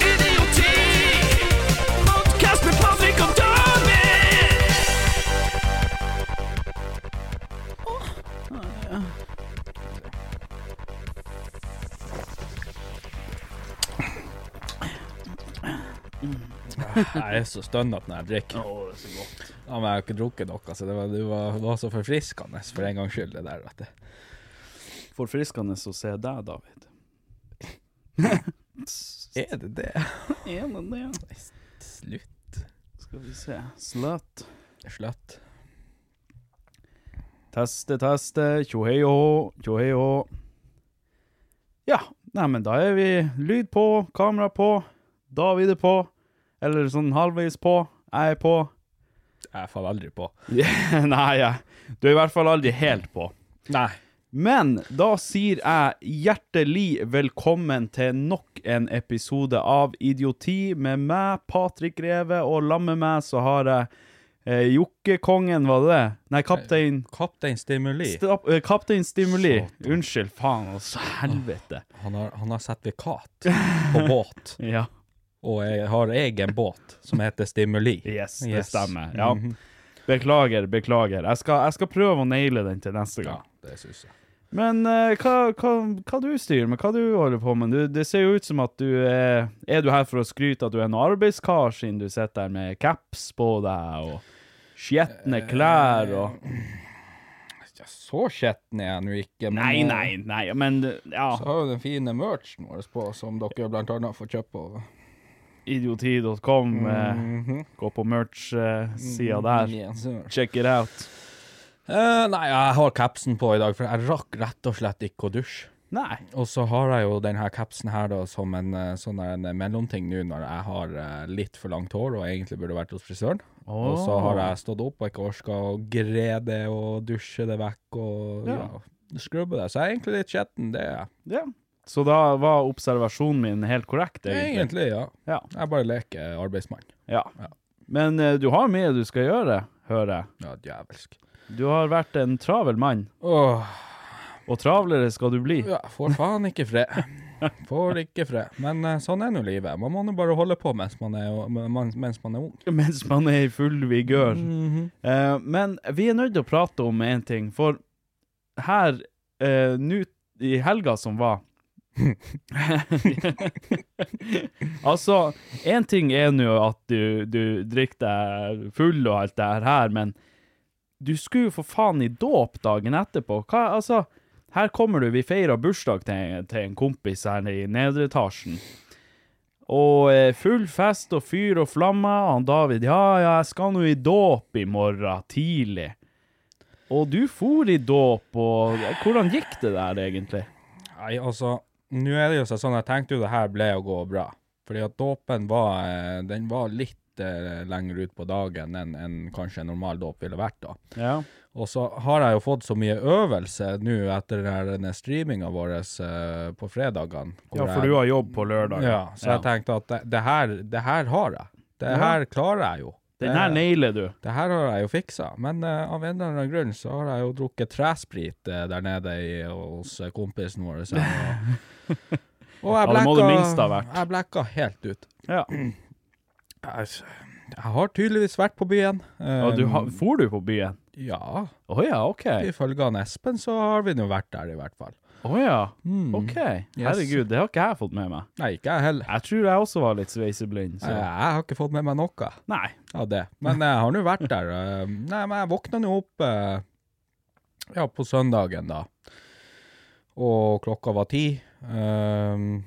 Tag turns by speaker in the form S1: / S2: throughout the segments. S1: Idioti! Podcast med Patrick og David!
S2: Jeg er så stønna når jeg drikker. Ja, men jeg har ikke drukket noe, så det var, det var, det var så forfriskende for en gangs skyld, det der. Vet du.
S3: Forfriskende å se deg, David.
S2: Er det det?
S3: Er det det?
S2: Slutt.
S3: Skal vi se. Slut.
S2: Slutt.
S3: Teste, teste. Tjoheio, tjoheio. Ja, nei, men da er vi lyd på, kamera på, David er på, eller sånn halvveis på, jeg er på.
S2: Jeg faller aldri på.
S3: nei, jeg. du er i hvert fall aldri helt på.
S2: Nei.
S3: Men da sier jeg hjertelig velkommen til nok en episode av Idioti med meg, Patrik Greve, og sammen med meg så har jeg eh, Jokkekongen, var det det? Nei, kaptein
S2: Kaptein Stimuli.
S3: Stapp- eh, Kaptein Stimuli. Unnskyld, faen, altså, helvete.
S2: Han har, han har sertifikat på båt,
S3: Ja,
S2: og jeg har egen båt som heter Stimuli.
S3: yes, det stemmer. Ja. Beklager, beklager. Jeg skal, jeg skal prøve å naile den til neste
S2: Ja,
S3: gang.
S2: det syns jeg.
S3: Men eh, hva, hva, hva du styrer med, hva du holder på med? Du, det ser jo ut som at du er Er du her for å skryte at du er en arbeidskar, siden du sitter der med caps på deg og
S2: Eh,
S3: skjetne klær og
S2: mm. Ja, Så skitten er jeg nå ikke. men,
S3: Nei,
S2: eh,
S3: nei, nei, men ja.
S2: Så har jo den fine merchen vår på, som dere blant annet får kjøpt på.
S3: Idioti.com. eh,
S2: Mm. Mhm.
S3: Gå på merch-sida der.
S2: Yes, sir.
S3: Check it out.
S2: Eh, nei, jeg har capsen på i dag, for jeg rakk rett og slett ikke å dusje.
S3: Nei.
S2: Og så har jeg jo denne capsen her da, som en eh, sånn der en mellomting nå når jeg har eh, litt for langt hår og egentlig burde vært hos frisøren. Og så har jeg stått opp og ikke orka å gre det og dusje det vekk og ja.
S3: Ja.
S2: skrubbe det. Så jeg er egentlig litt skjetten, det er jeg.
S3: Ja. Så da var observasjonen min helt korrekt, egentlig.
S2: Egentlig, ja.
S3: Ja.
S2: Jeg bare leker arbeidsmann.
S3: ja.
S2: Ja.
S3: Men eh, du har mye du skal gjøre, hører jeg.
S2: Ja, djevelsk.
S3: Du har vært en travel mann,
S2: Åh,
S3: og travlere skal du bli.
S2: ja, får faen ikke fred. Får ikke fred. Men eh, sånn er nå livet. Man må nå bare holde på mens man er, mens man er ung.
S3: Mens man er i full vigør. Eh, men vi er nødt til å prate om én ting, for her eh, nå i helga som var Altså, én ting er nå at du, du drikker deg full og alt det her her, men du skulle jo for faen i dåp dagen etterpå. Hva, altså, her kommer du, vi feirer bursdag til, til en kompis her i nedre etasjen. Og eh, full fest og fyr og flammer. Han David, ja, ja, jeg skal nå i dåp i morgen tidlig. Og du for i dåp, og hvordan gikk det der egentlig?
S2: Nei, altså, nå er det jo sånn at jeg tenkte jo det her ble å gå bra. Fordi at dåpen var, eh, den var litt eh, lenger ut på dagen enn enn kanskje en normal dåp ville vært da.
S3: Ja.
S2: Og så har jeg jo fått så mye øvelse nå etter den streaminga vår eh, på fredagene. hvor
S3: for
S2: jeg-
S3: du har jobb på lørdag.
S2: Ja, så jeg tenkte at det, det, her, det her har jeg. Det her klarer jeg jo.
S3: Den her nailer du.
S2: Det her har jeg jo fiksa, men eh, av en eller annen grunn så har jeg jo drukket tresprit eh, der nede i, hos eh, kompisen vår. Så, og, og jeg
S3: Ja, det må det
S2: blacka-
S3: minste ha vært.
S2: Jeg blacka helt ut.
S3: Ja.
S2: Jeg, jeg har tydeligvis vært på byen. Eh,
S3: Og du, har- for du på byen?
S2: ja,
S3: Å ja, OK. Å
S2: ifølge han Espen så har vi nå vært der, i hvert fall.
S3: ja.
S2: Mm.
S3: OK. Herregud, det har ikke jeg fått med meg.
S2: Nei, ikke jeg heller.
S3: Jeg tror jeg også var litt sveiseblind.
S2: Jeg,
S3: Så.
S2: jeg har ikke fått med meg noe.
S3: Nei.
S2: Ja, det. Men jeg har nå vært der. eh, Nei, men jeg våkna nå opp eh, ja, på søndagen, da. Og klokka var ti. Ehm,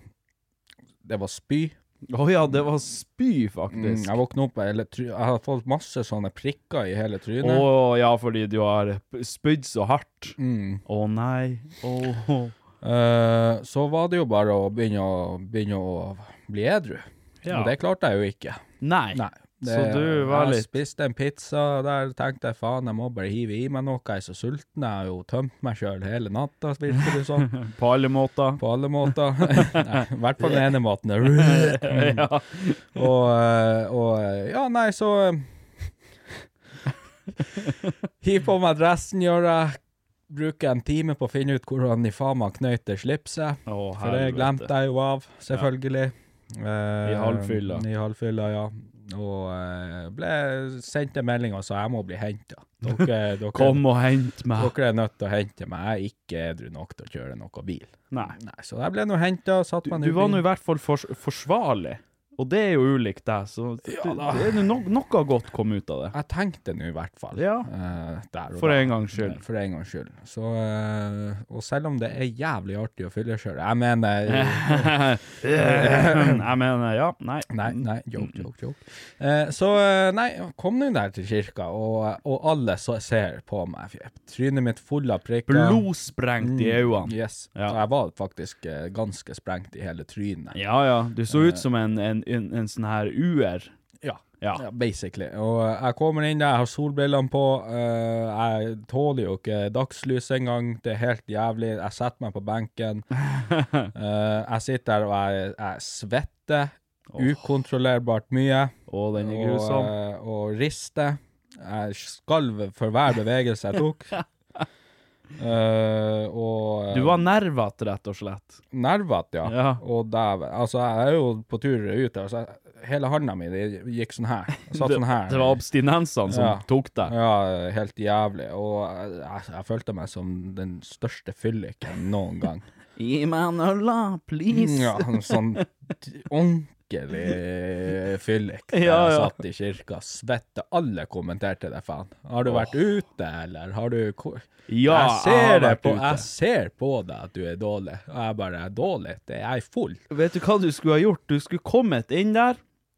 S2: det var spy.
S3: Å ja, det var spy,
S2: Mm,
S3: faktisk.
S2: jeg våkna opp med hele try Jeg har fått masse sånne prikker i hele
S3: Å
S2: trynet.
S3: ja, fordi du har p- spydd så hardt.
S2: Mm.
S3: Å nei. Åh.
S2: Eh, så var det jo bare å begynne å, begynne å bli edru.
S3: Ja.
S2: Og det klarte jeg jo ikke.
S3: Nei.
S2: Nei. Det,
S3: Så du var
S2: jeg
S3: litt-
S2: spiste en pizza, der tenkte jeg faen, jeg må bare hive i meg noe, jeg er så sulten, jeg har jo tømt meg sjøl hele natta, virker det sånn.
S3: På alle måter.
S2: På alle måter. Nei, I hvert fall den ene måten. Mm.
S3: Ja.
S2: Og, eh, og eh, ja, nei, så eh, Hiv på meg dressen, gjør jeg. Bruker en time på å finne ut hvordan i faen man knøyter slipset.
S3: Å,
S2: For det
S3: helvete.
S2: glemte jeg jo av, selvfølgelig. Eh,
S3: I halvfylla.
S2: I halvfylla, ja. Og eh, ble sendt en melding og sa jeg må bli henta. Dere, dere,
S3: Kom og hent meg.
S2: dere er nødt til å hente meg, jeg er ikke edru nok til å kjøre noe bil.
S3: Nei.
S2: Nei, så jeg ble nå henta og satt
S3: Du,
S2: meg
S3: du var nå i hvert fall fors forsvarlig, og det er jo ulikt deg, så det,
S2: da.
S3: det er nå no noe godt kom ut av det.
S2: Jeg tenkte nå i hvert fall.
S3: Ja.
S2: eh, der og
S3: For
S2: da.
S3: en gangs skyld.
S2: For en gangs skyld. Så, eh, og selv om det er jævlig artig å fyllekjøre Jeg mener
S3: Jeg mener, ja, nei.
S2: Nei, nei, joke, joke, joke. Eh, så eh, nei, kom nå der til kirka, og, og alle så ser på meg. Fy- Trynet mitt full av prikker.
S3: Blodsprengt i
S2: Mm.
S3: øynene.
S2: Yes.
S3: Ja.
S2: Så jeg var faktisk eh, ganske sprengt i hele trynet.
S3: Ja, ja, du så ut som en, en, en, en sånn her uer.
S2: Ja.
S3: Ja.
S2: Ja, basically. Og eh, jeg kommer inn der, jeg har solbrillene på. eh, jeg tåler jo ikke dagslys engang. Det er helt jævlig. Jeg setter meg på benken. Eh, jeg sitter der og jeg, jeg svetter ukontrollerbart mye.
S3: Å, den er
S2: Og,
S3: grusom.
S2: eh, og rister. Jeg skalv for hver bevegelse jeg tok. Eh, og eh,
S3: Du var nervete, rett og slett.
S2: nervete, ja.
S3: Ja.
S2: Og dæven. Altså, jeg er jo på tur ut der, så jeg, hele handa mi det gikk sånn her. Satt sånn her.
S3: Det var abstinensene som
S2: Ja.
S3: tok deg.
S2: Ja, helt jævlig. Og jeg, jeg følte meg som den største fylliken noen gang.
S3: Gi meg en ølla, please.
S2: Ja, en sånn ordentlig fyllik. der
S3: Ja,
S2: Jeg
S3: ja.
S2: satt i kirka, svette. Alle kommenterte det, faen. Har du vært ute, eller? Har du ko-
S3: Ja,
S2: jeg, ser
S3: har
S2: det
S3: vært
S2: på,
S3: ute.
S2: jeg ser på deg at du er dårlig. Og jeg bare er dårlig. Det er jeg full.
S3: Vet du hva du skulle ha gjort? Du skulle kommet inn der.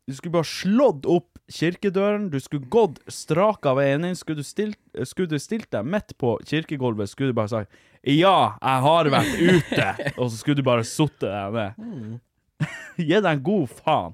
S3: Du skulle bare slått opp kirkedøren. Du skulle gått straka veien inn. Skulle du stilt, skulle du stilt deg midt på kirkegulvet, skulle du bare sagt 'Ja, jeg har vært ute', og så skulle du bare sittet der ned. Gi deg en god faen.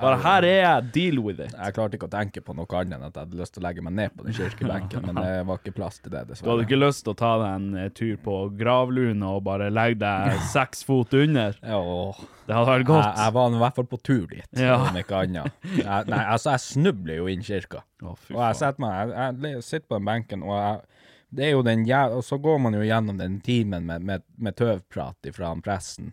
S3: Bare 'her er jeg, deal with it'.
S2: Jeg klarte ikke å tenke på noe annet enn at jeg hadde lyst til å legge meg ned på den kirkebenken, men det var ikke plass til det,
S3: Du hadde
S2: dessverre.
S3: ikke lyst til å ta deg en eh, tur på gravluna og bare legge deg seks fot under?
S2: Åh.
S3: Det hadde vært
S2: Jeg,
S3: godt.
S2: jeg var nå i hvert fall på tur dit,
S3: Ja.
S2: om ikke annet. Jeg, nei, altså, jeg snubler jo inn kirka.
S3: Å, fy
S2: og jeg
S3: faen.
S2: setter meg jeg, jeg le- sitter på den benken, og jeg, det er jo den jæv... Og så går man jo gjennom den timen med, med, med tøvprat fra presten.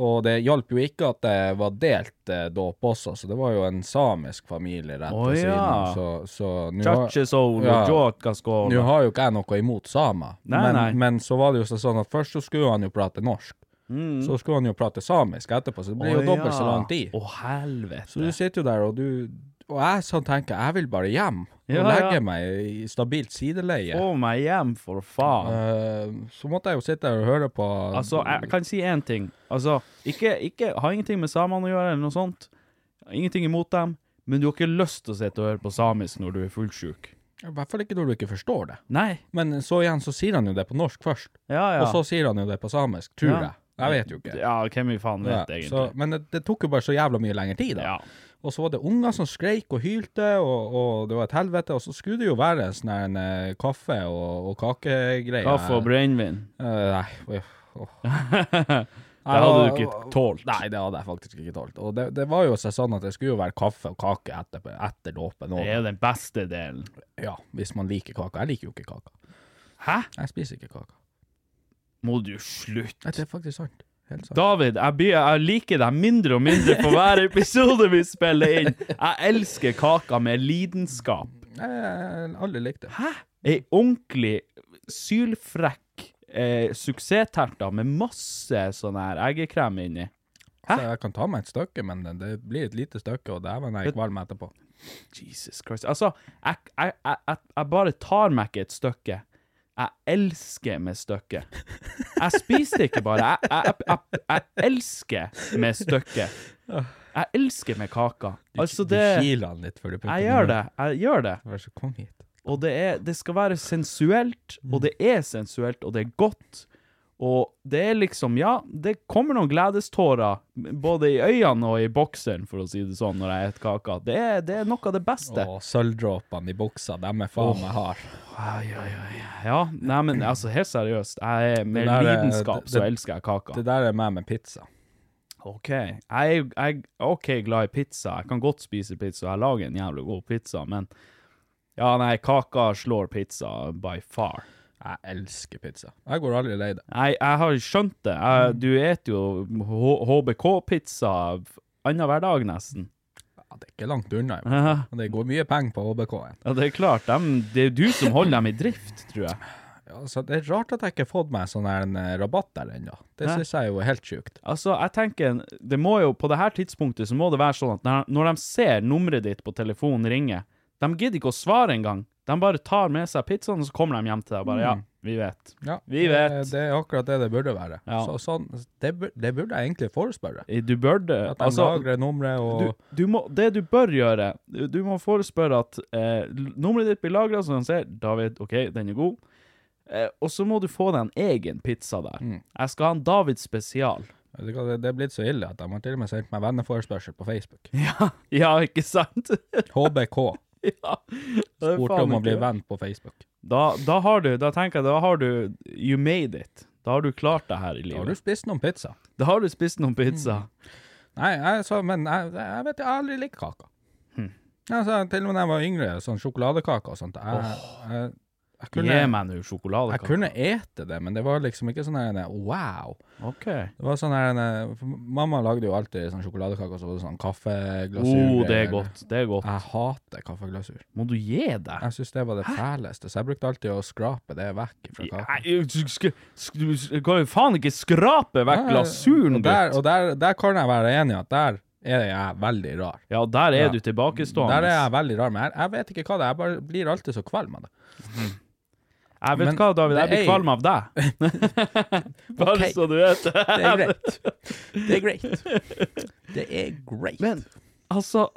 S2: Og det hjalp jo ikke at det var delt eh, dåp også, så det var jo en samisk familie rett
S3: Å,
S2: ved siden
S3: ja.
S2: av. Så, så nå har-
S3: Chachesoul
S2: Ja.
S3: og jåkaskål.
S2: nå har jo ikke jeg noe imot samer,
S3: Nei,
S2: men,
S3: nei.
S2: men så var det jo så- sånn at først så skulle han jo prate norsk,
S3: Mm.
S2: så skulle han jo prate samisk etterpå, så det blir jo dobbelt så lang tid.
S3: Å, helvete.
S2: Så du sitter jo der, og du og jeg sånn tenker, jeg vil bare hjem og
S3: Ja,
S2: legge
S3: ja.
S2: meg i stabilt sideleie.
S3: Få meg hjem, for faen.
S2: Eh, så måtte jeg jo sitte her og høre på
S3: Altså, jeg kan si én ting. Altså, ikke, ikke ha ingenting med samene å gjøre, eller noe sånt. Ingenting imot dem. Men du har ikke lyst til å sitte og høre på samisk når du er fullsjuk.
S2: I hvert fall ikke når du ikke forstår det.
S3: Nei.
S2: Men så igjen så sier han jo det på norsk først,
S3: Ja, ja.
S2: og så sier han jo det på samisk, tror
S3: Ja.
S2: jeg. Jeg vet jo ikke.
S3: Ja, hvem i faen
S2: Ja,
S3: vet, det
S2: så,
S3: egentlig.
S2: men det, det tok jo bare så jævla mye lengre tid, da.
S3: Ja.
S2: Og så var det unger som skreik og hylte, og, og det var et helvete. Og så skulle det jo være sånn her en eh, kaffe og, og kakegreier.
S3: Kaffe og brennevin.
S2: Eh, nei, uff, åh.
S3: Det hadde du ikke tålt.
S2: Nei, det hadde jeg faktisk ikke tålt. Og det, det var jo så sånn at det skulle jo være kaffe og kake etter, etter dåpen.
S3: Det
S2: Og,
S3: er jo den beste delen.
S2: ja, hvis man liker kaka. Jeg liker jo ikke kaka.
S3: Hæ?
S2: Jeg spiser ikke kaka.
S3: Må du slutte?
S2: Nei, det er faktisk sant. Helt sant.
S3: David, jeg, blir, jeg liker deg mindre og mindre for hver episode vi spiller inn. Jeg elsker kaka med lidenskap.
S2: Nei, Jeg har aldri likt det.
S3: Hæ? Ei ordentlig sylfrekk eh, suksessterter med masse sånn her eggekrem inni. Hæ?
S2: Så jeg kan ta meg et stykke, men det, det blir et lite stykke, og dæven, jeg er kvalm etterpå.
S3: Jesus Christ. Altså, jeg, jeg, jeg, jeg, jeg bare tar meg ikke et stykke. Jeg elsker med stykke. Jeg spiser ikke bare. Jeg, jeg, jeg, jeg, jeg elsker med stykke. Jeg elsker med kaka. Altså, det
S2: Du kiler han litt før du putter den
S3: Jeg
S2: i
S3: gjør
S2: munnen.
S3: det. Jeg gjør det.
S2: Vær så kom hit.
S3: Og det, er, det skal være sensuelt,
S2: Mm.
S3: og det er sensuelt, og det er godt. Og det er liksom Ja, det kommer noen gledestårer, både i øynene og i bokseren, for å si det sånn, når jeg spiser kaka. Det er, det er noe av det beste.
S2: Og sølvdråpene i buksa, dem er faen meg hard.
S3: Ai, ai, ai. Ja, nei, men altså, helt seriøst. Jeg er med
S2: Det der er-
S3: lidenskap,
S2: det-
S3: så
S2: det-
S3: elsker jeg kaka.
S2: Det der er meg med pizza.
S3: OK. Jeg, er- jeg er OK glad i pizza. Jeg kan godt spise pizza, jeg lager en jævlig god pizza, men ja, nei, kaka slår pizza by far.
S2: Jeg elsker pizza. Jeg går aldri lei det.
S3: Jeg, jeg har skjønt det. Jeg,
S2: Mm.
S3: du et jo H- HBK-pizza annenhver dag, nesten.
S2: Ja, det er ikke langt unna. jo.
S3: Ja,
S2: Og Det går mye penger på HBK-en.
S3: det er klart. Dem, det er jo du som holder dem i drift, tror jeg.
S2: Ja, så Altså, det er rart at jeg ikke har fått meg sånn her en eh, rabatt der ennå. Det
S3: Hæ?
S2: synes jeg jo er helt sjukt.
S3: Altså, jeg tenker, det må jo, på det her tidspunktet, så må det være sånn at når, når de ser nummeret ditt på telefonen ringe, de gidder ikke å svare engang. De bare tar med seg pizzaen, og så kommer de hjem til deg og
S2: Mm.
S3: bare, ja, vi vet.
S2: Ja,
S3: Vi
S2: Det,
S3: vet.
S2: det er akkurat det det burde være.
S3: Ja.
S2: Så sånn, det, bur- det burde jeg egentlig forespørre.
S3: Du bør det.
S2: At de
S3: Altså,
S2: lagrer nummeret
S3: du,
S2: og
S3: du må, det du bør gjøre, du- du må forespørre at eh, l- nummeret ditt blir lagret, så de ser, David, ok, den er god. Eh, og så må du få deg en egen pizza der.
S2: Mm.
S3: Jeg skal ha en David spesial.
S2: Vet du hva, det, det er blitt så ille at de har til og med sendt meg venneforespørsel på Facebook.
S3: Ja, ja ikke sant?
S2: HBK
S3: ja. Det er
S2: spurte
S3: faen
S2: om å
S3: ikke
S2: bli
S3: det.
S2: venn på Facebook.
S3: Da, da har du, da tenker jeg, da har du You made it. Da har du klart det her i
S2: Har du Hmm.
S3: livet.
S2: spist noen pizza?
S3: Da har du spist noen pizza.
S2: Nei, jeg sa, men jeg, jeg vet jeg har aldri likt kaka.
S3: Hm.
S2: Jeg sa, til og med da jeg var yngre, sånn sjokoladekake og sånt. Jeg, jeg, jeg, kunne,
S3: Gi meg nå
S2: jeg
S3: sjokoladekake.
S2: kunne ete det, men det var liksom ikke sånn her en wow.
S3: OK.
S2: Det var sånn her en for Mamma lagde jo alltid sånn sjokoladekake, og så var det sånn kaffeglasur.
S3: Oh, det er
S2: eller-
S3: godt. Det er godt.
S2: Jeg hater kaffeglasur.
S3: Må du gi deg?
S2: Jeg syns det var det fæleste, så jeg brukte alltid å skrape det vekk fra kaka.
S3: Nei, du skal- du skal- kan jo faen ikke skrape vekk glasuren,
S2: Og, der,
S3: gutt.
S2: og der, der kan jeg være enig i at der er jeg veldig rar.
S3: Ja, der er
S2: Ja.
S3: du tilbakestående.
S2: Der er jeg veldig rar, men jeg, jeg vet ikke hva det er. Jeg bare blir alltid så kvalm av det.
S3: Jeg vet
S2: Men
S3: hva, David, jeg
S2: det
S3: blir
S2: er-
S3: kvalm av deg. Bare
S2: Ok.
S3: så du vet det.
S2: Det er greit. Det er greit. Det er greit.
S3: Men altså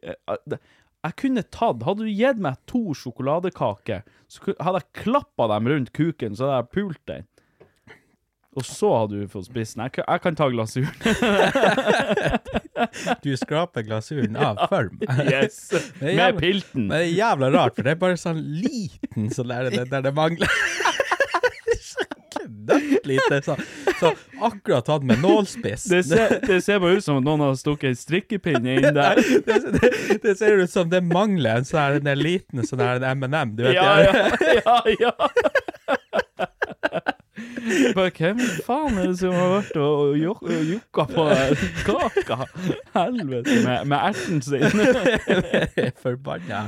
S3: eh, det- Jeg kunne tatt Hadde du gitt meg to sjokoladekaker, så ku- hadde jeg klappa dem rundt kuken, så hadde jeg pult den. Og så hadde du fått spist den. Jeg, kan- jeg kan ta glasuren.
S2: du skraper glasuren av før meg.
S3: Yes.
S2: er
S3: Med
S2: jævlig-
S3: pilten.
S2: Det er jævla rart, for det er bare sånn liten sånn der, det- der det mangler. Så knøtt lite, så, så akkurat tatt med nålspiss.
S3: Det ser, det ser bare ut som at noen har stukket en strikkepinne inn der.
S2: det, det, det ser ut som det mangler en sånn her- en liten sånn her M&M, du vet.
S3: Ja,
S2: jeg-
S3: ja, ja, ja. Bare, hvem faen er det som har vært og og jok- og jokka på kaka? Helvete, med, med erten sin.
S2: Forbanna.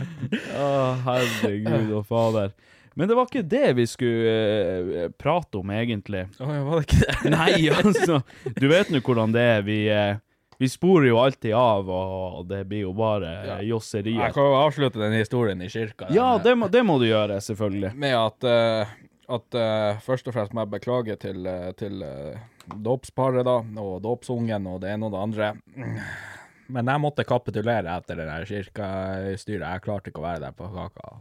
S3: Å, herregud og fader. Men det var ikke det vi skulle eh, prate om, egentlig.
S2: Å, var det ikke det?
S3: Nei, altså. Du vet nå hvordan det er. Vi, eh, Vi sporer jo alltid av, og det blir jo bare
S2: Ja. Jeg
S3: josserier.
S2: kan jo avslutte den historien i kirka.
S3: Ja,
S2: den, eh,
S3: det må, det må du gjøre, selvfølgelig.
S2: Med at, eh, at eh, først og fremst må jeg beklage til, eh, til eh, dåpsparet da, og dåpsungen og det ene og det andre. Men jeg måtte kapitulere etter det der kirkestyret. Jeg klarte ikke å være der på kaka.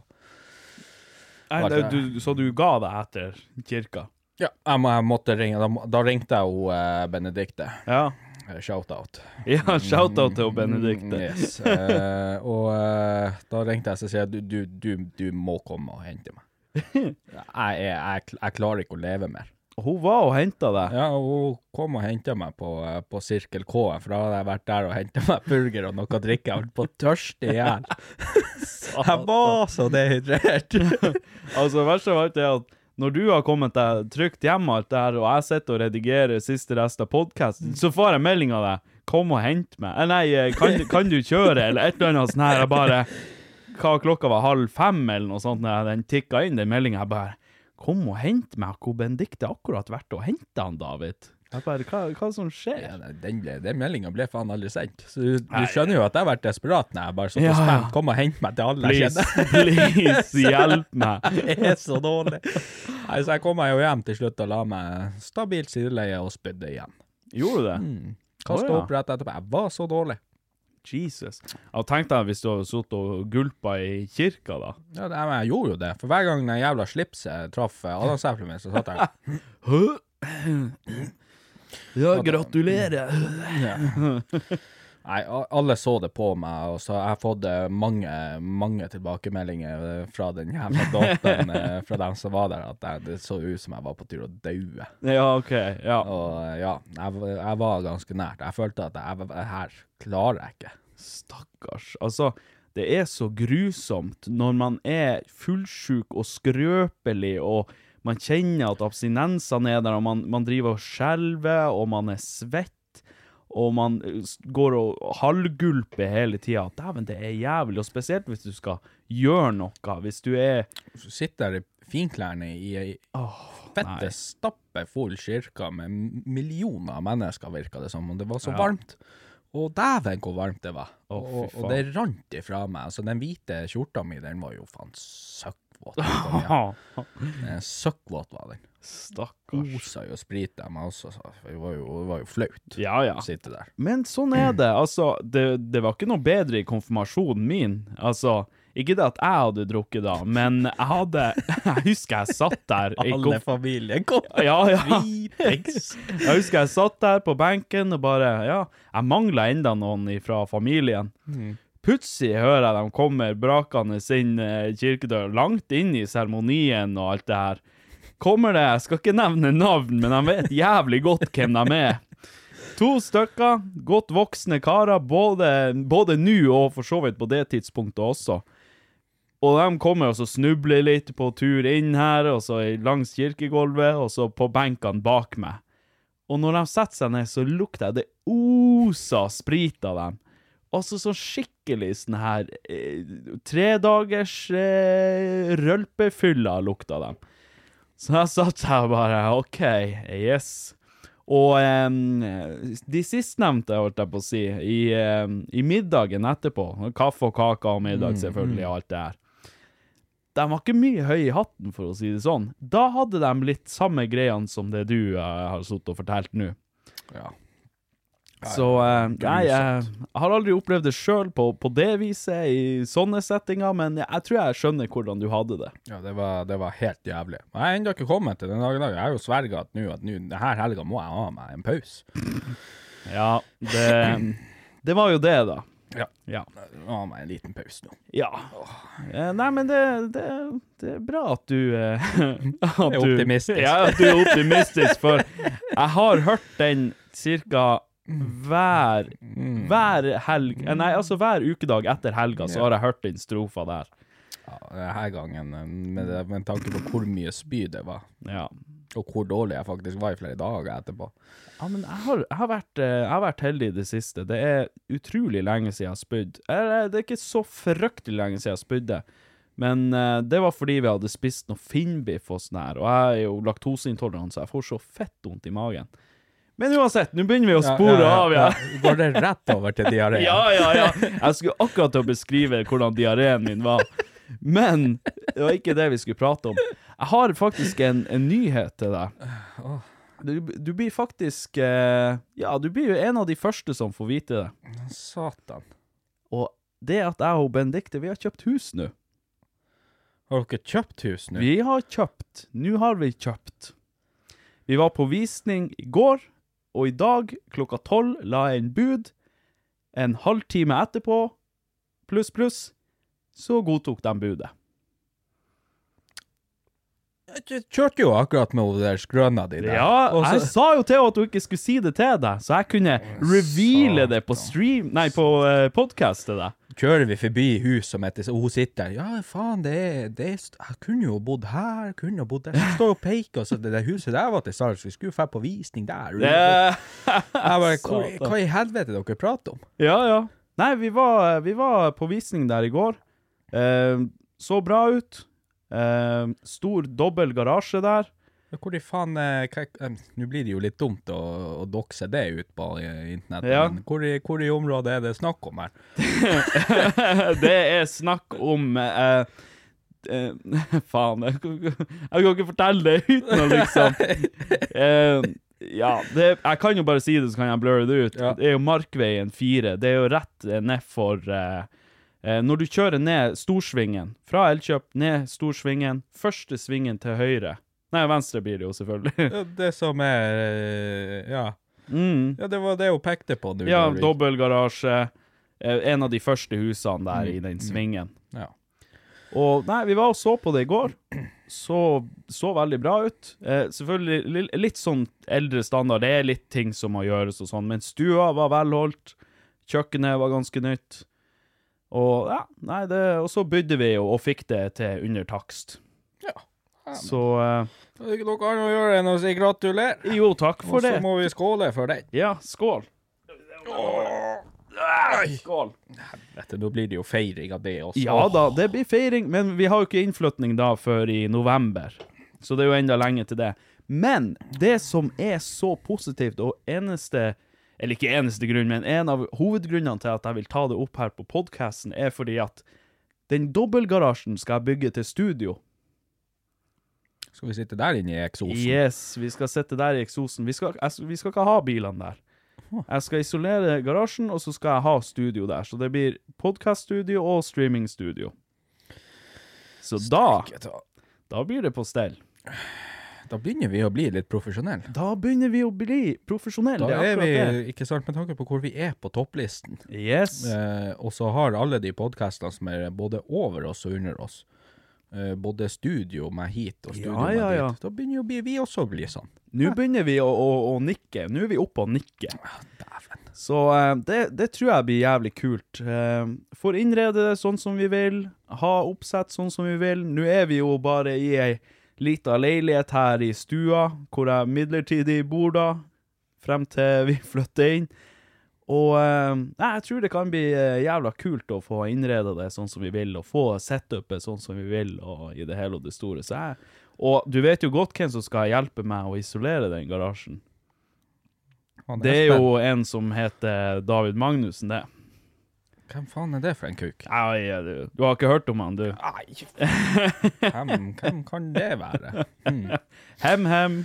S3: Nei, det, du, så du ga deg etter kirka?
S2: Ja, jeg, må, jeg måtte ringe. Da, må- da ringte jeg jo eh, Benedikte.
S3: Ja.
S2: Eh, Shout-out.
S3: Ja, shout-out til Benedikte.
S2: Yes. Eh, og eh, da ringte jeg og sa du, du, du, du må komme og hente meg. Jeg, er- jeg, kl- jeg klarer ikke å leve mer.
S3: Hun var og henta deg.
S2: Ja, og Hun kom og henta meg på, eh, på Sirkel K, for da hadde jeg vært der og henta meg burger og noe å drikke. Jeg holdt på å tørste i hjel. Jeg var så dehydrert.
S3: Altså, det verste av alt er at når du har kommet deg trygt hjem, alt det her, og jeg sitter og redigerer siste rest av podkasten, så får jeg melding av deg 'Kom og hent meg'. Eh, Nei, eh, kan, kan du kjøre, eller et eller annet sånt her. Jeg bare Hva klokka var halv fem, eller noe sånt, når den tikka inn, den meldinga. Jeg bare 'Kom og hent meg'. Hvor Benedicte akkurat vært og henta han, David? Jeg bare, hva, hva som
S2: Ja,
S3: skjer?
S2: nei, Den, ble- den meldinga ble faen aldri sendt. Så du, du skjønner jo at jeg har vært desperat når jeg bare satt
S3: Ja,
S2: og
S3: ja.
S2: spent. Kom og hent meg til alle jeg
S3: Please,
S2: kjenner.
S3: please, hjelp meg.
S2: Jeg er så dårlig. Nei, så jeg kom meg jo hjem til slutt og la meg stabilt sideleie og spydde igjen.
S3: Gjorde du det?
S2: Mm. Kasta
S3: Å, ja.
S2: opp rett etterpå. Jeg var så dårlig.
S3: Jesus. Jeg tenkte jeg hvis du hadde sittet og gulpa i kirka, da.
S2: Ja, det- men jeg gjorde jo det, for hver gang den jævla slipset traff eh, adamseplet mitt, så satt jeg
S3: Hø? Ja, gratulerer.
S2: Nei, a- alle så det på meg, og så har jeg fått eh, mange, mange tilbakemeldinger eh, fra den jævla dåpen, eh, fra dem som var der, at jeg, det så ut som jeg var på tur å daue.
S3: Ja, ok. Ja,
S2: Og eh, ja, jeg, v- jeg var ganske nært. Jeg følte at jeg, var- her klarer jeg ikke.
S3: stakkars. Altså, det er så grusomt når man er fullsjuk og skrøpelig, og man kjenner at abstinensene er der, og man, man driver og skjelver, og man er svett. Og man eh, s- går og halvgulper hele tida. Dæven, det er jævlig. Og spesielt hvis du skal gjøre noe. Hvis du er
S2: Så sitter jeg i finklærne i ei fette, stappe full kirke med m- millioner av mennesker, virka det som. Og det var så varmt. Og dæven, hvor varmt det var.
S3: Å, fy
S2: og, og
S3: faen.
S2: det rant ifra meg. Altså, den hvite skjorta mi, den var jo faen søkkvåt.
S3: Ah,
S2: Den er Søkkvåt var den.
S3: Stakkars.
S2: Osa jo sprit av meg også, så det var jo, det var jo flaut
S3: Ja, ja.
S2: å sitte der.
S3: Men sånn er det. Altså, det, det var ikke noe bedre i konfirmasjonen min. Altså, ikke det at jeg hadde drukket da, men jeg hadde Jeg husker jeg satt der i
S2: Alle
S3: konf...
S2: familien kom
S3: Ja, ja.
S2: dritings.
S3: Jeg husker jeg satt der på benken og bare Ja, jeg mangla enda noen fra familien. Plutselig hører jeg de kommer brakende inn eh, kirkedøra, langt inn i seremonien og alt det her. Kommer det Jeg skal ikke nevne navn, men de vet jævlig godt hvem de er. To stykker, godt voksne karer, både, både nå og for så vidt på det tidspunktet også. Og de kommer og så snubler litt på tur inn her, og så langs kirkegulvet, og så på benkene bak meg. Og når de setter seg ned, så lukter jeg det osa sprit av dem. Altså så skikkelig sånn her eh, tredagers eh, rølpefylla lukta dem. Så jeg satt her og bare OK, yes. Og em, de sistnevnte, holdt jeg på å si, i, em, i middagen etterpå Kaffe og kaker og middag, selvfølgelig, og alt det her. De var ikke mye høye i hatten, for å si det sånn. Da hadde de litt samme greiene som det du eh, har sittet og fortalt nå.
S2: Ja.
S3: Så eh, nei, jeg, jeg har aldri opplevd det sjøl på, på det viset, i sånne settinger, men jeg, jeg tror jeg skjønner hvordan du hadde det.
S2: Ja, det var, det var helt jævlig. Men jeg har ennå ikke kommet til den dag i dag. Jeg har jo sverga at nå at nå, denne helga må jeg ha meg en pause.
S3: Ja, det, det var jo det, da.
S2: Ja.
S3: Ja.
S2: Ha meg en liten pause nå.
S3: ja. Eh, Nei, men det, det, det er bra at du eh, at
S2: Er
S3: du-
S2: optimistisk.
S3: Ja, at du er optimistisk, for jeg har hørt den cirka hver,
S2: Mm.
S3: hver helg eh, Nei, altså hver ukedag etter helga, så har jeg hørt den strofa der.
S2: Ja, denne gangen, eh, med, det- med tanke på hvor mye spy det var,
S3: Ja.
S2: og hvor dårlig jeg faktisk var i flere dager etterpå.
S3: Ja, men jeg har, jeg, har vært, eh, jeg har vært heldig i det siste. Det er utrolig lenge siden jeg har spydd. Eller, eh, Det er ikke så fryktelig lenge siden jeg spydde. Men eh, det var fordi vi hadde spist noe finnbiff og sånn her, og jeg er jo laktoseintolerant, så jeg får så fett vondt i magen. Men uansett, nå begynner vi å
S2: Ja,
S3: spore
S2: ja, ja,
S3: av, ja.
S2: ja. Går det rett over til diaré?
S3: Ja, ja, ja. Jeg skulle akkurat til å beskrive hvordan diareen min var. Men det var ikke det vi skulle prate om. Jeg har faktisk en, en nyhet til deg. Du, du blir faktisk eh, Ja, du blir jo en av de første som får vite det.
S2: Satan.
S3: Og det at jeg og Benedicte, vi har kjøpt hus nå.
S2: Har dere kjøpt hus nå?
S3: Vi har kjøpt. Nå har vi kjøpt. Vi var på visning i går, og i dag klokka tolv la jeg inn bud. En halvtime etterpå, pluss, pluss, så godtok de budet.
S2: Jeg kjørte jo akkurat med hun der skrøna di der.
S3: Ja,
S2: Og så-
S3: jeg sa jo til henne at hun ikke skulle si det til deg, så jeg kunne reveale det på stream, nei, på eh, podcast til deg.
S2: kjører vi forbi hus som heter Og hun sitter der. Ja, faen, det er, det er st- Jeg kunne jo bodd her, kunne jo bodd der. Så står hun og peker, og så det der huset der var til salgs. Vi skulle dra på visning der.
S3: Det-
S2: jeg bare, hva,
S3: Eh, Satan.
S2: hva i helvete dere prater om?
S3: Ja, ja. Nei, vi var, vi var på visning der i går. Eh, så bra ut. Eh, stor dobbel garasje der.
S2: Ja, Hvor i faen eh, hva, em, Nå blir det jo litt dumt å, å dokse det ut på eh, internett,
S3: Ja.
S2: men hvor i, hvor i området er det snakk om her?
S3: Det er snakk om eh, eh, Faen, jeg kan, ikke- jeg kan ikke fortelle det uten å liksom eh, Ja, det, jeg kan jo bare si det, så kan jeg blurre det ut.
S2: Ja.
S3: Det er jo Markveien 4. Det er jo rett eh, ned for eh, eh, Når du kjører ned Storsvingen, fra Elkjøp ned Storsvingen, første svingen til høyre Nei, venstre blir det jo, selvfølgelig.
S2: Ja, Det som er eh, Ja,
S3: Mm.
S2: ja det var det hun pekte på nå.
S3: Ja,
S2: Ulrik.
S3: dobbeltgarasje. eh, En av de første husene der i den svingen.
S2: Mm. Ja.
S3: Og nei, vi var og så på det i går. Så, så veldig bra ut. Eh, selvfølgelig li- litt sånn eldre standard. Det er litt ting som må gjøres og sånn, men stua var velholdt. Kjøkkenet var ganske nytt. Og ja, nei, det, og så bydde vi jo og fikk det til under takst.
S2: Ja.
S3: Så eh,
S2: Det er ikke noe annet å gjøre enn å si gratulerer.
S3: jo, takk
S2: Og
S3: for
S2: så
S3: det.
S2: må vi skåle for den.
S3: Ja, skål. Skål.
S2: Dette, nå blir det jo feiring av det også.
S3: Ja da, det blir feiring, men vi har jo ikke innflytning da før i november. Så det er jo enda lenge til det. Men det som er så positivt, og eneste Eller ikke eneste grunn, men en av hovedgrunnene til at jeg vil ta det opp her på podkasten, er fordi at den dobbeltgarasjen skal jeg bygge til studio.
S2: Skal vi sitte der inne i eksosen?
S3: Yes, vi skal sitte der i eksosen. Vi skal, jeg, vi skal ikke ha bilene der. Jeg skal isolere garasjen, og så skal jeg ha studio der. Så det blir podkaststudio og streamingstudio. Så da Da blir det på stell.
S2: Da begynner vi å bli litt profesjonelle.
S3: Da begynner vi å bli profesjonelle.
S2: Da
S3: det
S2: er
S3: akkurat
S2: vi, ikke sant, med tanke på hvor vi er på topplisten.
S3: det. Yes.
S2: Eh, og så har alle de podcastene som er både over oss og under oss, eh, både studio med hit og studio
S3: Ja, ja,
S2: med
S3: ja.
S2: dit. Da begynner jo vi- vi også å bli sånn.
S3: Nå begynner vi å, å, å nikke. Nå er vi oppe og nikker.
S2: Dæven.
S3: Så eh, det, det tror jeg blir jævlig kult. Eh, Får innrede det sånn som vi vil, ha oppsett sånn som vi vil. Nå er vi jo bare i ei lita leilighet her i stua, hvor jeg midlertidig bor da, frem til vi flytter inn. Og eh, nei, jeg tror det kan bli eh, jævla kult å få innrede det sånn som vi vil, og få setupet sånn som vi vil, og i det hele og det store. Så jeg, og du vet jo godt hvem som skal hjelpe meg å isolere den garasjen.
S2: Han
S3: Det er
S2: Espen,
S3: jo en som heter David Magnussen, det.
S2: Hvem faen er det for en kuk?
S3: Nei, du, du har ikke hørt om han, du.
S2: Hvem, hvem kan det være? Hmm.
S3: Hem, hem.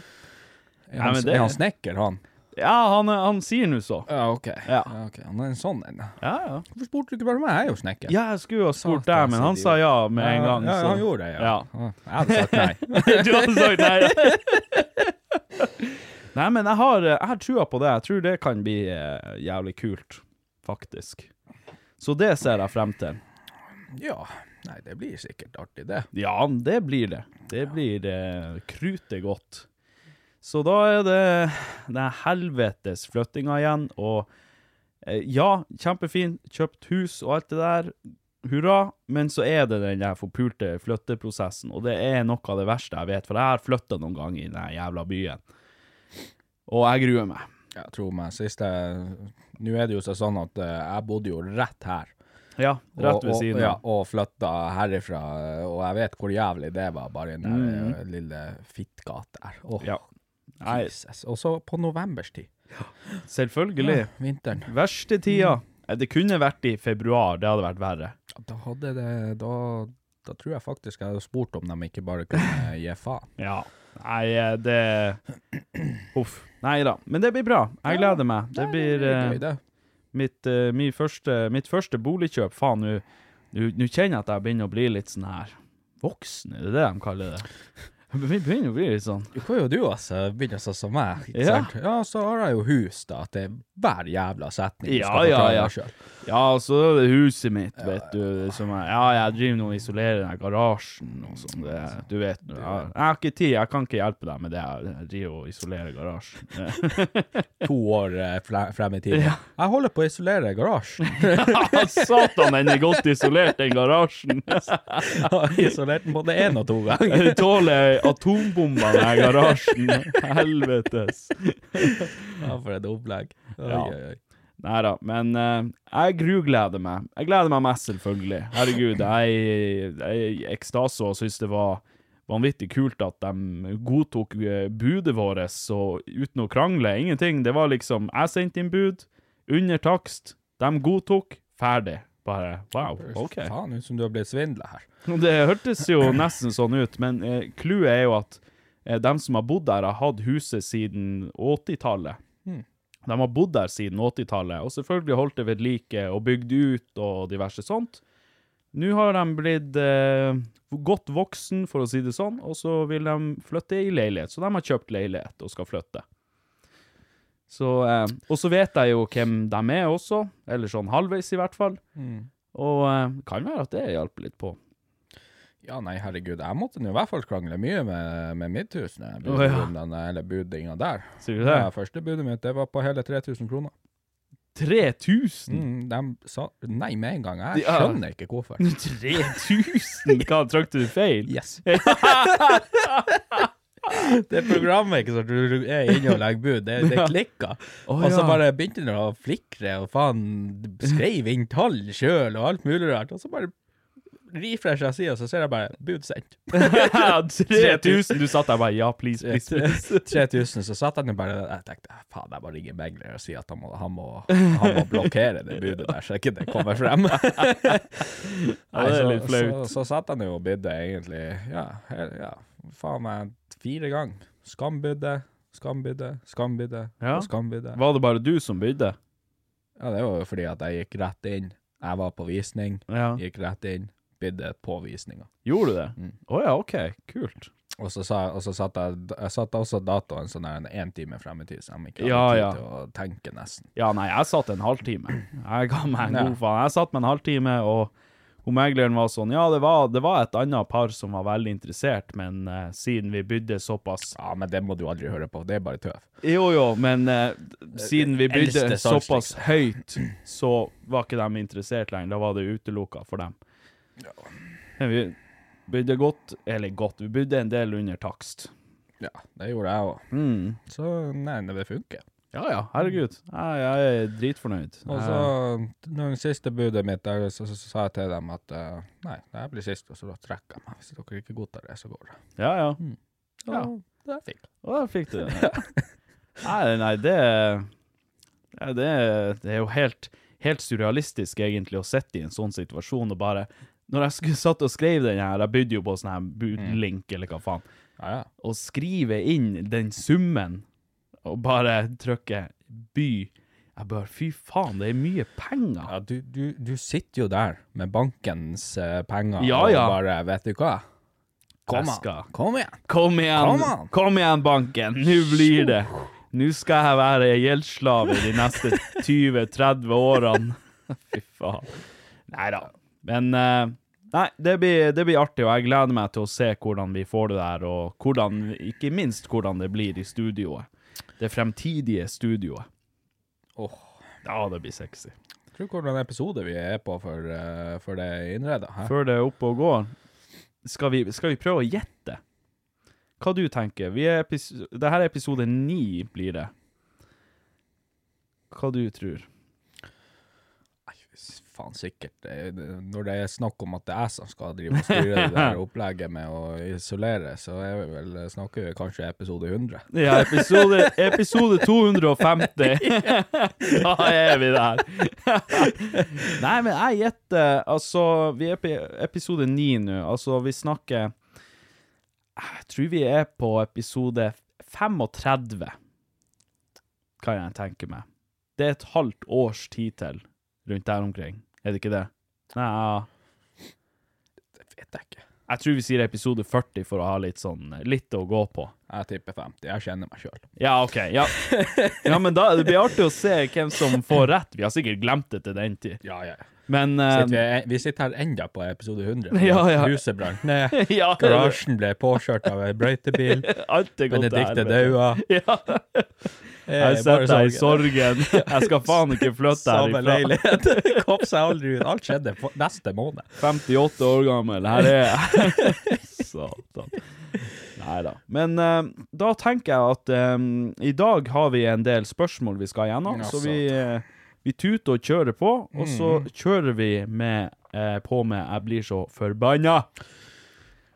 S2: Er, han,
S3: men det-
S2: er han snekker, han?
S3: Ja, han, han sier nå så.
S2: Ja, ok.
S3: Ja.
S2: Ja, ok. Han er en sånn en.
S3: Ja, ja.
S2: Hvorfor spurte du ikke bare meg? Jeg er jo snekker.
S3: Ja, jeg skulle jo ha spurt deg,
S2: Satan,
S3: men
S2: så
S3: han sa
S2: idiot.
S3: ja med en
S2: Ja,
S3: gang.
S2: Ja,
S3: så-
S2: han gjorde det, ja.
S3: Ja.
S2: Ja, Jeg hadde sagt nei.
S3: du hadde sagt nei. nei, men jeg har, jeg har trua på det. Jeg tror det kan bli eh, jævlig kult, faktisk. Så det ser jeg frem til.
S2: Ja, nei, det blir sikkert artig, det.
S3: Ja, det blir det. Det blir eh, krutet godt. Så da er det den helvetes flyttinga igjen, og eh, ja, kjempefin, kjøpt hus og alt det der, hurra, men så er det den der forpulte flytteprosessen, og det er noe av det verste jeg vet, for jeg har flytta noen ganger i den jævla byen, og jeg gruer meg.
S2: Jeg tror meg siste Nå er det jo så sånn at eh, jeg bodde jo rett her.
S3: Ja, rett
S2: Og-
S3: ved
S2: og-
S3: siden
S2: Ja,
S3: av.
S2: og flytta herifra, og jeg vet hvor jævlig det var, bare i den der eh, lille fittgata der. Åh,
S3: Mm. Ja. Nei,
S2: Jesus. Og så på novemberstid.
S3: Selvfølgelig.
S2: Vinteren.
S3: Verste tida. Eh, Det kunne vært i februar, det hadde vært verre.
S2: Da hadde det Da, da tror jeg faktisk jeg hadde spurt om de ikke bare kunne gi faen.
S3: Ja. Nei, eh, det Uff. Nei da. Men det blir bra. Jeg gleder meg. Det blir eh,
S2: gøy, det.
S3: mitt, eh, min første, mitt første boligkjøp. Faen, nå- nå nå kjenner jeg at jeg begynner å bli litt sånn her voksen, er det det de kaller det? Jeg begyn- begynner å bli litt sånn
S2: Hva gjør du, altså? Begynner sånn som meg. Ikke
S3: Ja.
S2: sant? ja, så har jeg jo hus, da. At det er hver jævla setning du
S3: Ja,
S2: skal
S3: ja,
S2: forklare
S3: ja.
S2: deg selv.
S3: Ja, så er det huset mitt, vet du. Som jeg, ja, jeg driver nå og isolerer den her garasjen og sånn. det- Du vet nå. Jeg, jeg har ikke tid, jeg kan ikke hjelpe deg med det. Jeg driver og isolerer garasjen.
S2: To år eh, fle- frem i tiden. Jeg holder på å isolere garasjen.
S3: Ja, Satan, den er godt isolert, den garasjen.
S2: Jeg har isolert den både én og to ganger.
S3: Den tåler atombomber, den her garasjen. Helvetes.
S2: Ja, for et opplegg. Oi,
S3: Ja.
S2: oi, oi.
S3: Nei da, men eh, jeg grugleder meg. Jeg gleder meg mest, selvfølgelig. Herregud, jeg jeg er i ekstase og syns det var vanvittig kult at de godtok eh, budet vårt så uten å krangle. Ingenting. Det var liksom Jeg sendte inn bud, under takst, de godtok, ferdig. Bare wow, OK.
S2: Faen, ut som du har blitt svindla her.
S3: Det hørtes jo nesten sånn ut, men eh, clouet er jo at eh, de som har bodd der, har hatt huset siden 80-tallet. De har bodd der siden 80-tallet, og selvfølgelig holdt det ved like og bygd ut og diverse sånt. Nå har de blitt eh, godt voksen, for å si det sånn, og så vil de flytte i leilighet. Så de har kjøpt leilighet og skal flytte. Så, eh, og så vet jeg jo hvem de er også, eller sånn halvveis i hvert fall. Og eh, kan være at det hjelper litt på.
S2: Ja, nei, herregud, jeg måtte nå i hvert fall krangle mye med, med mitt hus når jeg
S3: Å,
S2: begynte
S3: ja.
S2: om den der budinga der.
S3: Sier du det?
S2: Ja, første budet mitt, det var på hele 3000 kroner.
S3: 3000?
S2: Mm, de sa nei med en gang. Jeg
S3: Ja.
S2: skjønner ikke hvorfor.
S3: 3000? Hva, trakk du feil?
S2: Mm. Yes. det programmet ikke sant, du er inne og legger bud, det, det klikka. og så
S3: ja.
S2: bare begynte det å flikre, og faen, skrev inn tall sjøl og alt mulig rart. Og så bare refresher jeg sida, så ser jeg bare bud sendt.
S3: 3000? Du satt der bare ja, please, please. please.
S2: 3000, så satt han jo bare Jeg tenkte "Ah, faen, jeg bare ringer megler og sier at han må, han må, han må blokkere det budet der, så ikke det kommer frem. Nei,
S3: det er
S2: så-
S3: litt flaut.
S2: Så, så satt han jo og bydde egentlig Ja, her, ja faen meg fire ganger. Skambydde, skambydde, skambydde
S3: Ja.
S2: og skambydde.
S3: Var det bare du som bydde?
S2: Ja, det var jo fordi at jeg gikk rett inn. Jeg var på visning,
S3: Ja.
S2: gikk rett inn, bydde på visninga.
S3: Gjorde du det?
S2: Mm.
S3: Å ja, OK. Kult.
S2: Og så, sa, og så satt jeg, jeg satt også datoen sånn der en- en time frem i tid, så de ikke hadde
S3: Ja,
S2: tid
S3: ja.
S2: til å tenke nesten.
S3: Ja, nei, jeg satt en halvtime. Jeg ga meg en
S2: Ja.
S3: god faen. Jeg satt med en halvtime, og hun megleren var sånn Ja, det var, det var et annet par som var veldig interessert, men eh, siden vi bydde såpass
S2: Ja, men det må du aldri høre på, det er bare tøv.
S3: Jo, jo, men eh, siden vi bydde
S2: Eldste salg,
S3: såpass høyt, så var ikke de interessert lenger. Da var det utelukka for dem. Men vi bydde godt, eller godt, vi bydde en del under takst.
S2: Ja, det gjorde jeg òg. Så nei, det funker.
S3: Ja ja, herregud. Jeg, jeg er dritfornøyd. Eh,
S2: Og så, når det siste budet mitt, der, så, så, så sa jeg til dem at eh, nei, det her blir sist, og så da trekker jeg meg. Hvis dere ikke godtar det, så går det.
S3: Jeg- Ja ja.
S2: Ja,
S3: Ja.
S2: det er fint.
S3: Og da fikk du den. Nei, nei, det ja, det, det er jo helt, helt surrealistisk egentlig å sitte i en sånn situasjon og bare Når jeg skulle, satt og skrev den her, jeg bydde jo på sånn her budlink eller hva faen,
S2: Ja, ja.
S3: å skrive inn den summen og bare trykke 'by' Jeg bare Fy faen, det er mye penger.
S2: ja du, du, du sitter jo der med bankens eh, penger
S3: Ja,
S2: og
S3: ja.
S2: bare Vet du hva? Kom,
S3: Jeg
S2: an,
S3: skal-
S2: kom igjen!
S3: Kom igjen,
S2: Kom an!
S3: kom igjen banken! Nå blir det! Nå skal jeg være gjeldsslave de neste 20-30 årene. Fy faen. Nei da. Men eh, Nei, det blir, det blir artig, og jeg gleder meg til å se hvordan vi får det der, og hvordan, ikke minst hvordan det blir i studioet. Det fremtidige studioet.
S2: Åh,
S3: Ja, det blir sexy.
S2: Tror du hvordan episode vi er på for, eh, for det innreda? hæ?
S3: Før det er oppe og går, skal vi, skal vi prøve å gjette? Hva du tenker? Vi er epis det her er episode ni, blir det. Hva du tror?
S2: Nei, s- faen sikkert. eh, Når det er snakk om at det er jeg som skal drive og styre det der opplegget med å isolere, så er vi vel, eh, snakker vi kanskje episode 100.
S3: Ja, episode, episode 250. Da er vi der. Nei, men jeg gjetter Altså, vi er på episode 9 nå. Altså, vi snakker Jeg tror vi er på episode 35, kan jeg tenke meg. Det er et halvt års tid til rundt der omkring. Er det ikke det? Nei, ja.
S2: Det vet jeg ikke.
S3: jeg tror vi sier episode 40 for å ha litt sånn litt å gå på.
S2: Jeg tipper 50. Jeg kjenner meg sjøl.
S3: Ja, OK. Ja. ja, men da, det blir artig å se hvem som får rett. Vi har sikkert glemt det til den tid.
S2: Ja, ja. Um,
S3: Men eh,
S2: Sitter vi, vi sitter her enda på episode 100.
S3: Ja, ja.
S2: Huset brant ned.
S3: Ja.
S2: Garasjen ble påkjørt av ei brøytebil.
S3: alt er godt
S2: Benedicte
S3: helvete.
S2: daua.
S3: Ja.
S2: Eh,
S3: Jeg sitter her i sorgen. Jeg skal faen ikke flytte
S2: Samme
S3: herifra.
S2: leilighet. Kom seg aldri ut. Alt skjedde på neste måned.
S3: 58 år gammel, her er jeg. Satan. Nei da. Men eh, da tenker jeg at eh, i dag har vi en del spørsmål vi skal gjennom,
S2: Ja,
S3: så vi, eh, vi tuter og kjører på, og så
S2: Mm.
S3: kjører vi med, eh, på med 'Jeg blir så forbanna'.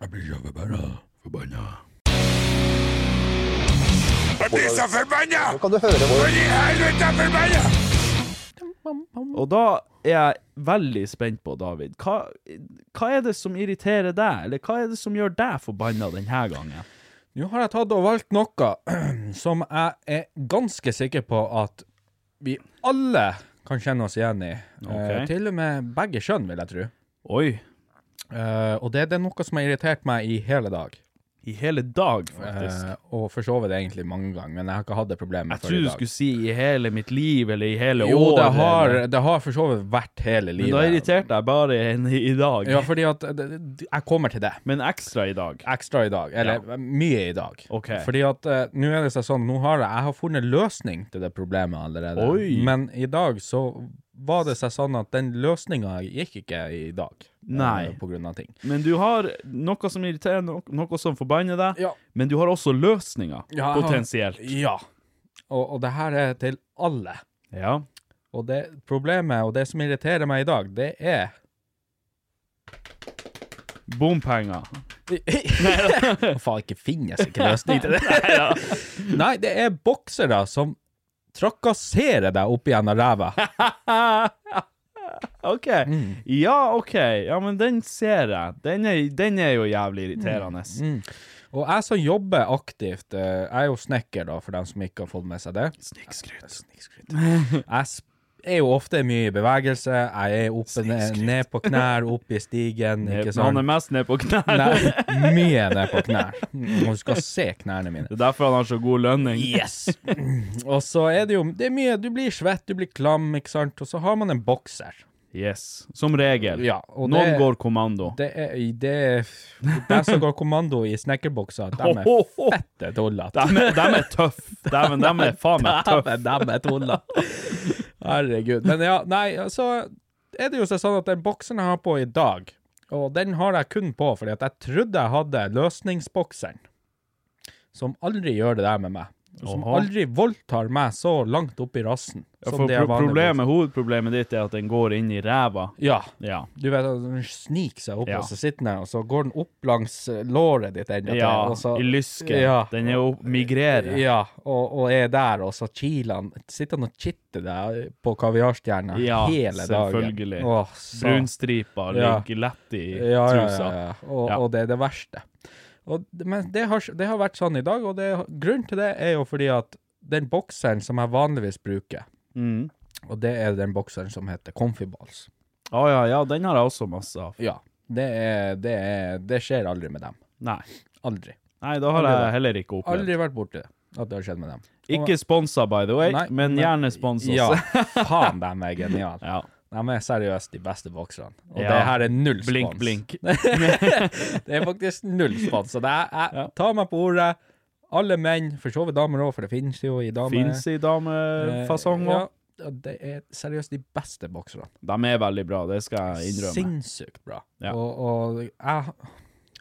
S2: Jeg blir så forbanna. Forbanna.
S3: Og da er jeg veldig spent på, David. Hva, hva er det som irriterer deg, eller hva er det som gjør deg forbanna denne gangen?
S2: Nå har jeg tatt og valgt noe som jeg er ganske sikker på at vi alle kan kjenne oss igjen i. Eh, til og med begge kjønn, vil jeg tro.
S3: Oi,
S2: Eh, og det, det er noe som har irritert meg i hele dag.
S3: i hele dag, faktisk.
S2: Eh, og for så vidt egentlig mange ganger, men jeg har ikke hatt det problemet før
S3: jeg
S2: i
S3: trodde du
S2: dag.
S3: skulle si 'i hele mitt liv', eller 'i hele
S2: Jo,
S3: året'.
S2: det har,
S3: eller-
S2: det har for så vidt vært hele
S3: Men da
S2: livet.
S3: irriterte jeg bare en i dag.
S2: Ja, fordi at det- det- Jeg kommer til det.
S3: Men ekstra i dag.
S2: ekstra i dag, eller mye i dag.
S3: Ok.
S2: Fordi at eh, nå er det seg sånn, nå har jeg, jeg har funnet løsning til det problemet allerede.
S3: Oi.
S2: Men i dag så var det seg sånn at den løsninga gikk ikke i dag. eh,
S3: Nei.
S2: På grunn av ting.
S3: Men du har noe som irriterer, no noe som forbanner deg,
S2: Ja.
S3: men du har også løsninger,
S2: Ja, jeg har-
S3: potensielt.
S2: Ja. Og, og det her er til alle.
S3: Ja.
S2: Og det problemet, og det som irriterer meg i dag, det er
S3: Bompenger.
S2: Faen, ikke finnes ikke løsning til det. Nei, det er boksere som trakasserer deg opp igjen av ræva.
S3: OK.
S2: Mm.
S3: Ja, OK. Ja, men den ser jeg. Den er, den er jo jævlig irriterende.
S2: Mm. Og jeg som jobber aktivt, eh, jeg er jo snekker da, for dem som ikke har fått med seg det. Snikkskryt. Jeg s- er jo ofte mye i bevegelse, jeg er oppe ned, ned på knær, oppe i stigen, ikke
S3: Han er
S2: sant?
S3: mest ned på knærne.
S2: Nei, mye ned på knær. Mm, Og du skal se knærne mine.
S3: Det er derfor han har så god lønning.
S2: Yes! Og så er det jo, det er mye, du blir svett, du blir klam, ikke sant? Og så har man en bokser.
S3: Yes. Som regel.
S2: Ja, og
S3: Noen
S2: det-
S3: går kommando.
S2: Det er, det er, de som går kommando i snekkerbokser, de er
S3: Ohoho!
S2: fette tullet.
S3: Dem er, dem er tøff. Dæven, dem er faen meg tøff.
S2: Dæven, dæven, jeg tulla. Herregud. Men ja, nei, så er det jo sånn at den boksen jeg har på i dag, og den har jeg kun på fordi at jeg trodde jeg hadde løsningsbokseren, som aldri gjør det der med meg. og Som
S3: Oha.
S2: aldri voldtar meg så langt opp i rassen.
S3: Ja,
S2: som
S3: For
S2: det jeg
S3: pro
S2: vanligvis-
S3: problemet, hovedproblemet ditt er at den går inn i ræva.
S2: Ja.
S3: Ja.
S2: Du vet at den sniker seg opp,
S3: Ja.
S2: og så sitter den der, og så går den opp langs eh, låret ditt enda til,
S3: Ja,
S2: og så,
S3: i lyske.
S2: altså, Ja.
S3: Den er jo migrerer.
S2: Ja, og, og er der, og så kiler han Sitter han og kitter deg på kaviarstjerna
S3: Ja,
S2: hele dagen.
S3: selvfølgelig.
S2: Åh, sa-
S3: Brunstripa
S2: Ja.
S3: ligger lett i
S2: ja, ja, ja,
S3: trusa.
S2: ja. Og,
S3: Ja.
S2: og det er det verste. Og, men det har, det har vært sånn i dag, og det, grunnen til det er jo fordi at den bokseren som jeg vanligvis bruker,
S3: Mm.
S2: og det er den bokseren som heter Comfy Balls
S3: Å ja, ja, den har jeg også masse av.
S2: Ja. Det, er, det, er, det skjer aldri med dem.
S3: Nei.
S2: Aldri.
S3: Nei, da har jeg heller ikke opplevd.
S2: Aldri vært borti det, at det har skjedd med dem.
S3: Ikke sponsa, by the way,
S2: Nei,
S3: men gjerne spons oss.
S2: Ja, faen, de er geniale.
S3: Ja.
S2: De er seriøst de beste bokserne. Og
S3: Ja.
S2: det her er null spons.
S3: Blink, blink.
S2: Det er faktisk null spons. Så det er, jeg tar meg på ordet. Alle menn, for så vidt damer òg, for det finnes jo i damer. Eh,
S3: Fins i damefasong òg.
S2: Ja, og det er seriøst de beste bokserne.
S3: De er veldig bra, det skal jeg innrømme.
S2: Sinnssykt bra.
S3: Ja.
S2: Og, og jeg,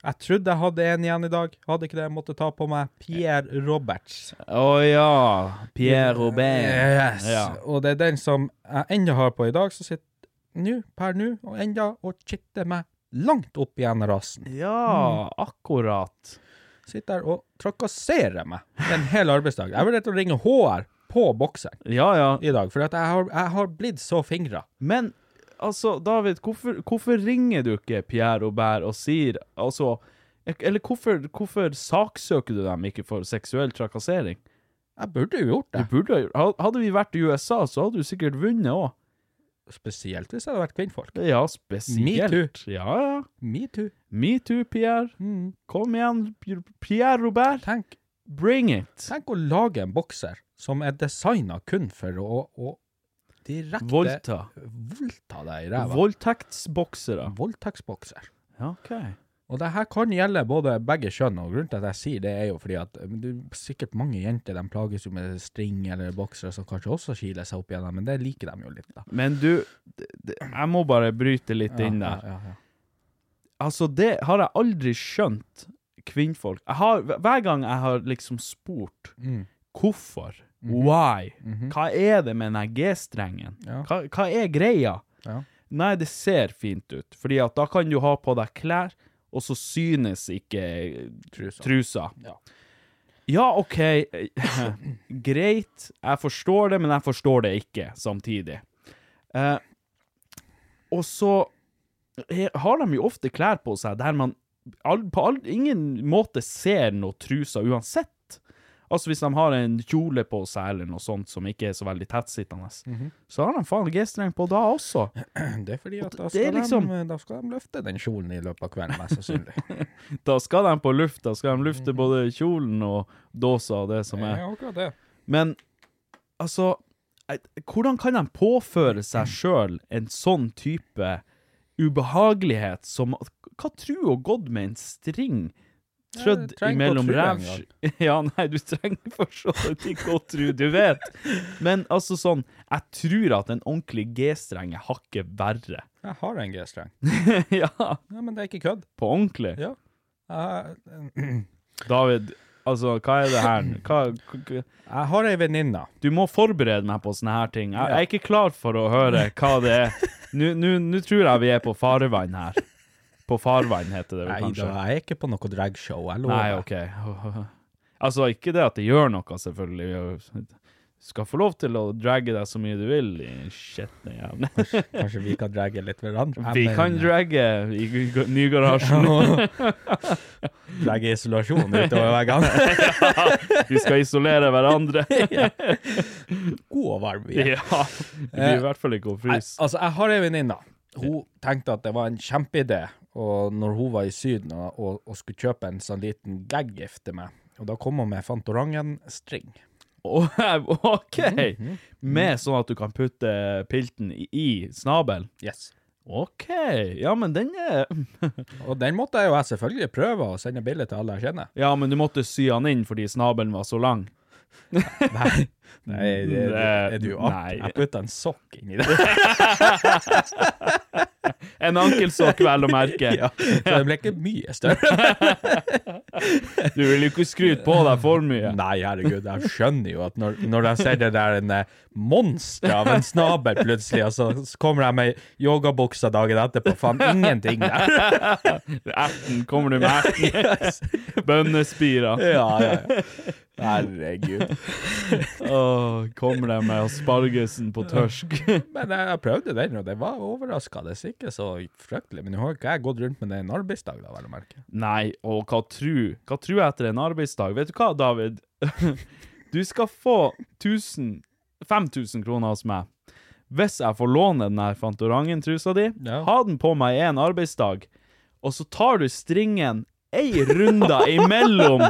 S2: jeg trodde jeg hadde en igjen i dag. Hadde ikke det, jeg måtte ta på meg Pierre Roberts.
S3: Å ja. Pierre Robert.
S2: Yes.
S3: Ja.
S2: Og det er den som jeg ennå har på i dag, som sitter nå, per nå, og enda, og kitte meg langt opp igjen rassen.
S3: Ja,
S2: Mm.
S3: akkurat.
S2: Sitter der og trakasserer meg en hel arbeidsdag. Jeg vurderte å ringe HR på bokseren
S3: Ja, ja.
S2: i dag, for at jeg, har, jeg har blitt så fingra.
S3: Men altså, David, hvorfor, hvorfor ringer du ikke Pierre Aubert og sier Altså, eller hvorfor, hvorfor saksøker du dem ikke for seksuell trakassering?
S2: Jeg burde jo gjort
S3: Du
S2: det.
S3: burde ha gjort Hadde vi vært i USA, så hadde du sikkert vunnet òg.
S2: Spesielt hvis jeg hadde vært kvinnfolk.
S3: Ja, spesielt.
S2: Metoo.
S3: Ja, ja.
S2: Metoo.
S3: Metoo, Pierre.
S2: Mm.
S3: Kom igjen, Pierre Robert.
S2: Tenk,
S3: Bring it.
S2: tenk å lage en bokser som er designa kun for å, å direkte
S3: Voldta.
S2: voldta deg i ræva.
S3: Voldtektsboksere.
S2: Voldtektsbokser.
S3: Ja, OK.
S2: Og det her kan gjelde både begge kjønn, og grunnen til at jeg sier det, er jo fordi at men det er sikkert mange jenter de plages jo med string eller boksere som kanskje også kiler seg opp igjennom, men det liker de jo litt, da.
S3: Men du, d- d- jeg må bare bryte litt inn der.
S2: Ja, ja, ja.
S3: Altså, det har jeg aldri skjønt kvinnfolk. Jeg har, hver gang jeg har liksom spurt
S2: Mm. Mhm.
S3: hvorfor, why, hva er det med den G-strengen?
S2: Ja.
S3: Hva, hva er greia?
S2: Ja.
S3: Nei, det ser fint ut, fordi at da kan du ha på deg klær, og så synes ikke
S2: Trusa.
S3: trusa.
S2: Ja.
S3: Ja, OK, greit, jeg forstår det, men jeg forstår det ikke samtidig. Eh, og så he- har de jo ofte klær på seg der man all, på all, ingen måte ser noe trusa uansett. Altså hvis de har en kjole på seg eller noe sånt som ikke er så veldig tettsittende, så har de faen G-streng på da også.
S2: Det er fordi at da
S3: det
S2: skal,
S3: er liksom-
S2: de, da skal de løfte den kjolen i løpet av kvelden, mest sannsynlig.
S3: Da skal de på lufta, skal de lufte både kjolen og dåsa og det som
S2: Det
S3: er.
S2: er akkurat det.
S3: Men altså et- Hvordan kan de påføre seg sjøl en sånn type ubehagelighet som at- Hva tror du å gått med en string trødd
S2: du trenger
S3: imellom
S2: ikke å tro
S3: rævs... Ja, nei, du trenger for så vidt ikke å tro, du vet. Men altså sånn Jeg tror at en ordentlig G-streng er hakket verre.
S2: Jeg har en G-streng.
S3: ja,
S2: Ja, men det er ikke kødd.
S3: på ordentlig.
S2: Ja. Jeg,
S3: David, altså, hva er det her nå? Hva, hva
S2: jeg har ei venninne.
S3: du må forberede meg på sånne her ting. Jeg, jeg er ikke klar for å høre hva det er. Nå- Nå nå tror jeg vi er på farvann her. På farvann heter det vel
S2: Nei
S3: kanskje.
S2: da, jeg er ikke på noe dragshow. Jeg lover.
S3: Nei, ok. Altså, ikke det at det gjør noe, selvfølgelig. Du skal få lov til å dragge deg så mye du vil. i Skjetne jævne.
S2: Kanskje vi kan dragge litt hverandre? Jeg
S3: Vi
S2: mener-
S3: kan dragge i g- g- nygarasjen.
S2: Legge isolasjon utover veggene.
S3: Vi skal isolere hverandre.
S2: God og varm. vi er.
S3: Ja. Det blir i hvert fall ikke å
S2: Nei,
S3: fryse.
S2: altså, jeg har ei venninne. Hun tenkte at det var en kjempeidé og når hun var i Syden og, og, og skulle kjøpe en sånn liten gaggift til meg. Og da kom hun med Fantorangen-string.
S3: Å, OK!
S2: Mhm,
S3: Med sånn at du kan putte pilten i, i snabelen.
S2: Yes.
S3: OK. Ja, men den er
S2: Og den måtte jeg jo jeg selvfølgelig prøve å sende bilde til alle jeg kjenner.
S3: Ja, men du måtte sy han inn fordi snabelen var så lang.
S2: Nei, nei det, det, er du opp?
S3: Mm, eh, Nei.
S2: Jeg putta en sokk inni det.
S3: En ankelsokk, vel å merke.
S2: Ja, så det ble ikke mye større.
S3: Du vil jo ikke skryte på deg for mye.
S2: Nei, herregud, jeg skjønner jo at når, når jeg ser det der en eh, monster av en snabel plutselig, og så så kommer jeg med yogabuksa dagen etterpå, faen ingenting der.
S3: Erten kommer du med. erten. Bønnespira.
S2: Ja, ja, ja. Herregud.
S3: Åh, kommer de med aspargesen på tørsk?
S2: Men jeg, jeg prøvde den, og det var overraskende ikke så fryktelig. Men nå har ikke jeg gått rundt med det en arbeidsdag, da, vel å merke.
S3: Nei, og hva tru? Hva tru etter en arbeidsdag? Vet du hva, David? Du skal få 1000 5000 kroner hos meg. Hvis jeg får låne den her Fantorangen-trusa di,
S2: Ja.
S3: ha den på meg en arbeidsdag, og så tar du stringen ei runde imellom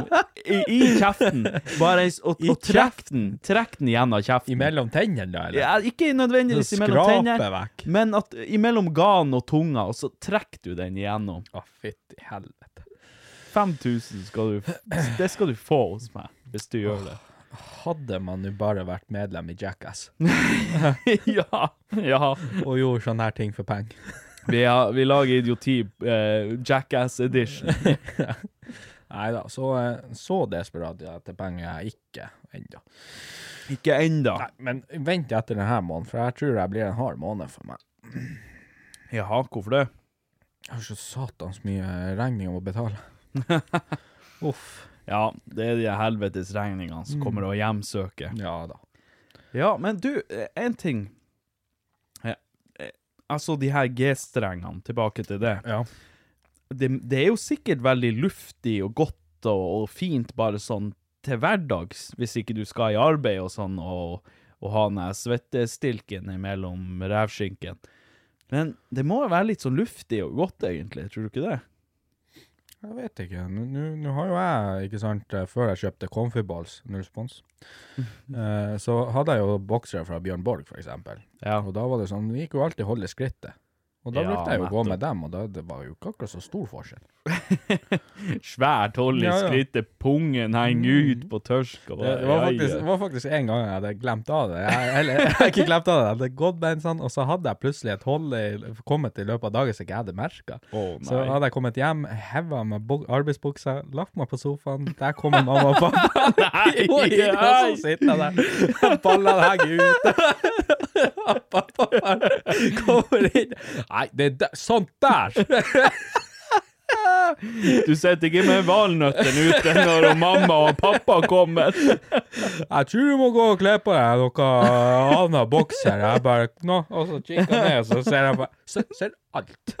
S3: i, i kjeften, bare s- og, og trekk den, trekk den gjennom kjeften.
S2: Imellom tennene, da, eller?
S3: Ja, ikke nødvendigvis
S2: Så
S3: imellom
S2: skraper
S3: tenner,
S2: vekk.
S3: men at imellom ganen og tunga, og så trekker du den igjennom.
S2: Å, fytti helvete.
S3: 5000 skal du Det skal du få hos meg, hvis du gjør det.
S2: Hadde man jo bare vært medlem i Jackass
S3: ja. ja.
S2: og gjorde sånne her ting for penger.
S3: Vi, har, vi lager idioti eh, Jackass edition.
S2: Nei da, så, eh, så desperat er jeg til penger jeg ikke ennå.
S3: Ikke ennå.
S2: Nei, men vent etter denne måneden, for jeg tror det blir en hard måned for meg.
S3: Jaha, hvorfor det?
S2: Jeg har så satans mye regninger å betale. Uff.
S3: Ja, det er de helvetes regningene som kommer og hjemsøker.
S2: Ja da.
S3: Mm. Ja, men du, eh, en ting. Eh, eh, Altså, de her G-strengene, tilbake til det.
S2: Ja.
S3: det. Det er jo sikkert veldig luftig og godt og, og fint bare sånn til hverdags, hvis ikke du skal i arbeid og sånn, og, og ha den her svettestilken imellom revskinken. Men det må jo være litt sånn luftig og godt, egentlig, tror du ikke det?
S2: Jeg vet ikke. Nå- Nå nå har jo jeg, ikke sant, eh, før jeg kjøpte Comfy Balls, null spons, eh, så hadde jeg jo boksere fra Bjørn Borg, for eksempel.
S3: Ja.
S2: Og da var det sånn, vi gikk jo alltid holde skrittet. Og da
S3: Ja,
S2: brukte jeg jo å
S3: nettopp.
S2: gå med dem, og da, det var jo ikke akkurat så stor forskjell.
S3: Svært hold i
S2: Ja, ja.
S3: skrittet, pungen henger ut på tørsk. Og
S2: Det,
S3: bare,
S2: det, var
S3: ja,
S2: faktisk,
S3: ja.
S2: det var faktisk en gang jeg hadde glemt av det. Jeg, eller jeg hadde ikke glemt av det, jeg hadde gått med en sånn, og så hadde jeg plutselig et hold i, kommet i løpet av dagen som ikke jeg hadde merka.
S3: Å,
S2: så
S3: nei.
S2: hadde jeg kommet hjem, heva meg buk- arbeidsbuksa, lagt meg på sofaen, der kommer mamma og pappa. nei, Og så sitter jeg der, ballene henger ute. Pappa bare kommer inn Nei, det er der, sånt der!
S3: Du sitter ikke med valnøttene ute når mamma og pappa kommer.
S2: Jeg tror du må gå og kle på deg noe annet bokser. Jeg bare nå, Og så kikker jeg ned, og så ser jeg bare så, Ser alt.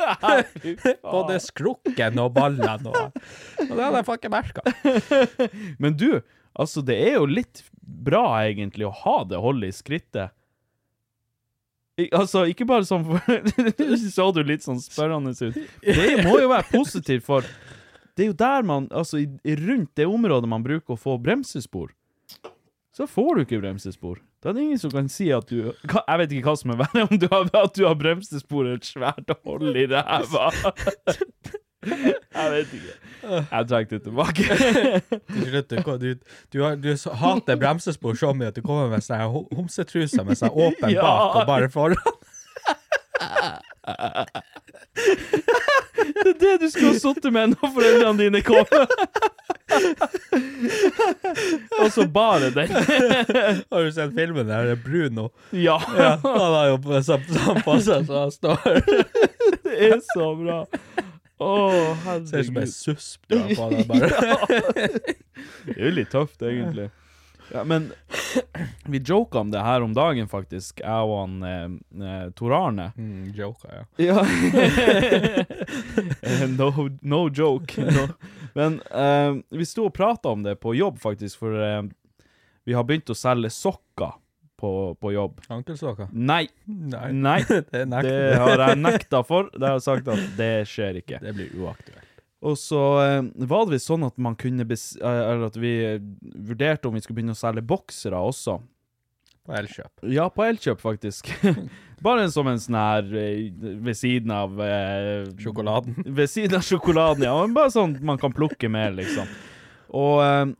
S2: Både skrukken og ballene og Og det hadde jeg faen ikke merka.
S3: Men du, altså det er jo litt bra egentlig å ha det holdet i skrittet. I, altså, ikke bare sånn for Så du litt sånn spørrende ut. Det må jo være positivt, for det er jo der man Altså, i, i- rundt det området man bruker å få bremsespor, så får du ikke bremsespor. Da er det ingen som kan si at du Hva- Jeg vet ikke hva som er verre, om du har, at du har bremsespor eller et svært hold i ræva. Jeg vet ikke. Jeg trekker det tilbake.
S2: Til slutt, du, du, du, har- du så- hater bremsespor så mye at du kommer med sånne ho- homsetruser med seg åpen
S3: Ja.
S2: bak og bare foran.
S3: Det er det du skulle ha sittet med når foreldrene dine kom. Og så bare den.
S2: Har du sett filmen der det er Bruno?
S3: Ja,
S2: Ja, han har jo på- så- så han på seg så han står
S3: det er så bra. Å,
S2: Ser ut som en
S3: herregud.
S2: susp du har på deg, bare.
S3: Det er jo litt tøft, egentlig. Ja, men vi joka om det her om dagen, faktisk, jeg og han eh, eh, Tor Arne.
S2: Mm, joker, ja.
S3: Ja. Eh, no, no joke. No. Men eh, vi sto og prata om det på jobb, faktisk, for eh, vi har begynt å selge sokker på, på jobb.
S2: Ankelsokker?
S3: Nei,
S2: Nei.
S3: nei,
S2: Mm. Det, er
S3: det
S2: det,
S3: har jeg nekta for. Det har jeg sagt at det skjer ikke.
S2: det blir uaktuelt.
S3: Og så eh, var det visst sånn at man kunne bes eh, Eller at vi eh, vurderte om vi skulle begynne å selge boksere også.
S2: På Elkjøp.
S3: Ja, på Elkjøp, faktisk. Bare som en sånn her eh, ved siden av eh,
S2: Sjokoladen.
S3: Ved siden av sjokoladen, ja. Men bare sånn man kan plukke med, liksom. Og ehm,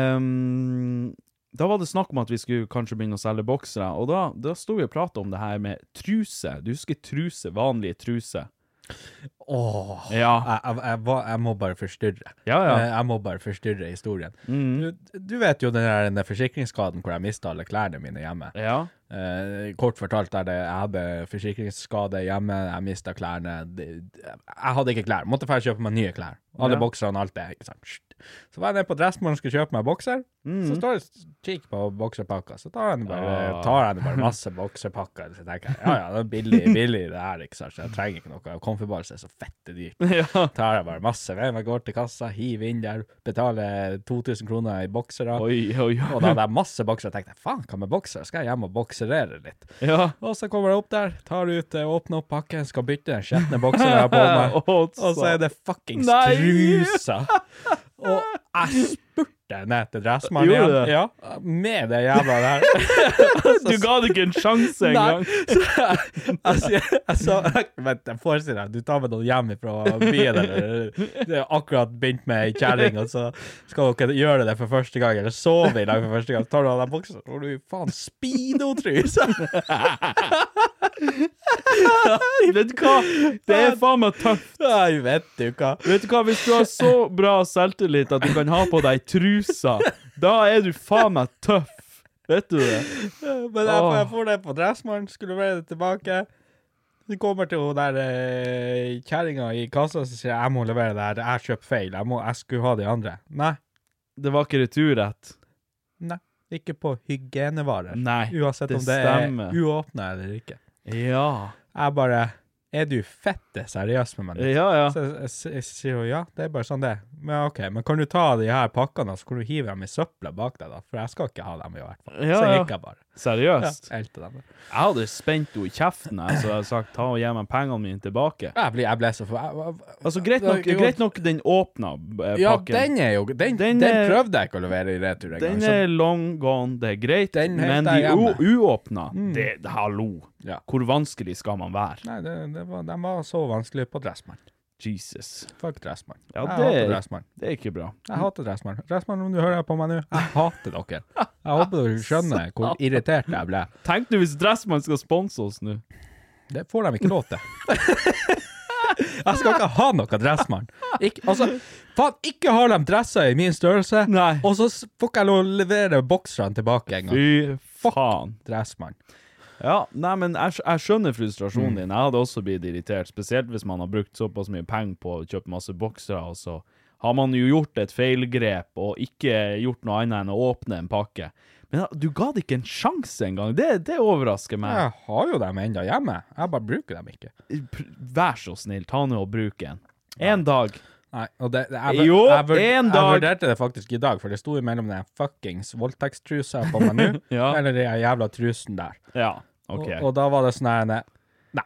S3: ehm, da var det snakk om at vi skulle kanskje begynne å selge boksere, og da, da sto vi og prata om det her med truse. Du husker truse? Vanlige truse.
S2: Åh.
S3: Ja.
S2: Jeg, jeg, jeg, var- jeg må bare forstyrre.
S3: Ja, Mm. ja.
S2: Eh, Jeg må bare forstyrre historien. Du, du vet jo den der den der forsikringsskaden hvor jeg mista alle klærne mine hjemme.
S3: Ja.
S2: Eh, kort fortalt er det jeg hadde forsikringsskade hjemme, jeg mista klærne. Det- det- Jeg hadde ikke klær. Måtte bare kjøpe meg nye klær. Alle
S3: Ja.
S2: bokserne og alt det. Ikke sant? Sht. Så var jeg nede på Dressmann og skulle kjøpe meg bokser.
S3: Mm.
S2: Så står jeg og kikker på bokserpakka, så tar jeg
S3: Ah.
S2: bare, tar jeg bare masse bokserpakker. Så tenker jeg ja ja, det er billig, billig det her, ikke sant. Så jeg trenger ikke noe. Komfybalse er så fette dyrt. Tar jeg bare masse med meg, går til kassa, hiver inn der, betaler 2000 kroner i boksere.
S3: Oi, oi, oi.
S2: Og da hadde jeg masse boksere. Jeg tenkte faen, hva med boksere? Skal jeg hjem og bokserere litt?
S3: Ja.
S2: Og så kommer jeg opp der, tar ut, eh, åpner opp pakken, skal bytte den skjetne bokseren jeg har på meg.
S3: Å,
S2: Og så er det fuckings
S3: Nei!
S2: trusa! Og jeg spurte ned til dressmannen
S3: Gjorde
S2: igjen.
S3: du det?
S2: Ja, med det jævla der.
S3: Du ga det ikke en sjanse engang.
S2: Så jeg, jeg, sier- jeg sa Vent, jeg forestiller deg, du tar med noen hjem fra byen, eller det er akkurat begynt med ei kjerring, og så skal dere gjøre det for første gang, eller sove i lag for første gang, så tar du av deg buksa, så får du faen speedo-truse!
S3: Vet du hva? Det er faen meg tøft.
S2: Nei, vet du hva.
S3: Vet du hva, hvis du har så bra selvtillit at du kan ha på deg trusa, da er du faen meg tøff. Vet du det?
S2: Men jeg, jeg får det på dressmannen, skulle levere det tilbake. Så kommer til hun der eh, kjerringa i kassa og sier jeg, jeg må levere det her, jeg kjøper feil, jeg, må, jeg skulle ha de andre. Nei.
S3: Det var ikke returrett.
S2: Nei. Ikke på hygienevarer.
S3: Nei,
S2: Uansett
S3: det
S2: om det
S3: stemmer.
S2: er uåpna eller ikke.
S3: Ja.
S2: Jeg bare Er du fette seriøs med meg? nå?»
S3: Ja, ja.
S2: Så jeg- jeg- jeg sier hun ja, det er bare sånn det. er.» Men OK, men kan du ta de her pakkene og så kan du hive dem i søpla bak deg, da? For jeg skal ikke ha dem i hvert fall.
S3: Ja,
S2: så
S3: ja.
S2: gikk jeg bare. Ja,
S3: Seriøst.
S2: elte dem.
S3: Jeg hadde spent henne i kjeften jeg, så jeg hadde sagt ta og gi meg pengene mine tilbake.
S2: Jeg ble, jeg ble så for... jeg- jeg-
S3: Altså, greit nok,
S2: Det er jo-
S3: greit nok den åpna eh,
S2: Ja,
S3: pakken.
S2: den er jo Den,
S3: Den
S2: den,
S3: er-
S2: prøvde jeg ikke å levere i retur engang.
S3: Den
S2: så-
S3: er long gone, det er greit,
S2: Den helt
S3: men
S2: der
S3: de u-
S2: hjemme. Mm.
S3: uåpna, det, det hallo.
S2: Ja.
S3: Hvor vanskelig skal man være?
S2: Nei, det, det var, den var så vanskelig på Dressmann.
S3: Jesus.
S2: Fuck Dressmann.
S3: Ja,
S2: jeg
S3: det-
S2: hater Dressmann.
S3: Det er ikke bra.
S2: Jeg hater Dressmann. Dressmann, om du hører på meg nå, jeg hater dere. Jeg håper dere skjønner hvor irritert jeg ble.
S3: Tenk du hvis Dressmann skal sponse oss nå.
S2: Det får de ikke lov til. Jeg skal ikke ha noe Dressmann. Ikke, altså, faen, ikke har de dresser i min størrelse,
S3: Nei.
S2: og så s- får ikke jeg lov å levere bokserne tilbake en gang.
S3: Fy faen.
S2: Dressmann.
S3: Ja, nei, men jeg, skj- jeg skjønner frustrasjonen din. Jeg hadde også blitt irritert, spesielt hvis man har brukt såpass mye penger på å kjøpe masse boksere, og så har man jo gjort et feilgrep og ikke gjort noe annet enn å åpne en pakke. Men ja, du ga det ikke en sjanse engang. Det, det overrasker meg.
S2: Jeg har jo dem ennå hjemme, jeg bare bruker dem ikke.
S3: pr- vær så snill, ta nå og bruk en. En dag.
S2: Nei, og det, det, jeg, vur-
S3: Jo,
S2: jeg, vur-
S3: en
S2: jeg
S3: dag.
S2: vurderte det faktisk i dag, for det sto imellom den fuckings voldtektstrusa jeg har på meg nå,
S3: Ja.
S2: eller den jævla trusen der.
S3: Ja, ok.
S2: Og, og da var det sånn her ne- Nei,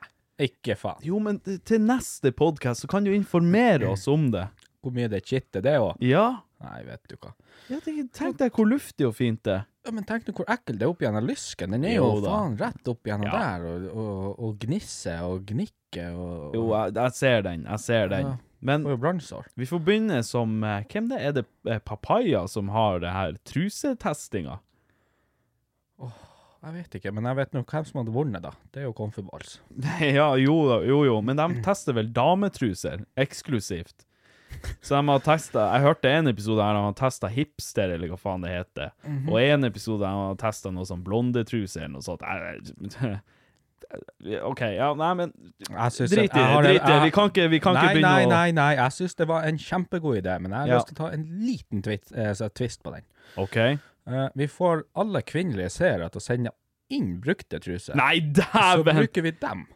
S2: ikke faen.
S3: jo, men t- til neste podcast så kan du informere oss om det.
S2: Hvor mye det kitter, det òg.
S3: Ja.
S2: Nei, vet du hva.
S3: Jeg tenker, tenk deg hvor luftig og fint det er.
S2: Ja, men tenk nå hvor ekkel det er opp gjennom lysken. Den er jo,
S3: Jo da.
S2: faen rett opp gjennom
S3: Ja.
S2: der, og, og, og gnisser og gnikker og
S3: Jo, jeg, jeg ser den, jeg ser den.
S2: Ja.
S3: Men
S2: Og brannsår.
S3: vi får begynne som, eh, hvem det er? er det eh, Papaya som har det her trusetestinga?
S2: Jeg vet ikke, men jeg vet nå hvem som hadde vunnet, da. Det er jo Comfyballs.
S3: ja, jo da, jo jo, men de tester vel dametruser, eksklusivt. Så de har testet, jeg hørte en episode her de har testet hipster, eller hva faen det heter,
S2: Mhm.
S3: og en episode her de har testet noe sånn blondetruser, eller noe sånt. Jeg- jeg- Ok, ja, nei, men
S2: Jeg synes
S3: drit
S2: at-
S3: i
S2: jeg har
S3: det,
S2: en-
S3: drit i det,
S2: jeg-
S3: vi kan ikke, vi kan
S2: nei,
S3: ikke begynne
S2: nei,
S3: å...
S2: Nei, nei, jeg syns det var en kjempegod idé, men jeg har
S3: Ja.
S2: lyst til å ta en liten twist, eh, så twist på den.
S3: Ok.
S2: Eh, vi får alle kvinnelige seere til å sende inn brukte truser.
S3: Nei,
S2: så
S3: dæven!
S2: bruker vi dem.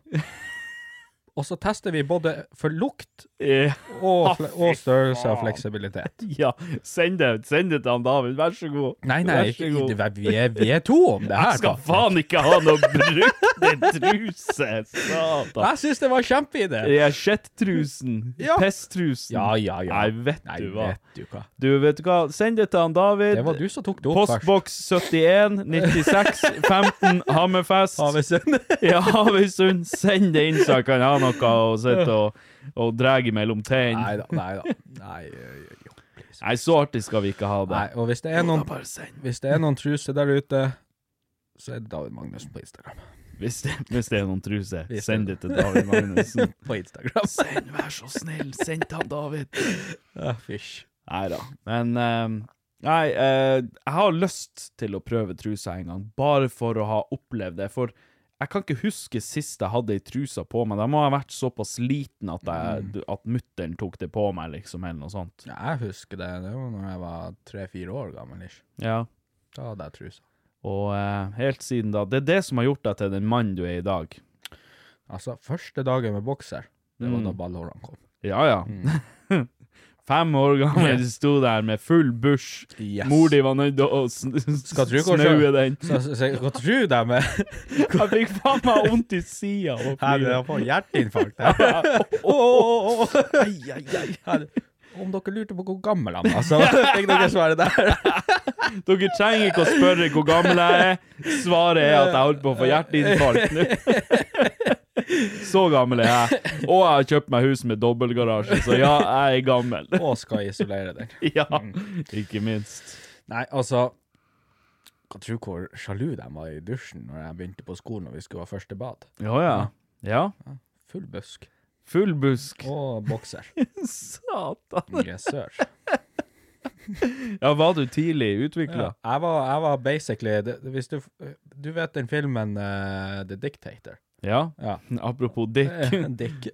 S2: Og så tester vi både for lukt
S3: Eh,
S2: og, fle
S3: fy
S2: og størrelse og fleksibilitet.
S3: Ja, send det, send det til han David, vær så god.
S2: Nei,
S3: Vær
S2: nei,
S3: så
S2: ikke,
S3: god.
S2: det- vi, er, vi er to om det her.
S3: Jeg skal
S2: da.
S3: faen ikke ha noe brukte truse, satan.
S2: Jeg syns det var en kjempeidé!
S3: Ja, Shit-trusen.
S2: Ja.
S3: Pesstrusen.
S2: Ja, ja, ja.
S3: Nei, vet
S2: Nei,
S3: du hva.
S2: vet du hva.
S3: Du, vet du hva? Send det til han David.
S2: Det var du som tok det opp først.
S3: Postboks 71 96 15 Hammerfest.
S2: Havøysund.
S3: Ja, Havøysund. Send det inn, så jeg kan ha noe å sitte og, og dra mellom
S2: Nei
S3: tennene.
S2: da, nei da. Nei, ø, ø, jo, please.
S3: Nei, så artig skal vi ikke ha det.
S2: Nei, og hvis det er noen
S3: Da bare send.
S2: Hvis det er noen truser der ute, så er det David Magnussen på Instagram.
S3: Hvis det, hvis det er noen truser,
S2: Hvis det-
S3: send det til David Magnussen.
S2: På Instagram.
S3: Send, vær så snill. Send til han David.
S2: Ah, fysj.
S3: Nei da. Men eh, Nei, eh, jeg har lyst til å prøve trusa en gang, bare for å ha opplevd det. For jeg kan ikke huske sist jeg hadde ei trusa på meg. Da må jeg ha vært såpass liten at, jeg- at mutter'n tok det på meg, liksom, eller noe sånt.
S2: Ja, jeg husker det. Det var når jeg var tre-fire år gammel. Ish.
S3: Ja.
S2: Da hadde jeg trusa.
S3: Og eh, helt siden da Det er det som har gjort deg til den mannen du er i dag.
S2: Altså, første dagen med bokser, det
S3: Mm.
S2: var da ballhårene kom.
S3: Ja, ja.
S2: Mm.
S3: Fem år gammel, du sto der med full bush.
S2: Yes.
S3: Mor di var nødt til å sn
S2: Skal tru hvor
S3: snaue den.
S2: Så, så, så, hva tror du med
S3: Jeg fikk faen meg vondt i sida.
S2: Her er det å få hjerteinfarkt. Åh, åh, åh. Her- Om dere lurte på hvor gammel han var, så fikk dere svaret der.
S3: Dere trenger ikke å spørre hvor gammel jeg er. Svaret er at jeg holdt på å få hjerteinfarkt nå. Så gammel er jeg. Og jeg har kjøpt meg hus med dobbeltgarasje, så ja, jeg er gammel.
S2: Og skal isolere den.
S3: Ja,
S2: Mm.
S3: ikke minst.
S2: Nei, altså Hva tror du hvor sjalu de var i dusjen når jeg begynte på skolen og vi skulle ha første bad?
S3: Ja, ja. Ja.
S2: Full busk.
S3: Full busk.
S2: Og bokser.
S3: Satan.
S2: Yes, sir.
S3: Ja, var du tidlig utvikla?
S2: Jeg var, jeg var basically det- det- Hvis du Du vet den filmen eh, The Dictator?
S3: Ja.
S2: Ja.
S3: Apropos dick.
S2: Dick.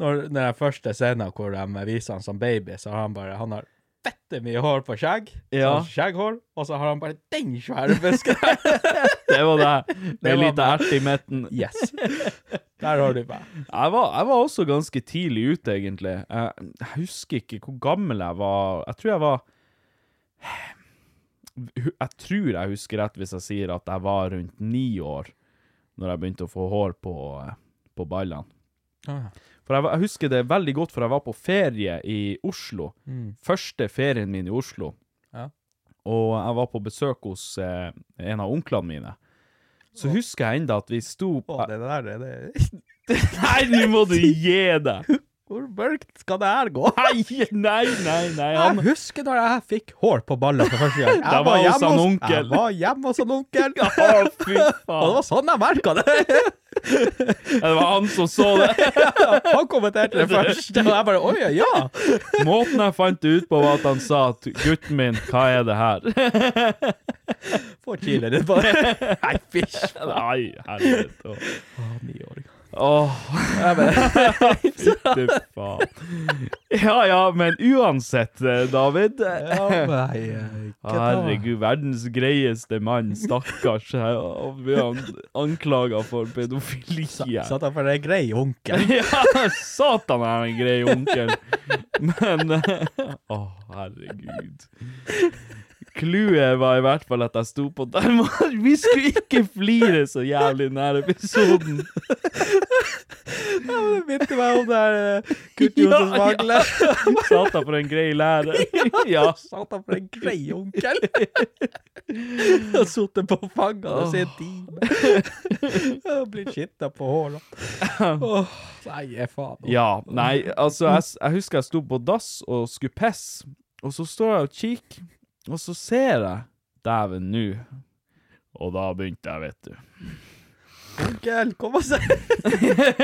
S2: Når, når den første scenen hvor de viser han som baby, så har han bare Han har fette mye hår på skjegg. Så
S3: Ja.
S2: har han skjegghår, og så har han bare den svære fisken der.
S3: Det var det.
S2: var
S3: Med en liten
S2: meg.
S3: ert i midten.
S2: yes. Der har du meg.
S3: Jeg var, jeg var også ganske tidlig ute, egentlig. Jeg, jeg husker ikke hvor gammel jeg var. Jeg tror jeg var Jeg tror jeg husker rett hvis jeg sier at jeg var rundt ni år når jeg begynte å få hår på, på ballene.
S2: Ah,
S3: For jeg, var- jeg husker det veldig godt, for jeg var på ferie i Oslo. Første ferien min i Oslo.
S2: Mm. Ja.
S3: Og jeg var på besøk hos eh, en av onklene mine. Så husker jeg enda at vi sto
S2: Å, det der det, det.
S3: Nei, nå må du gi deg!
S2: Hvor mørkt skal det her gå?
S3: Nei, nei, nei, nei. Han,
S2: Jeg husker da jeg fikk hår på ballen for første gang.
S3: Da
S2: Jeg
S3: var hos
S2: hjemme
S3: han
S2: hos-
S3: onkel.
S2: Jeg var hjemme hos han onkel.
S3: Å, fy
S2: Og det
S3: faen.
S2: var sånn jeg merka det.
S3: Det var han som så det.
S2: Han kommenterte det først, og jeg bare Oi, ja, ja.
S3: Måten jeg fant det ut på, var at han sa at 'gutten min, hva er det her'?
S2: Få chile litt på det. Nei, fysj.
S3: Nei, helvete.
S2: Niåring.
S3: Åh. Fytti faen. Ja ja, men uansett, eh, David. Herregud, verdens greieste mann, stakkars. eh, Jeg- og Vi er anklaga for pedofili. her.
S2: Satt han for en grei onkel.
S3: Ja, satan er en grei onkel. Men eh, Å, herregud. Clouet var i hvert fall at jeg sto på der. Vi skulle ikke flire så jævlig i denne episoden.
S2: Det minte meg om det eh, her
S3: Kurt Johnsens magle. Satan for en grei lærer. Ja.
S2: Satt han for en grei onkel. Og sittet på fanget hans i en time. Og Blitt skittet på håret. Åh, Nei, faen.
S3: Ja, nei, altså, jeg, s- jeg husker jeg sto på dass og skulle pisse, og så står jeg og kikker, og så ser jeg Dæven, nå. Og da begynte jeg, vet du.
S2: Onkel, kom og se.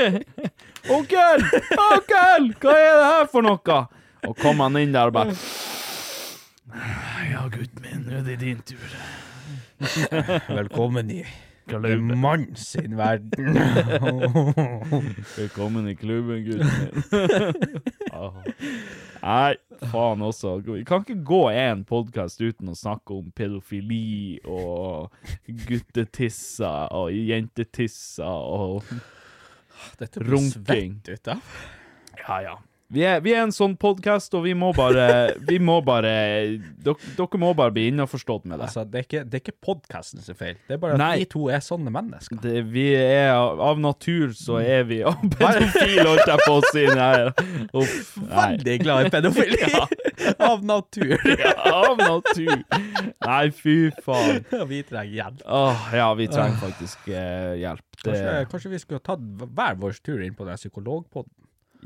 S3: Onkel! Onkel! Hva er det her for noe? Og kom han inn der og bare Ja, gutten min, nå er det din tur.
S2: Velkommen i en mann sin verden.
S3: Velkommen i klubben, gutten min. Ah. Nei, faen også. Vi kan ikke gå én podkast uten å snakke om pedofili og guttetisser og jentetisser og
S2: Dette blir
S3: Runking.
S2: svett ut av.
S3: Ja, ja. Vi er, vi er en sånn podkast, og vi må bare, vi må bare dok, Dere må bare bli innforstått med det.
S2: Altså, det er ikke, det er ikke podkasten sin feil. Det er bare at
S3: Nei.
S2: vi to er sånne mennesker.
S3: det vi er av av natur, så er vi Og pedofil, holdt jeg på å si. Nei. Uff, nei.
S2: Veldig glad i pedofili! Av natur.
S3: Av natur. Nei, fy faen.
S2: vi trenger hjelp.
S3: Åh, ja, vi trenger faktisk eh, hjelp. Det,
S2: Kanskje, kanskje vi skulle ha tatt hver vår tur inn på den psykologpodden?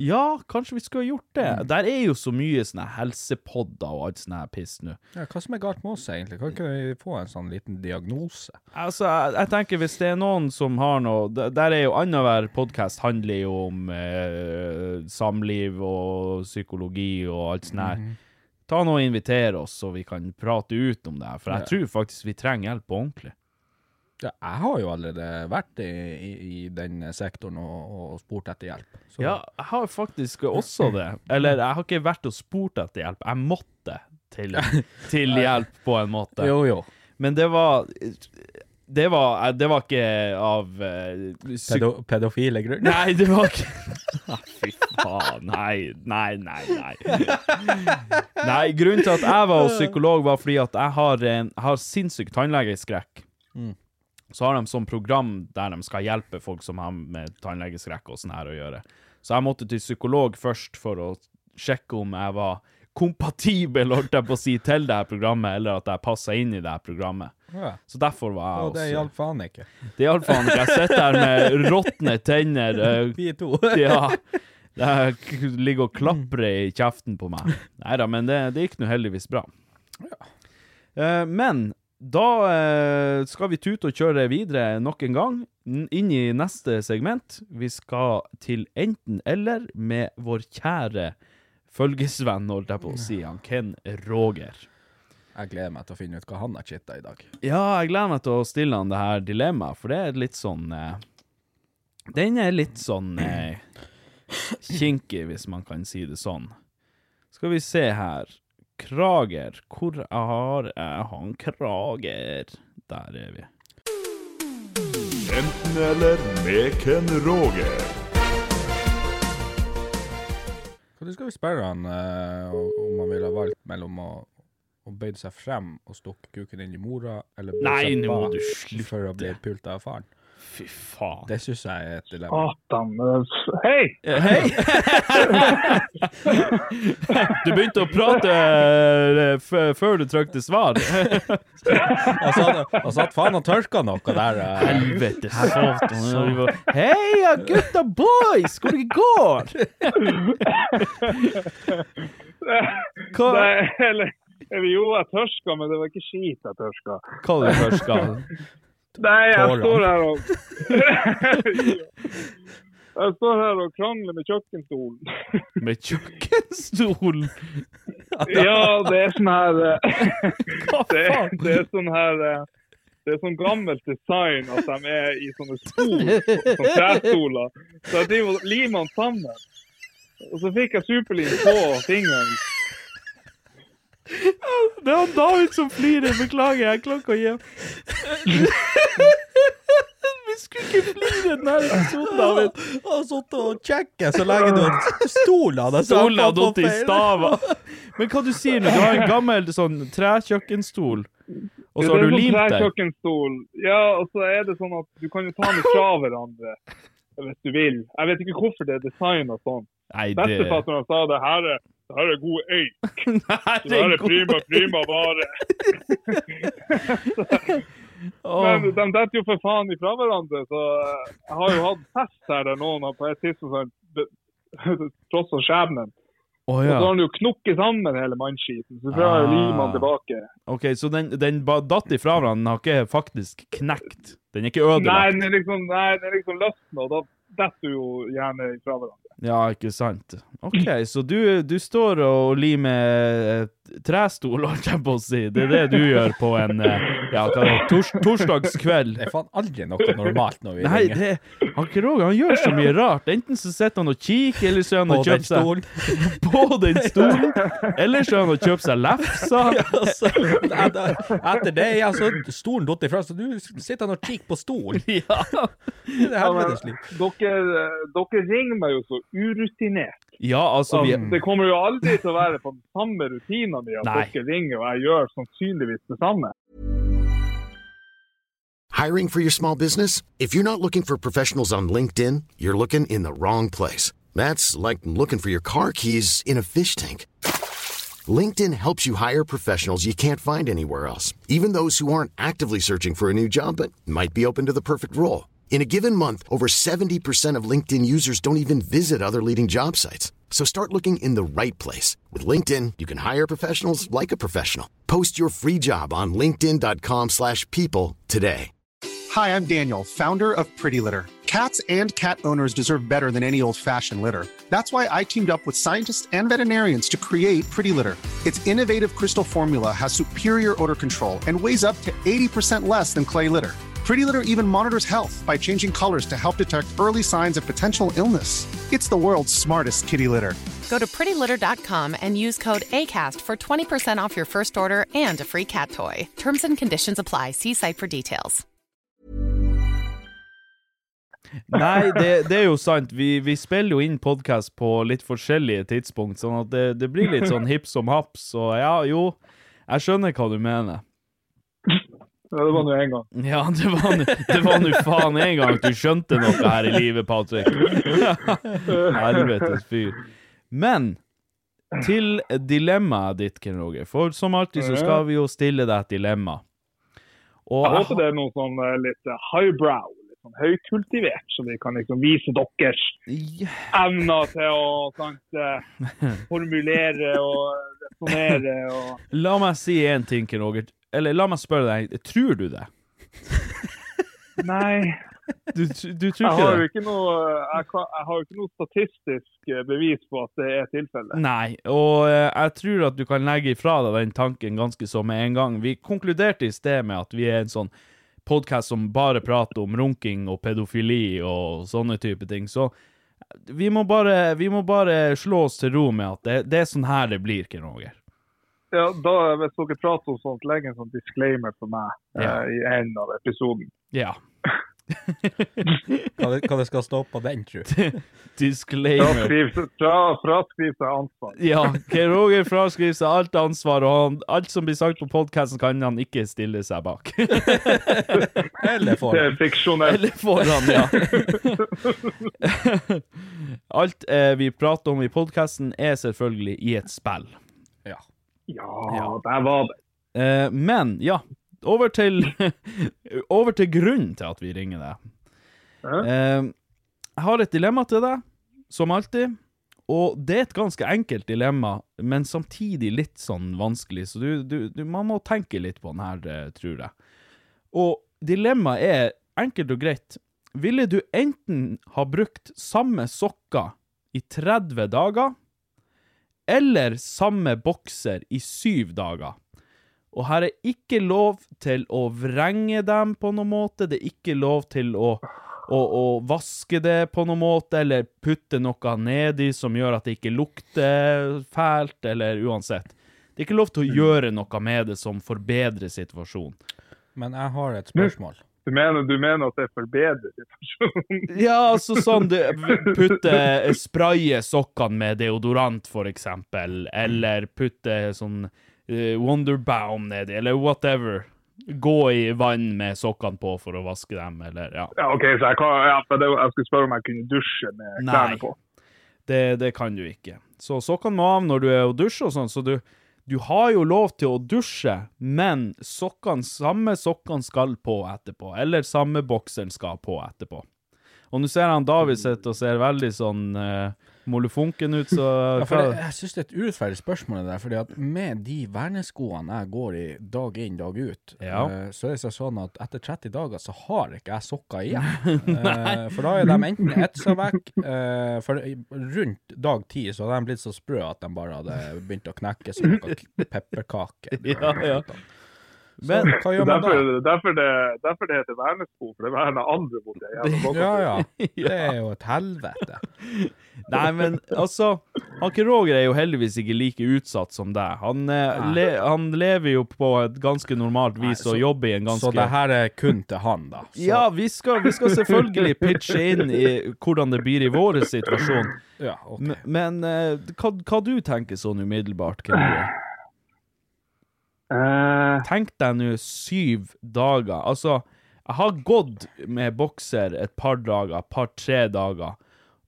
S3: ja, kanskje vi skulle ha gjort det. Der er jo så mye sånne helsepodder og alt sånn her piss nå.
S2: Ja, hva som er galt med oss, egentlig? Kan ikke vi få en sånn liten diagnose?
S3: Altså, jeg, jeg tenker hvis det er noen som har noe d- Der er jo annenhver podkast handler jo om eh, samliv og psykologi og alt sånt her. Ta nå og inviter oss, så vi kan prate ut om det her. For jeg tror faktisk vi trenger hjelp på ordentlig.
S2: Ja, jeg har jo allerede vært i, i, i den sektoren og, og spurt etter hjelp. Så
S3: Ja, jeg har faktisk også det. Eller jeg har ikke vært og spurt etter hjelp. Jeg måtte til, til hjelp, på en måte.
S2: jo, jo.
S3: Men det var Det var, eh, det var ikke av eh, psyk-
S2: Pedo, pedofile grunner.
S3: Nei, det var ikke Nei, Ah, Fy faen. Nei, nei, nei. Nei, Nei, Grunnen til at jeg var hos psykolog, var fordi at jeg har, en, har sinnssyk tannlegeskrekk.
S2: Mm.
S3: Så har de sånn program der de skal hjelpe folk som har med tannlegeskrekk og sånn her å gjøre. Så jeg måtte til psykolog først for å sjekke om jeg var kompatibel, holdt jeg på å si, til det her programmet, eller at jeg passa inn i det her programmet.
S2: Ja.
S3: Så derfor var jeg
S2: Og det
S3: også-
S2: hjalp faen ikke.
S3: det hjalp faen ikke. Jeg sitter her med råtne tenner. eh,
S2: Vi to.
S3: ja. Det k- ligger og klaprer i kjeften på meg. Nei da, men det, det gikk nå heldigvis bra. Eh, men da eh, skal vi tute og kjøre videre nok en gang. N- Inn i neste segment. Vi skal til enten-eller med vår kjære følgesvenn, holdt jeg på å si, han Ken Roger.
S2: Jeg gleder meg til å finne ut hva han har chitta i dag.
S3: Ja, jeg gleder meg til å stille han det her dilemmaet, for det er litt sånn eh, Den er litt sånn eh, kinky, hvis man kan si det sånn. Skal vi se her. Krager. Hvor har jeg han Krager? Der er vi.
S4: Enten eller med Ken Roger.
S2: Når skal vi spørre han eh, om han ville ha valgt mellom å, å bøye seg frem og stukke kuken inn i mora, eller bøye
S3: Nei,
S2: seg
S3: nå må
S2: bak
S3: du slutte.
S2: for å bli pult av faren?
S3: Fy faen. Eh,
S2: Det syns jeg er et dilemma.
S5: Satan. Hei!
S3: Hei! du begynte å prate eh, f før du trykte svar.
S2: Og så hadde- og så hadde faen og tørka noe der. eh.
S3: Helvete satan. Heia gutta boys, hvor det går? Hva,
S5: Nei, eller eller Jo, jeg tørska, men det var ikke skit jeg tørska.
S3: hva er det først skal?
S5: Nei, jeg
S2: Tårene.
S5: står her og Jeg står her og krangler med kjøkkenstolen.
S3: Med kjøkkenstol?
S5: Ja, det er sånn her eh,
S3: Hva
S5: Det,
S3: faen?
S5: det er sånn her eh, det er sånn gammelt design at de er i sånne stol, sånne trestoler. Så jeg driver og limer den sammen. Og så fikk jeg superlim på fingeren.
S3: Det var David som flirer. Beklager, jeg klarer ikke å hjem. Vi skulle ikke flire denne episoden, David.
S2: Jeg har sittet og sjekket så lenge du har stola deg
S3: Stolen hadde datt i stava. Men hva du sier nå? Du har en gammel sånn trekjøkkenstol, og så har
S6: sånn
S3: du limt
S5: deg?
S3: deg.
S5: Kjøkkenstol. Ja, og så er det sånn at du kan jo ta den fra hverandre hvis du vil. Jeg vet ikke hvorfor det er designa sånn.
S3: Nei, det
S5: Bestefatteren sa det her er, det her er god øy. Det her er prima,
S3: Herregud.
S5: prima vare. Men de detter jo for faen ifra hverandre, så eh, jeg har jo hatt fest her der noen har på et tidspunkt sånn tross av skjebnen.
S3: Å
S5: Og så
S3: ja.
S5: har han jo knukket sammen hele mannskiten, så prøver jeg å lime han
S3: Ah.
S5: tilbake.
S3: OK, så den, den ba- datt ifra hverandre. Den har ikke faktisk knekt. Den er ikke
S5: Nei,
S3: ødelagt.
S5: den er liksom, nei, den er liksom løsna, og da detter du jo gjerne ifra hverandre.
S3: Ja, ikke sant. OK, så du, du står og limer eh, trestol, holdt jeg på å si. Det er det du gjør på en eh, ja, hva er det, tors torsdagskveld.
S2: Det er faen aldri noe normalt når vi
S3: Nei,
S2: ringer.
S3: det, han Kroger han gjør så mye rart. Enten så sitter han og kikker, eller så er han
S2: På
S3: og
S2: den
S3: kjøper seg
S2: stolen.
S3: på den stolen. Eller så er han og kjøper seg lefser.
S2: Altså, nei, da- Etter det ja, så er stolen datt ifra, så du sitter og kikker på stolen.
S3: Ja.
S5: Ja,
S2: Det er
S5: men
S2: helvetes liv.
S5: Dere, dere ringer meg jo så urutinert.
S3: ja, altså vi,
S5: Det kommer jo aldri til å være på den samme rutina mi at
S3: Nei.
S5: dere ringer og jeg gjør sannsynligvis det samme.
S7: Hiring for your small business? If you're not looking for professionals on LinkedIn, you're looking in the wrong place. That's like looking for your car keys in a fish tank. LinkedIn helps you hire professionals you can't find anywhere else, even those who aren't actively searching for a new job but might be open to the perfect role. In a given month, over 70% of LinkedIn users don't even visit other leading job sites. So start looking in the right place. With LinkedIn, you can hire professionals like a professional. Post your free job on linkedin.com/people slash people today.
S6: Hi, I'm Daniel, founder of Pretty Litter. Cats and cat owners deserve better than any old fashioned litter. That's why I teamed up with scientists and veterinarians to create Pretty Litter. Its innovative crystal formula has superior odor control and weighs up to 80% less than clay litter. Pretty Litter even monitors health by changing colors to help detect early signs of potential illness. It's the world's smartest kitty litter.
S8: Go to prettylitter.com and use code ACAST for 20% off your first order and a free cat toy. Terms and conditions apply. See site for details.
S3: Nei, det, det er jo sant. Vi, vi spiller jo inn podkast på litt forskjellige tidspunkt, sånn at det, det blir litt sånn hipp som happ. Så ja, jo, jeg skjønner hva du mener.
S5: Ja, det var nå en gang.
S3: Ja, det var nå- det var nå faen en gang at du skjønte noe her i livet, Patrick. Helvetes fyr. Men til dilemmaet ditt, Ken Roger. For som alltid så skal vi jo stille deg et dilemma. Og
S5: Jeg håper det er noe sånn eh, litt eh, highbrow, litt sånn høykultivert, så vi kan liksom vise deres
S3: Ja.
S5: evner til å sant, eh, formulere og resonnere og
S3: La meg si én ting, Ken Roger. Eller la meg spørre deg, tror du det?
S5: Nei.
S3: Du, tr- du tror
S5: Jeg har
S3: ikke
S5: jo
S3: det?
S5: ikke noe, jeg kan, jeg har jo ikke noe statistisk eh, bevis på at det er tilfellet.
S3: Nei, og eh, jeg tror at du kan legge ifra deg den tanken ganske så med en gang. Vi konkluderte i sted med at vi er en sånn podkast som bare prater om runking og pedofili og sånne type ting. Så vi må bare, vi må bare slå oss til ro med at det, det er sånn her det blir, Ken Roger.
S5: Ja, da, Hvis dere prater om sånt, legg en sånn disclaimer for meg
S3: Ja.
S5: eh, i enden av episoden.
S3: Ja.
S2: Hva det, hva det skal stå på den, tru?
S3: Disclaimer.
S5: Fraskriv fra- fraskriv seg ansvar.
S3: Ja, Ken Roger fraskriver seg alt ansvar, og han, alt som blir sagt på podkasten, kan han ikke stille seg bak.
S2: Eller
S5: Det er fiksjonelt.
S3: Eller foran, ja. Alt eh, vi prater om i podkasten, er selvfølgelig i et spill.
S2: Ja.
S5: Ja, der var det.
S3: Eh, men, ja. Over til, over til grunnen til at vi ringer deg. Eh, jeg har et dilemma til deg, som alltid. Og det er et ganske enkelt dilemma, men samtidig litt sånn vanskelig, så du, du, du, man må tenke litt på den her, eh, tror jeg. Og dilemmaet er enkelt og greit. Ville du enten ha brukt samme sokker i 30 dager, eller samme bokser i 7 dager? Og her er ikke lov til å vrenge dem på noen måte, det er ikke lov til å, å, å vaske det på noen måte, eller putte noe nedi som gjør at det ikke lukter fælt, eller uansett. Det er ikke lov til å gjøre noe med det som forbedrer situasjonen.
S2: Men jeg har et spørsmål.
S5: Du mener, du mener at det forbedrer situasjonen?
S3: Ja, altså sånn du putter Spraye sokkene med deodorant, for eksempel, eller putte sånn eh, Wonderbaum nedi, eller whatever. Gå i vann med sokkene på for å vaske dem, eller ja.
S5: Ja, OK, så jeg, kan, ja, for det, jeg skulle spørre om jeg kunne dusje med klærne
S3: Nei,
S5: på.
S3: det, det kan du ikke. Så sokkene må av når du er og dusjer og sånn, så du, du har jo lov til å dusje, men sokkene, samme sokkene skal på etterpå, eller samme bokseren skal på etterpå. Og nå ser han David sitt og ser veldig sånn uh, molefonken ut, så
S2: Ja, for det, jeg syns det er et urettferdig spørsmål, det der, fordi at med de verneskoene jeg går i dag inn, dag ut,
S3: Ja.
S2: eh, så er det seg sånn at etter 30 dager så har ikke jeg sokker igjen. Eh, for da er de enten etsa vekk eh, For i- rundt dag 10 så hadde de blitt så sprø at de bare hadde begynt å knekke som noe k- pepperkake.
S3: Ja, ja.
S2: Men
S3: Men-
S2: hva gjør man da?
S5: Derfor, derfor, det, derfor det heter vernesko, for det verner andre mot det. jævla sokkene.
S2: Ja, ja. Det er jo et helvete.
S3: Nei, men altså Anke Roger er jo heldigvis ikke like utsatt som deg. Han, eh, le, han lever jo på et ganske normalt vis og jobber i en ganske
S2: Så det her er kun til han, da. Så,
S3: Ja, vi skal, vi skal selvfølgelig pitche inn i hvordan det blir i vår situasjon.
S2: ja, ok.
S3: M- Men eh, hva, hva du tenker sånn umiddelbart, Kenny?
S5: Eh,
S3: Tenk deg nå syv dager. Altså, jeg har gått med bokser et par dager, par-tre dager,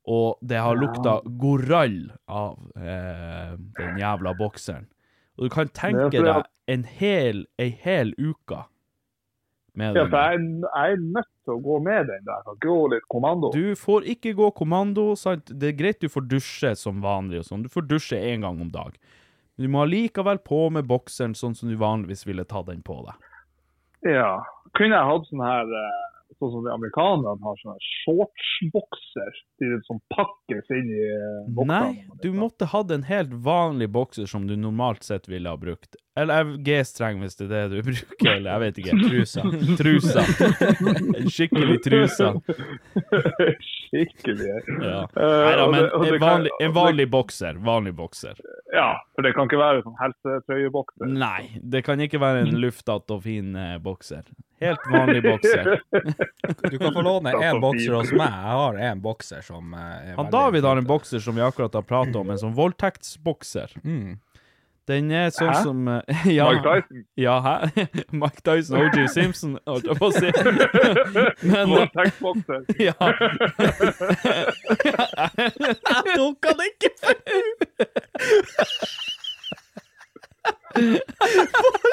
S3: og det har lukta gorall av eh, den jævla bokseren. Og du kan tenke
S5: Det er fordi
S3: deg
S5: at-
S3: en hel, ei hel uke med
S5: Ja,
S3: den.
S5: for jeg, er- jeg er nødt til å gå med den der. Jeg kan ikke gå litt kommando.
S3: Du får ikke gå kommando, sant? Det er greit du får dusje som vanlig og sånn. Du får dusje én gang om dag. Men du må allikevel på med bokseren sånn som du vanligvis ville ta den på deg.
S5: Ja. Kunne jeg hatt sånn her eh, Sånn som de amerikanerne har sånn her shortsbokser. De som pakkes inn i eh,
S3: Nei,
S5: boksene.
S3: du måtte hatt en helt vanlig bokser som du normalt sett ville ha brukt. Eller eh, G-streng, hvis det er det du bruker, eller jeg vet ikke. Trusa. Trusa. En Skikkelig trusa.
S5: Skikkelig.
S3: Ja.
S5: Eh,
S3: Neida,
S5: og
S3: men
S5: det- og
S3: en
S5: det kan-
S3: vanlig, en vanlig bokser. Vanlig bokser.
S5: Ja, for det kan ikke være sånn helsetrøyebokser.
S3: Nei, det kan ikke være
S5: Mm.
S3: en luftatt og fin eh, bokser. Helt vanlig bokser.
S2: Du kan få låne én bokser hos meg. Jeg har én bokser som eh, er
S3: Han
S2: veldig
S3: David har
S2: fin.
S3: en bokser som vi akkurat har pratet om, en sånn voldtektsbokser.
S2: Mm.
S3: Den er sånn
S5: Hæ?
S3: som eh, ja,
S5: Mike Tyson?
S3: Ja, hæ? Mike Tyson og OJ Simpson, holdt jeg på å si. Men eh,
S5: Voldtektsbokser.
S3: ja. Jeg tok han ikke for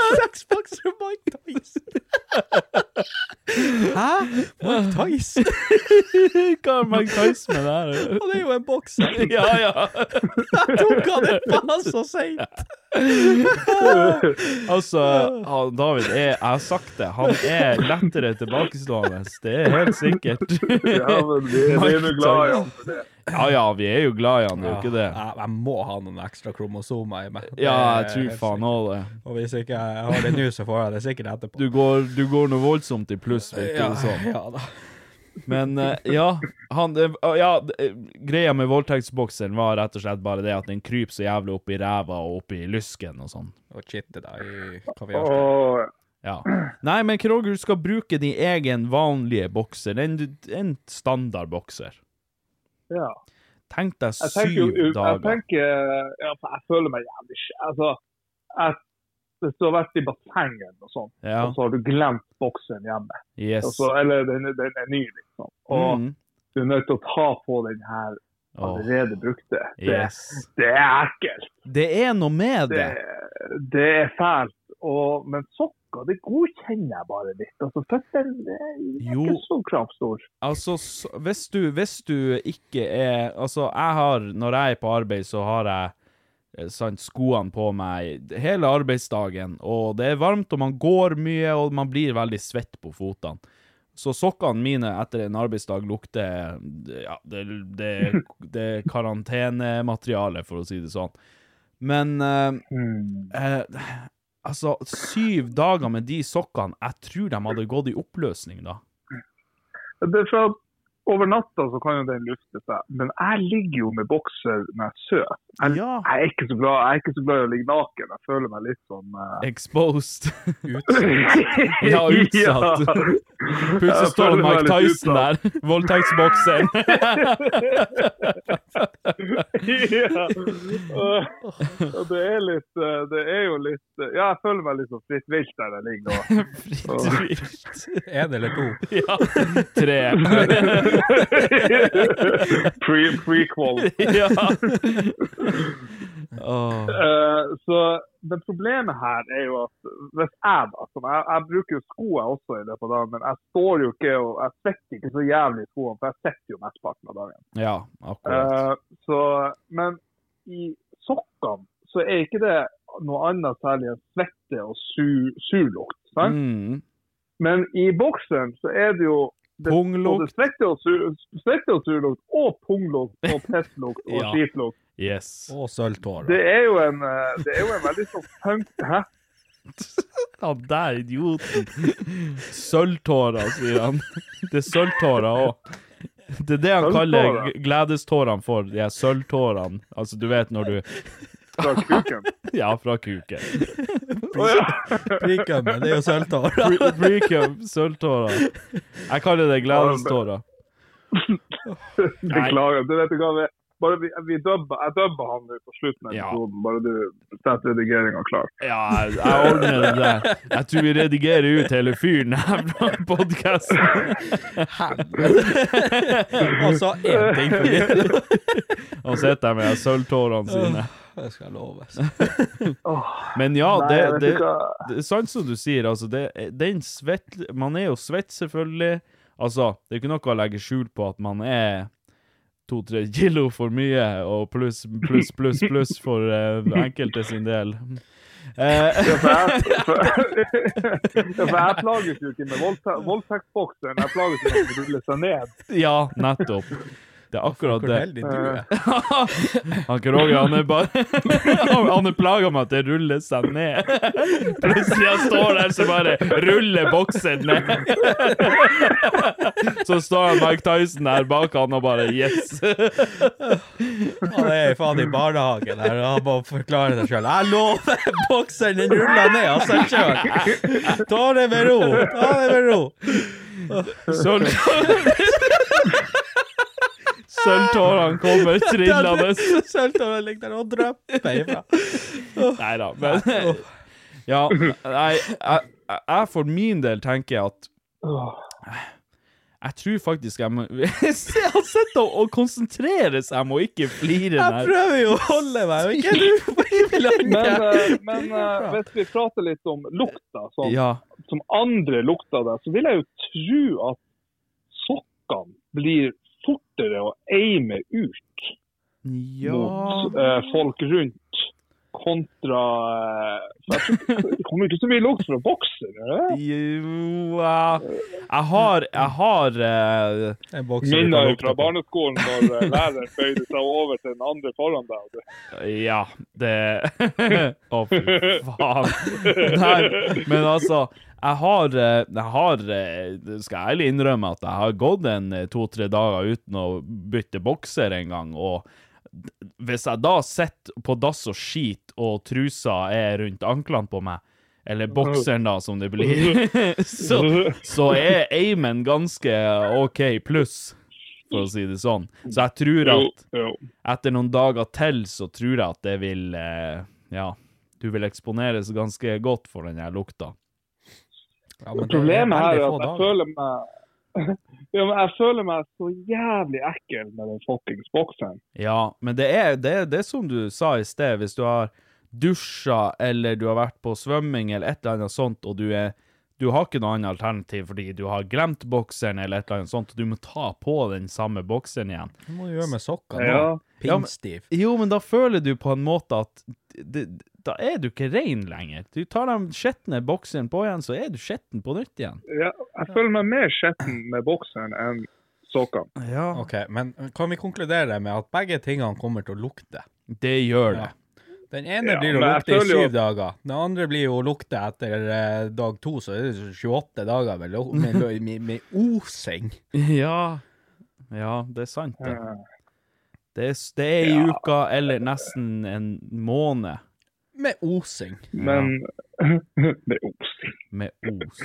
S3: Voldtektsbokser og Mike Tyson. Hæ? Mike Tyson? Hva har Mike Tyson med det her? Han er jo en bokser. Ja, ja. Jeg tok han det faen så seint. altså, han David er Jeg har sagt det, han er lettere tilbakestående. Det er helt sikkert.
S5: Ja, men vi er- vi er jo glad i han for det.
S3: Ja, ja, vi er jo glad i han, det er jo ikke det.
S2: Jeg, jeg må ha noen ekstra kromosomer i meg. Det
S3: Ja, jeg
S2: er
S3: tror
S2: helt
S3: faen
S2: sikkert.
S3: òg det.
S2: Og hvis ikke jeg har det nå, så får jeg det sikkert etterpå.
S3: Du går, du går noe voldsomt i pluss, virker
S2: Ja,
S3: det som.
S2: ja da.
S3: Men eh, ja, han, det- ja det- Greia med voldtektsbokseren var rett og slett bare det at den kryper så jævlig opp i ræva og opp i lysken og sånn.
S2: Og chitte deg i
S5: Åh,
S3: Ja. Nei, men Kroger skal bruke din egen vanlige bokser. En, en standardbokser.
S5: ja.
S3: Tenk deg
S5: Jeg tenker, jo-
S3: syv
S5: jeg
S3: dager.
S5: tenker eh, ja, for Jeg føler meg jævlig skje- Altså, jeg, hvis du har vært i bassenget og sånn,
S3: Ja.
S5: og så har du glemt boksen hjemme,
S3: Yes.
S5: og så, eller den, er- den er ny, liksom, og
S3: Mm.
S5: du er nødt til å ta på den her allerede brukte, det,
S3: Yes.
S5: det er ekkelt.
S3: Det er noe med
S5: Det,
S3: det.
S5: det er fælt. Og, men sokker, det godkjenner jeg bare litt. Altså, Føttene det er ikke
S3: Jo.
S5: så kravstor.
S3: Altså, s- hvis du, hvis du ikke er Altså, jeg har Når jeg er på arbeid, så har jeg eh, sant, skoene på meg hele arbeidsdagen, og det er varmt, og man går mye, og man blir veldig svett på fotene. Så sokkene mine etter en arbeidsdag lukter Ja, det, det, det er karantenemateriale, for å si det sånn. Men eh,
S5: Hmm.
S3: eh, Altså, syv dager med de sokkene Jeg tror de hadde gått i oppløsning, da.
S5: Det er for at over natta så kan jo den lufte seg, men jeg ligger jo med bokser når jeg sover. Jeg, jeg, er ikke så glad, jeg er ikke så glad i å ligge naken. Jeg føler meg litt sånn eh,
S3: Exposed.
S5: Utsatt.
S3: ja, utsatt.
S5: Ja.
S3: Plutselig
S5: Jeg
S3: står
S5: føler meg
S3: Mike
S5: litt
S3: Tyson der. Voldtektsbokseren.
S5: ja. Og- og det er litt eh, Det er jo litt eh, Ja, jeg føler meg litt sånn fritt vilt der jeg ligger nå. Og-
S2: En eller to.
S3: ja. Tre.
S5: Pre prequel.
S3: ja.
S5: Eh, så men problemet her er jo at hvis jeg da, som jeg, jeg bruker jo sko jeg også i løpet av dagen, men jeg står jo ikke og jeg svetter ikke så jævlig i skoene, for jeg sitter jo mesteparten av dagen.
S3: ja, akkurat.
S5: Eh, så, men i sokkene så er ikke det noe annet særlig enn svette og sur, surlukt. Sant?
S3: Mm.
S5: Men i bokseren så er det jo det, både
S3: Punglukt.
S5: svette og, sur, svette og surlukt, og punglukt og pisslukt og
S3: Ja.
S5: skitlukt.
S3: Yes.
S2: Og sølvtårer.
S5: Det er jo en, eh, det er jo en veldig sånn punk... Hæ?
S3: Han der idioten. Sølvtårer, sier han. Det er sølvtårer òg. Det er det han kaller
S5: Sølvtårer?
S3: g- gledestårene for. De her sølvtårene. Altså, du vet når du
S5: Fra kuken?
S3: Ja, fra kuken.
S5: Å ja.
S2: Prikømmen, det er jo sølvtårer.
S3: Pre- Precum, sølvtårer. Jeg kaller det gledestårer.
S5: Beklager. Du vet hva, vi, bare vi, vi dubber, jeg dubber han nå på slutten av
S3: Ja.
S5: episoden, bare du setter redigeringa klar.
S3: Ja, jeg jeg ordner det der. Jeg tror vi redigerer ut hele fyren her fra podkasten.
S2: Altså, én ting for mye.
S3: Han sitter der med sølvtårene sine.
S2: Det skal jeg love.
S3: Men ja,
S5: Nei,
S3: det,
S5: jeg vet
S3: det,
S5: ikke hva-
S3: det er sant som du sier. Altså, det, den svett, man er jo svett, selvfølgelig. Altså, det er ikke noe å legge skjul på at man er to-tre kilo for mye, og pluss, pluss, pluss, pluss for eh, enkelte sin del. Eh,
S5: Ja, for jeg, for, ja, for jeg plages jo ikke med voldte- voldtektsboksen, jeg plages jo med å rulle seg ned.
S3: ja, nettopp. Det er akkurat
S2: Hvor
S3: det.
S2: heldig du er.
S3: Han Kroger, han er bare Han han er plaga med at det ruller seg ned. Plutselig han står der, så bare ruller boksen ned. Så står han Mike Tyson der bak han og bare Yes!
S2: Han er faen i barnehagen her, og han må forklare seg sjøl. Jeg lover! Bokseren den ruller ned av seg sjøl. Ta det med ro. Ta det med ro.
S3: Sølv- Sølvtårene kommer trillende.
S2: Sølvtårer ligger der og drypper ifra.
S3: Nei da, men Ja, nei, jeg, jeg- jeg for min del tenker at Jeg tror faktisk jeg må Se, han sitter og, og konsentrerer seg om å ikke
S2: Jeg
S3: flire der.
S2: prøver jo å holde meg, og ikke du
S5: Men, eh, men eh, hvis vi prater litt om lukta, sånn,
S3: Ja.
S5: som andre lukter det, så vil jeg jo tro at sokkene blir fortere å eime ut
S3: ja.
S5: mot eh, folk rundt. kontra eh, for jeg tror- Det kommer jo ikke så mye lukt fra eh. boksen. gjør det?
S3: Jo eh, Jeg har Jeg har eh,
S5: Minner fra barneskolen når eh, læreren bøyde seg over til den andre foran deg. og du-
S3: Ja, det Å, fy faen. Nei, men altså jeg har, eh, jeg har eh, det skal jeg ærlig innrømme at jeg har gått en eh, to-tre dager uten å bytte bokser en gang, og d- hvis jeg da sitter på dass og skiter, og trusa er rundt anklene på meg, eller bokseren da, som det blir, så, så er aimen ganske OK pluss, for å si det sånn. Så jeg tror
S5: Jo,
S3: at
S5: jo.
S3: etter noen dager til, så tror jeg at det vil eh, Ja, du vil eksponeres ganske godt for den her lukta.
S5: Problemet her er at jeg føler meg ja, men Jeg føler meg så jævlig ekkel med den fuckings bokseren.
S3: Ja, men det er det, er det som du sa i sted, hvis du har dusja eller du har vært på svømming eller et eller annet sånt, og du er du har ikke noe annet alternativ fordi du har glemt bokseren eller et eller annet sånt, og du må ta på den samme bokseren igjen.
S2: Hva må du gjøre med sokkene?
S3: Ja.
S2: Ja, Pinnstiv.
S3: Ja, men, jo, men da føler du på en måte at det, da er du ikke rein lenger. Du tar den skjetne bokseren på igjen, så er du skjetten på nytt igjen.
S5: Ja, jeg føler meg mer skitten med bokseren enn sokkene.
S2: Ok, men kan vi konkludere med at begge tingene kommer til å lukte?
S3: Det gjør det.
S2: Den ene
S3: Ja,
S2: blir å
S3: men jeg
S2: lukte i
S3: føler jo-
S2: syv dager. Den andre blir jo å lukte etter eh, dag to, så er det 28 dager med, lo- med, lo- med, med osing.
S3: Ja. Ja, det er sant. Det, det, er, s- det er i uka eller nesten en måned.
S2: Med osing.
S5: Men med osing.
S3: Med os.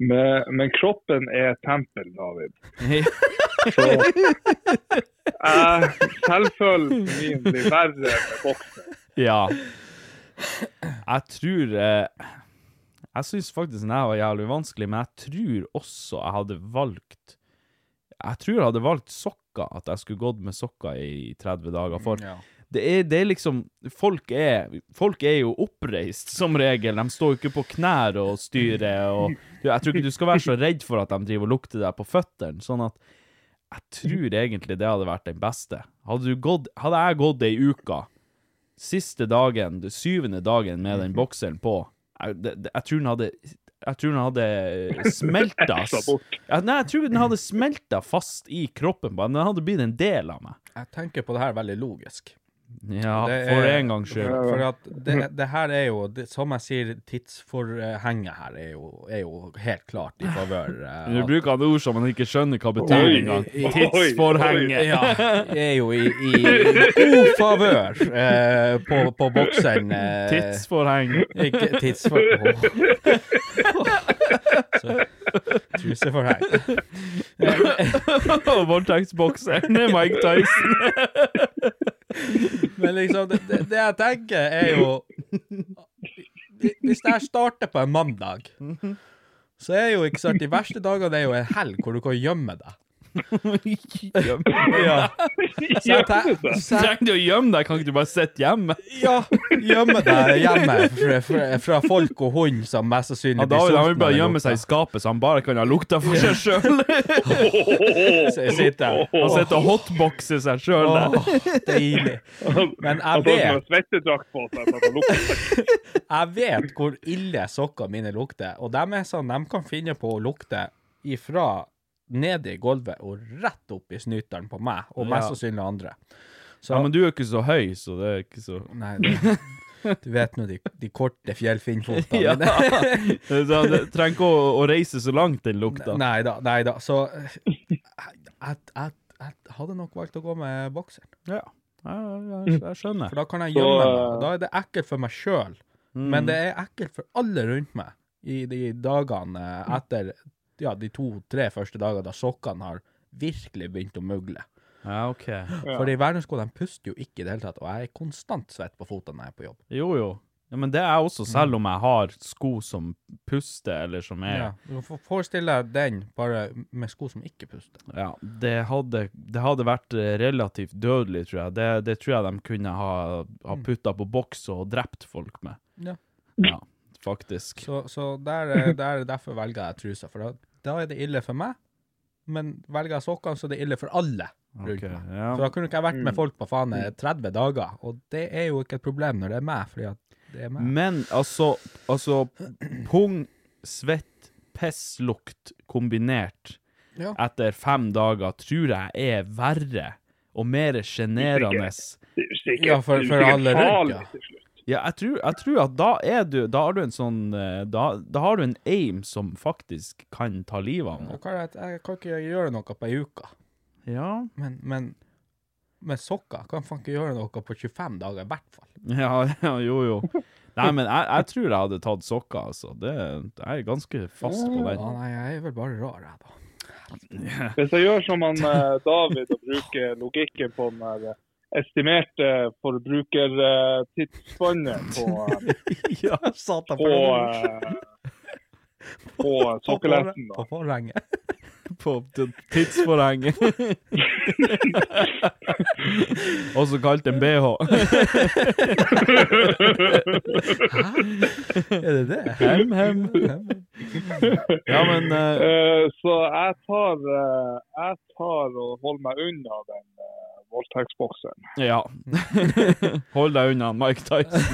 S5: Men, men kroppen er tempel, David. Så jeg selvfølelsen min blir verre med boksen.
S3: Ja. Jeg tror eh, Jeg syns faktisk den her var jævlig vanskelig, men jeg tror også jeg hadde valgt Jeg tror jeg hadde valgt sokker, at jeg skulle gått med sokker i 30 dager. For
S2: Ja.
S3: det, er, det er liksom folk er, folk er jo oppreist, som regel. De står jo ikke på knær og styrer og du, Jeg tror ikke du skal være så redd for at de driver og lukter deg på føttene. Sånn at jeg tror egentlig det hadde vært den beste. Hadde, du gått, hadde jeg gått ei uke siste dagen, den syvende dagen med den bokseren på Jeg, det- det- jeg tror den hadde jeg tror den hadde smelta
S2: Ekstra bort.
S3: Ja, Nei, jeg tror den hadde smelta fast i kroppen. på meg. Den hadde blitt en del av meg.
S2: Jeg tenker på det her veldig logisk.
S3: Ja,
S2: Det
S3: for
S2: er-
S3: en gangs skyld.
S2: For at det, det her er jo, det, som jeg sier, tidsforhenget her er jo, er jo helt klart i favør eh,
S3: Du
S2: at-
S3: bruker et ord som man ikke skjønner hva betyr engang. Tidsforhenget.
S2: Ja, er jo i, i god favør eh, på, på bokseren. Eh,
S3: Tidsforheng.
S2: Ikke tidsforheng. Truseforheng.
S3: Voldtektsbokseren Mike Tyson.
S2: Men liksom, det, det, det jeg tenker er jo Hvis det her starter på en mandag, så er jo ikke sant, de verste dagene er jo en helg hvor du kan gjemme deg.
S3: Ja.
S2: Så jeg tenk- så jeg-
S3: Trenger du å gjemme deg? Kan ikke du bare sitte hjemme?
S2: Ja, gjemme deg hjemme fra, fra, fra folk og hund som mest sannsynlig
S3: Ja, David han vil
S2: sultne
S3: bare
S2: eller
S3: gjemme
S2: noe.
S3: seg i skapet, så han bare kan ha lukta for seg sjøl.
S2: Så jeg sitter her.
S3: Han sitter og hotboxer seg sjøl.
S2: Åh, deilig. Men
S5: Han
S2: jeg
S5: tar som en
S2: vet,
S5: svettedrakt på seg. for at han lukter.
S2: jeg vet hvor ille sokkene mine lukter, og de er sånn de kan finne på å lukte ifra nede i gulvet og rett opp i snyteren på meg, og mest
S3: Ja.
S2: sannsynlig andre.
S3: Ja, men du er jo ikke så høy, så det er ikke så
S2: Nei, det, du vet nå de, de korte fjellfinnfotene
S3: Ja.
S2: mine.
S3: Så det trenger ikke å, å reise så langt, den lukta.
S2: Nei da, nei da. Så eh, jeg, jeg, jeg hadde nok valgt å gå med bokseren.
S3: Ja, jeg, jeg, jeg skjønner.
S2: For da kan jeg gjemme meg. og Da er det ekkelt for meg sjøl. Men det er ekkelt for alle rundt meg i de dagene etter ja, de to-tre første dagene da sokkene har virkelig begynt å mugle.
S3: Ja, OK.
S2: Fordi verdensko de puster jo ikke i det hele tatt, og jeg er konstant svett på føttene når jeg er på jobb.
S3: Jo, jo. Ja, men det er jeg også, selv om jeg har sko som puster, eller som er
S2: Ja. Du får forestille deg den bare med sko som ikke puster.
S3: Ja, det hadde, det hadde vært eh, relativt dødelig, tror jeg. Det, det tror jeg de kunne ha, ha putta på boks og drept folk med.
S2: Ja.
S3: Ja, faktisk.
S2: Så, så der, eh, der, derfor velger jeg trusa, for da, da er det ille for meg. Men velger jeg sokkene, så er det ille for alle. rundt
S3: Ok,
S2: meg. Så
S3: ja.
S2: da kunne ikke jeg vært
S3: Mm.
S2: med folk på faen eh, 30 dager, og det er jo ikke et problem når det er meg, fordi at det er meg.
S3: Men altså, altså Pung, svett, pisslukt kombinert
S2: Ja.
S3: etter fem dager tror jeg er verre og mer sjenerende.
S5: Det er jo sikkert- Ja, for- det er jo for sikkert alle rundt, ja. farlig til
S3: Ja, jeg tror, jeg tror at da er du Da har du en sånn eh, Da, da har du en aim som faktisk kan ta livet av
S2: Da
S3: noen.
S2: kan jeg, jeg kan ikke gjøre noe på ei uke.
S3: Ja.
S2: Men, men med sokker kan faen ikke gjøre noe på 25 dager, i hvert fall.
S3: Ja, ja, jo, jo. Nei, men jeg, jeg tror jeg hadde tatt sokker, altså. Det, jeg er ganske fast på den.
S2: Ja, nei, jeg er vel bare rar, jeg, da.
S5: Hvis jeg gjør som han eh, David og bruker logikken på den der eh, estimerte forbrukertidsspannet på eh,
S2: Ja, satan
S5: på,
S2: for
S5: eh, på sokkeletten, da.
S2: På forhenget.
S3: på t- tidsforhenget. Også kalt en BH.
S5: Hæ?
S2: Er det det?
S3: Hem, hem. Ja, men eh,
S5: Eh, Så jeg tar, eh, jeg tar og holder meg unna den eh, voldtektsbokseren.
S3: Ja. Hold deg unna Mike Tyson.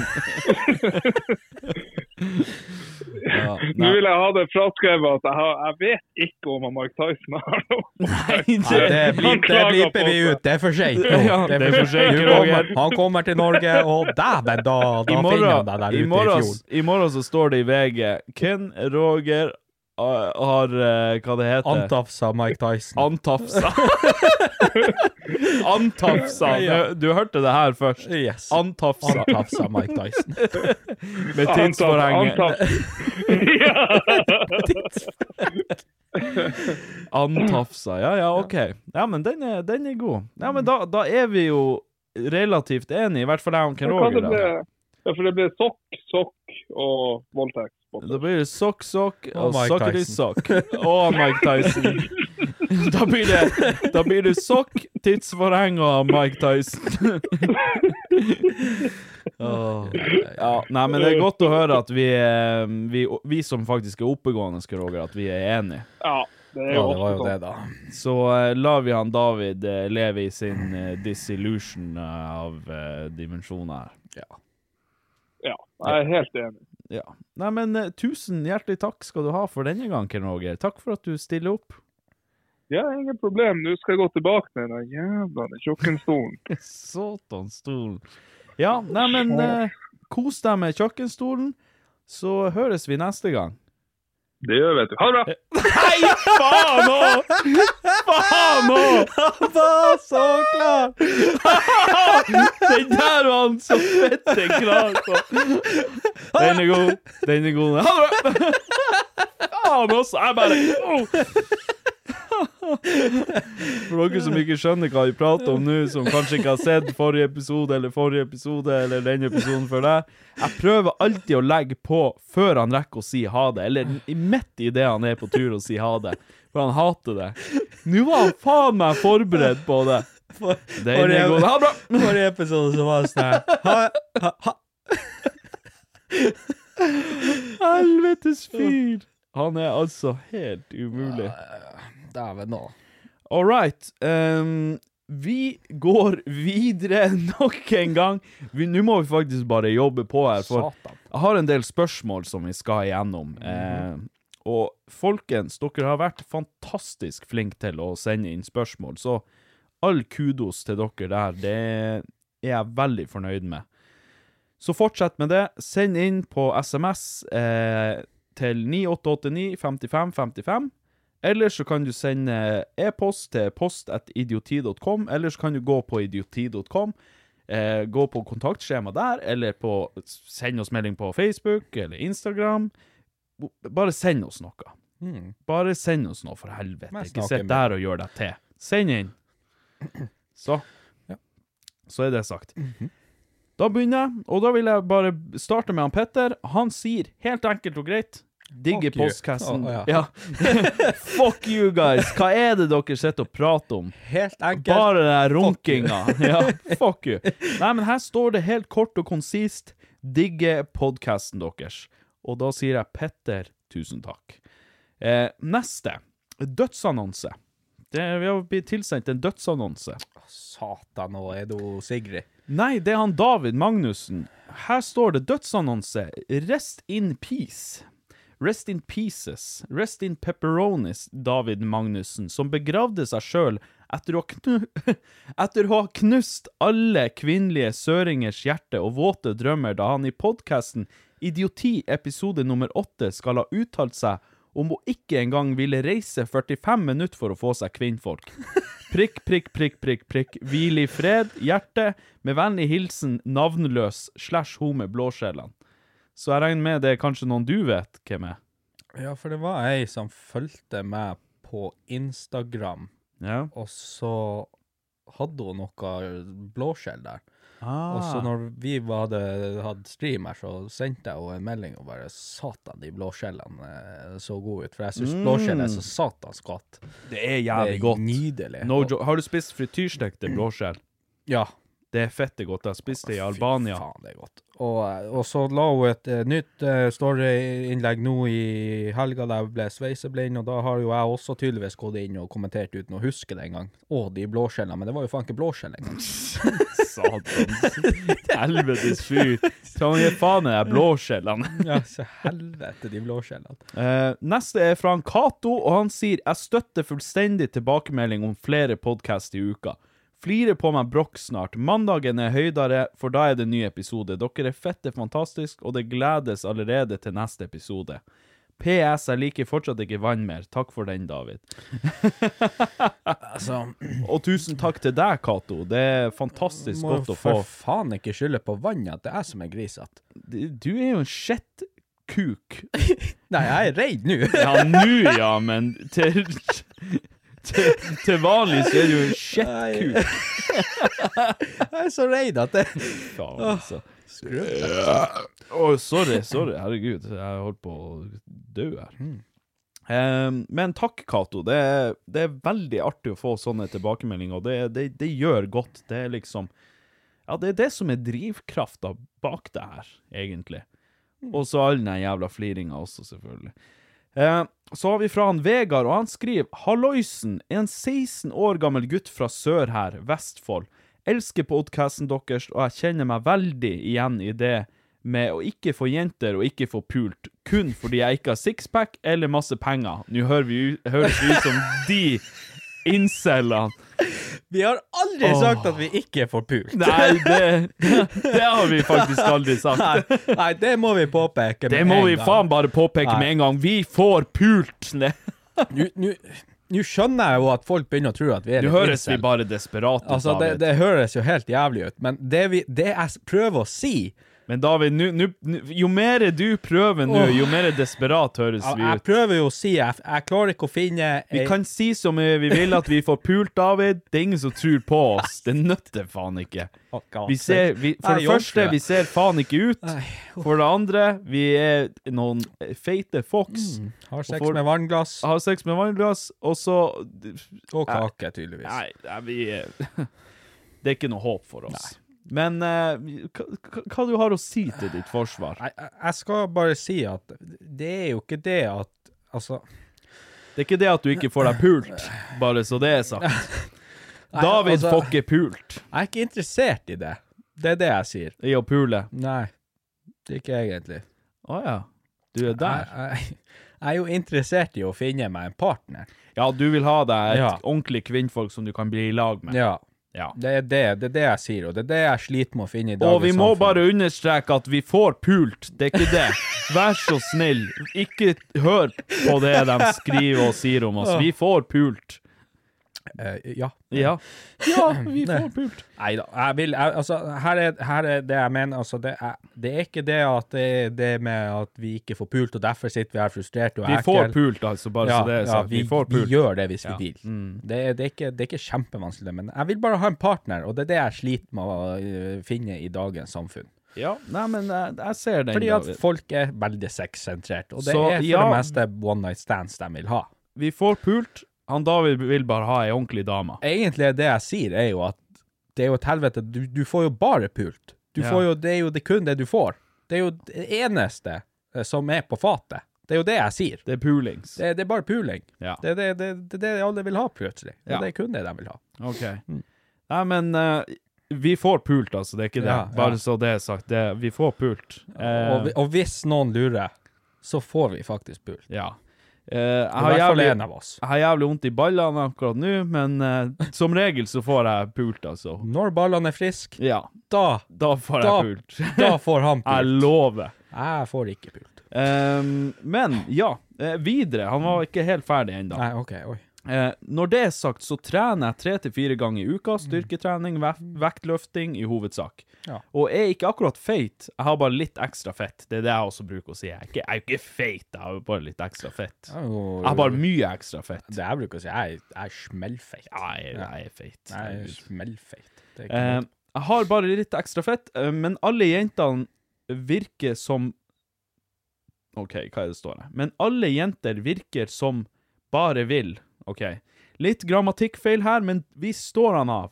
S3: ja,
S5: Nå
S3: nei.
S5: vil jeg ha det fraskrevet at jeg, har, jeg vet ikke om han Mark Tyson har noe.
S2: Nei, det
S5: Han
S2: blip- det
S5: klager
S2: blipper
S5: på
S2: vi ut. Det er for seint.
S3: Ja, det er for sent, Roger.
S2: Han kommer til Norge, og dæven, da, da
S3: I
S2: finner
S3: morgen,
S2: han deg der
S3: i,
S2: ute i
S3: morgen,
S2: fjorden.
S3: I morgen så står det i VG Ken Roger eh, har eh, Hva det heter
S2: Antafsa Mike Tyson.
S3: Antafsa. Antafsa.
S2: Ja.
S3: Du, du hørte det her først.
S2: Yes.
S3: Antafsa.
S2: Antafsa Mike Tyson.
S3: Med tidsforhenget. Antafsa. Ja, ja, OK. Ja, men den er, den er god. Ja, men da, da er vi jo relativt enige, i hvert fall jeg og Ken
S5: Men hva
S3: Roger.
S5: det
S3: da.
S5: ble, ja, for det ble sokk, sokk og voldtekt.
S3: Da blir det sokk, sokk
S2: Og
S3: og
S2: Mike
S3: sokkeri
S2: Tyson.
S3: sokk. Og Mike Tyson. Da blir det, da blir det sokk, tidsforheng og Mike Tyson. Åh. Ja, nei, men det er godt å høre at vi, eh, vi, vi som faktisk er oppegående, Roger, at vi er enige.
S5: Ja, det er
S2: Ja,
S5: jo
S2: det var jo
S5: ofte
S2: det,
S5: sånn.
S2: da.
S3: Så eh, lar vi han David eh, leve i sin eh, disillusion eh, av eh, dimensjoner her.
S5: Ja, jeg er helt enig.
S3: Ja. Nei, men eh, tusen hjertelig takk skal du ha for denne gang, Ken Roger. Takk for at du stiller opp.
S5: Ja, ingen problem. Nå skal jeg gå tilbake til den jævla kjøkkenstolen.
S3: Satanstolen. Ja, nei, men eh, kos deg med kjøkkenstolen, så høres vi neste gang.
S5: Det gjør vet du. Ha
S2: Eh,
S5: det bra!
S3: Nei, faen òg! Faen òg!
S2: Han var så klar!
S3: Den der var han så fette klar på. Den er god. Den er god. Ha det bra! Faen også. Jeg bare oh. For dere som ikke skjønner hva vi prater om nå, som kanskje ikke har sett forrige episode eller forrige episode eller denne episoden før det, jeg prøver alltid å legge på før han rekker å si ha det, eller i- midt i det han er på tur å si ha det, for han hater det. Nå var han faen meg forberedt på det. Den er god. Ha det bra!
S2: Forrige episode så var det sånn her ha- ha- ha-
S3: Helvetes fyr! Han er altså helt umulig.
S2: Dæven, nå.
S3: All right. ehm, vi går videre nok en gang. Vi- Nå må vi faktisk bare jobbe på her, for
S2: Satan.
S3: jeg har en del spørsmål som vi skal igjennom. Eh, og folkens, dere har vært fantastisk flinke til å sende inn spørsmål, så all kudos til dere der. Det er jeg veldig fornøyd med. Så fortsett med det. Send inn på SMS eh, til 9889 55 55. Eller så kan du sende e-post til post.idioti.com, eller så kan du gå på idioti.com. Eh, gå på kontaktskjema der, eller på send oss melding på Facebook eller Instagram. Bare send oss noe.
S2: Mm.
S3: Bare send oss noe, for helvete.
S2: Men
S3: Ikke
S2: snakker
S3: sitt
S2: med-
S3: der og gjør deg til. Send inn. Så.
S2: Ja.
S3: Så er det sagt. Da begynner jeg, og da vil jeg bare starte med han Petter. Han sier helt enkelt og greit Digger
S2: Fuck you.
S3: postkassen.
S2: Å,
S3: ja.
S2: ja.
S3: Fuck you guys! Hva er det dere sitter og prater om?
S2: Helt enkelt.
S3: Bare den der
S2: you.
S3: runkinga. Ja, fuck you. Nei, men her står det helt kort og konsist Digger podkasten deres. Og da sier jeg Petter, tusen takk. Eh, neste. Dødsannonse. Det, vi har blitt tilsendt en dødsannonse.
S2: Satan, og er det hun Sigrid?
S3: Nei, det er han David Magnussen. Her står det dødsannonse. Rest in peace. Rest in pieces. Rest in pepperonis, David Magnussen, som begravde seg sjøl etter, å knu- etter å ha knust alle kvinnelige søringers hjerte og våte drømmer da han i podkasten Idioti episode nummer åtte skal ha uttalt seg om hun ikke engang ville reise 45 minutter for å få seg kvinnfolk. Prikk, prikk, prikk, prikk, prikk. Hvil i fred, hjerte. Med vennlig hilsen navnløs slash ho med blåsjelene. Så jeg regner med det er kanskje noen du vet hvem er.
S2: Ja, for det var ei som fulgte meg på Instagram, og så hadde hun noe blåskjell der.
S3: Ah.
S2: Og så når vi var- hadde hatt stream her, så sendte jeg henne en melding og bare Satan, de blåskjellene eh, så gode ut. For jeg syns
S3: Mm.
S2: blåskjell er så satans godt.
S3: Det er jævlig godt.
S2: Nydelig.
S3: No jo- Har du spist frityrstekte blåskjell?
S2: Ja.
S3: Det er fette godt. Jeg spiste det i Albania. Fy
S2: faen, det er godt. Og, og så la hun et eh, nytt eh, storyinnlegg nå i helga der jeg ble sveiseblind, og da har jo jeg også tydeligvis gått inn og kommentert uten å huske det engang. Å, de blåskjellene. Men det var jo faen ikke blåskjell engang.
S3: Satans helvetes fyr. Hva gir faen i de blåskjellene?
S2: ja, så helvete, de blåskjellene.
S3: Eh, neste er fra han Cato, og han sier Jeg støtter fullstendig tilbakemelding om flere podkast i uka. Flirer på meg brokk snart. Mandagen er høydere, for da er det ny episode. Dere er fette fantastisk, og det gledes allerede til neste episode. PS, jeg liker fortsatt ikke vann mer. Takk for den, David. Altså, Og tusen takk til deg, Cato. Det er fantastisk
S2: Må
S3: godt å få.
S2: for faen ikke skylde på vannet at det er jeg som er grisete.
S3: Du er jo en skjettkuk.
S2: Nei, jeg er redd nå.
S3: Ja, nå ja, men til, til, til vanlig så er du en kjettkuk.
S2: Jeg er så redd at det
S3: Faen,
S2: Åh,
S3: altså.
S2: skrubb.
S3: Åh, sorry, sorry. Herregud, jeg holdt på å dø her. Ehm, men takk, Cato. Det, er- det er veldig artig å få sånne tilbakemeldinger, og det, det, det gjør godt. Det er liksom Ja, det er det som er drivkrafta bak det her, egentlig. Og så all den her jævla fliringa også, selvfølgelig. Eh, så har vi fra han Vegard, og han skriver Halloisen, en 16 år gammel gutt fra sør her, Vestfold. Elsker podkasten deres, og jeg kjenner meg veldig igjen i det med å ikke få jenter og ikke få pult, kun fordi jeg ikke har sixpack eller masse penger. Nå hører vi, ut- høres vi ut som de incelene.
S2: Vi har aldri
S3: Åh.
S2: sagt at vi ikke får pult.
S3: Nei, det, det har vi faktisk aldri sagt.
S2: Nei, nei, det må vi påpeke
S3: Det
S2: med
S3: må
S2: en
S3: vi
S2: gang.
S3: faen bare påpeke
S2: Nei.
S3: med en gang. Vi får pult! Nei.
S2: Nå- Nå nå skjønner jeg jo at folk begynner å tro at vi er
S3: Nå
S2: litt
S3: høres
S2: incel.
S3: vi bare desperate ut,
S2: Altså, det,
S3: David.
S2: det høres jo helt jævlig ut, men det, vi, det jeg s- prøver å si
S3: Men David, nu, nu, nu, jo mer du prøver nå, jo mer desperat høres
S2: Jeg,
S3: vi
S2: jeg
S3: ut.
S2: prøver jo å si Jeg, jeg klarer ikke å finne
S3: Vi
S2: ei-
S3: kan si så mye vi vil at vi får pult, David. Det er ingen som tror på oss. Det nøtter faen ikke. Vi ser, vi, for det
S2: Jeg
S3: første,
S2: orker
S3: vi
S2: det.
S3: ser faen ikke ut. For det andre, vi er noen eh, feite fox.
S2: Har sex
S3: Og for-
S2: med vannglass
S3: Har sex med vannglass, og så
S2: og kake, tydeligvis.
S3: Nei, nei vi er Det er ikke noe håp for oss. Men eh, hva, hva- hva du har å si til ditt forsvar?
S2: Jeg, jeg- jeg skal bare si at det er jo ikke det at Altså
S3: Det er ikke det at du ikke får deg pult, bare så det er sagt. David
S2: altså-
S3: får ikke pult
S2: Jeg er ikke interessert i det. Det er det jeg sier.
S3: i å pule.
S2: Nei. Det er ikke egentlig.
S3: Å ja. Du er der.
S2: Jeg, jeg, jeg er jo interessert i å finne meg en partner.
S3: Ja, du vil ha deg et
S2: Ja.
S3: ordentlig kvinnfolk som du kan bli i lag med.
S2: Ja.
S3: Ja.
S2: Det er det, det er det jeg sier, og det er det jeg sliter med å finne i dagens
S3: Og vi må
S2: samfunn.
S3: bare understreke at vi får pult, det er ikke det. Vær så snill, ikke hør på det de skriver og sier om oss. Vi får pult.
S2: Eh, Ja.
S3: Ja. Ja, vi får pult.
S2: Nei da. Jeg vil jeg, Altså, her er, her er det jeg mener. Altså, det er, det er ikke det at det er det med at vi ikke får pult, og derfor sitter vi her frustrert og
S3: Vi får
S2: ekkel.
S3: pult, altså, bare så det er sagt.
S2: vi,
S3: Vi får
S2: vi
S3: pult. Mm.
S2: gjør det hvis vi vil. Det, er, det, er ikke, det er ikke kjempevanskelig, men jeg vil bare ha en partner, og det er det jeg sliter med å øh, finne i dagens samfunn.
S3: Ja, nei, men jeg, jeg ser den.
S2: Fordi at
S3: David.
S2: folk er veldig sexsentrert, og det
S3: Så,
S2: er for
S3: ja.
S2: det meste one night stands de vil ha.
S3: Vi får pult. Han David vil bare ha ei ordentlig dame.
S2: Egentlig er det jeg sier, er jo at det er jo et helvete. Du, du får jo bare pult. Du
S3: Ja.
S2: får jo, det er jo det kun det du får. Det er jo det eneste eh, som er på fatet. Det er jo det jeg sier.
S3: Det er pulings.
S2: Det, er bare puling. Det er det, det, det, er det alle vil ha, plutselig. Det er
S3: Ja.
S2: det kun det de vil ha.
S3: OK.
S2: Mm.
S3: Nei, men eh, vi får pult, altså. Det er ikke det.
S2: Ja, ja.
S3: Bare så det er sagt. Det, vi får pult. Eh,
S2: Og, vi- og hvis noen lurer, så får vi faktisk pult.
S3: Ja. Eh, jeg,
S2: I
S3: har
S2: hvert fall
S3: jævlig,
S2: en av oss.
S3: jeg har jævlig vondt i ballene akkurat nå, men eh, som regel så får jeg pult, altså.
S2: Når ballene er friske,
S3: ja.
S2: da,
S3: da får
S2: da-
S3: jeg pult.
S2: da får han pult.
S3: Jeg lover.
S2: Jeg får ikke pult.
S3: Ehm, men ja, eh, videre. Han var ikke helt ferdig ennå.
S2: Nei, OK. Oi.
S3: Eh, når det er sagt, så trener jeg tre til fire ganger i uka. Styrketrening, vek vektløfting i hovedsak.
S2: Mm. Ja.
S3: Og jeg er ikke akkurat feit, jeg har bare litt ekstra fett. Det er det jeg også bruker å si. Jeg er ikke, jeg er jo ikke feit, jeg har jo bare litt ekstra fett.
S2: Ja, jo,
S3: Jeg har bare mye ekstra fett.
S2: Det jeg bruker å si, jeg, er- jeg er smellfeit.
S3: Ja, jeg, jeg er feit.
S2: Jeg er
S3: Herregud.
S2: smellfeit. Det er ikke
S3: Eh,
S2: noe-
S3: jeg har bare litt ekstra fett, eh, men alle jentene virker som OK, hva er det står her? Men alle jenter virker som bare vil. OK. Litt grammatikkfeil her, men visst står han av.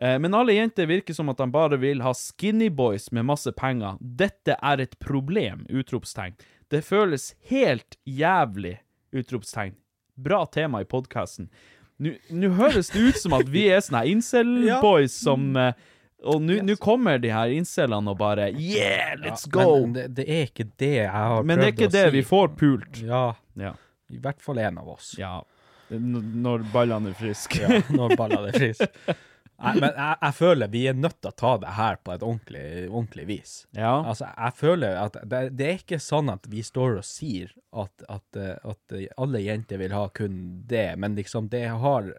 S3: Eh, Men alle jenter virker som at de bare vil ha skinny boys med masse penger. Dette er et problem! Utropstegn. Det føles helt jævlig! Utropstegn. Bra tema i podkasten. Nå høres det ut som at vi er sånne her incel-boys som eh, Og nå nå kommer de her incelene og bare Yeah, eh, let's
S2: Ja,
S3: go!
S2: Men det, det er ikke det jeg har
S3: Men det er
S2: prøvd
S3: ikke
S2: å
S3: det.
S2: si.
S3: Vi får pult.
S2: Ja,
S3: Ja.
S2: i hvert fall en av oss.
S3: ja. N- Når ballene er friske.
S2: Ja, når ballene er friske. Nei, men jeg, jeg føler vi er nødt til å ta det her på et ordentlig, ordentlig vis.
S3: Ja.
S2: Altså, jeg føler at det, det er ikke sånn at vi står og sier at, at, eh, at alle jenter vil ha kun det, men liksom, det har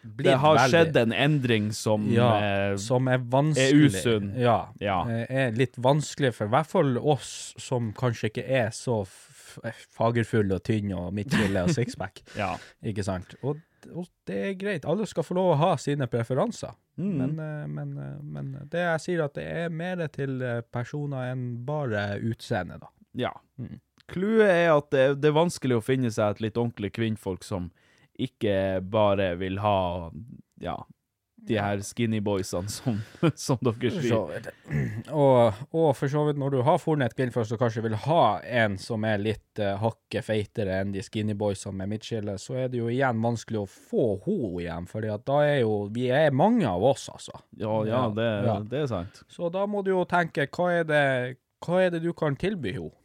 S2: blitt
S3: Det har
S2: veldig-
S3: skjedd en endring som
S2: ja,
S3: eh,
S2: som er vanskelig.
S3: usunn.
S2: Ja,
S3: Ja.
S2: eh, Er litt vanskelig for i hvert fall oss som kanskje ikke er så f- f- fagerfulle og tynne og midtskille og sixpack.
S3: Ja.
S2: Ikke sant? Og, og det er greit. Alle skal få lov å ha sine preferanser.
S3: Mm.
S2: Men, eh, men, eh, men det jeg sier at det er mer til eh, personer enn bare utseende, da.
S3: Ja.
S2: Mm.
S3: Clouet er at det, det er vanskelig å finne seg et litt ordentlig kvinnfolk som ikke bare vil ha ja, de her skinny boysene som, som dere
S2: For
S3: sier.
S2: så vidt. Og, og for så vidt, når du har funnet et kvinnfolk som kanskje vil ha en som er litt eh, hakket feitere enn de skinny boysene med midtskille, så er det jo igjen vanskelig å få henne igjen, fordi at da er jo Vi er mange av oss, altså.
S3: Ja, ja, det,
S2: Ja.
S3: det er sant.
S2: Så da må du jo tenke, hva er det, hva er det du kan tilby henne?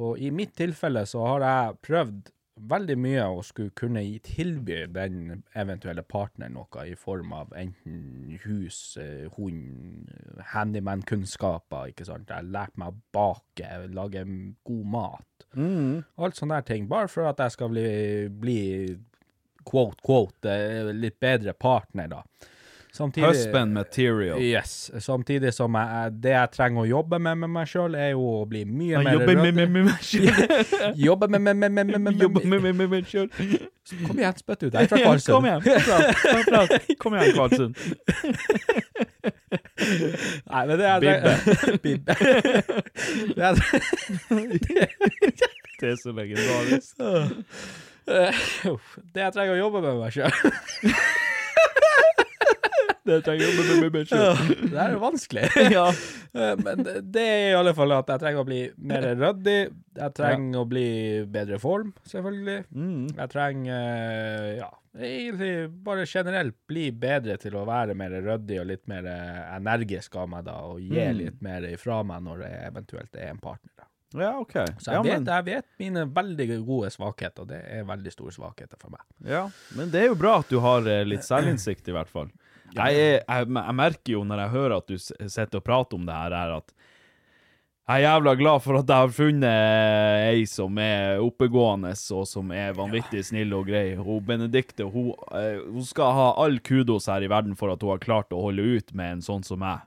S2: Og i mitt tilfelle så har jeg prøvd veldig mye å skulle kunne gi- tilby den eventuelle partneren noe i form av enten hus, eh, hund, handyman-kunnskaper, ikke sant? Jeg har lært meg å bake, lage m- god mat. Alt sånne her ting, bare for at jeg skal bli, bli quote, quote, eh, litt bedre partner da. Samtidig-
S3: Husband material.
S2: Yes. Samtidig som jeg, det jeg trenger å jobbe med med meg sjøl, er jo å bli mye
S3: Jeg
S2: mer
S3: jobber med,
S2: rød.
S3: med, med meg selv.
S2: Jobbe med, med, med, med, med, med,
S3: Jobber med, med, med meg selv.
S2: Kom igjen, spytt ut. Jeg er fra
S3: Kom
S2: Kvalsund.
S3: igjen, prat, prat, prat. Kom igjen, Karlsson.
S2: Nei, men det er det- Bibbe. Det er
S3: Det er så legendarisk.
S2: Uff, det jeg trenger å jobbe med meg sjøl.
S3: Det er jeg jobber med, med meg selv.
S2: Det her er vanskelig.
S3: Ja.
S2: Eh, Men det det er i alle fall at jeg trenger å bli mer ryddig. Jeg trenger å bli i bedre form, selvfølgelig. Jeg trenger, eh, ja, egentlig bare generelt bli bedre til å være mer ryddig og litt mer eh, energisk av meg da, og gi litt mer ifra meg når det eventuelt er en partner. da.
S3: Ja, ok.
S2: Så jeg,
S3: ja, men-
S2: vet, jeg vet mine veldig gode svakheter, og det er veldig store svakheter for meg.
S3: Ja, men det er jo bra at du har eh, litt selvinnsikt, i hvert fall. Jeg, er, jeg, jeg merker jo når jeg hører at du s- sitter og prater om det her, er at jeg er jævla glad for at jeg har funnet eh, ei som er oppegående og som er vanvittig snill og grei. Hun Benedikte hun, eh, hun skal ha all kudos her i verden for at hun har klart å holde ut med en sånn som meg.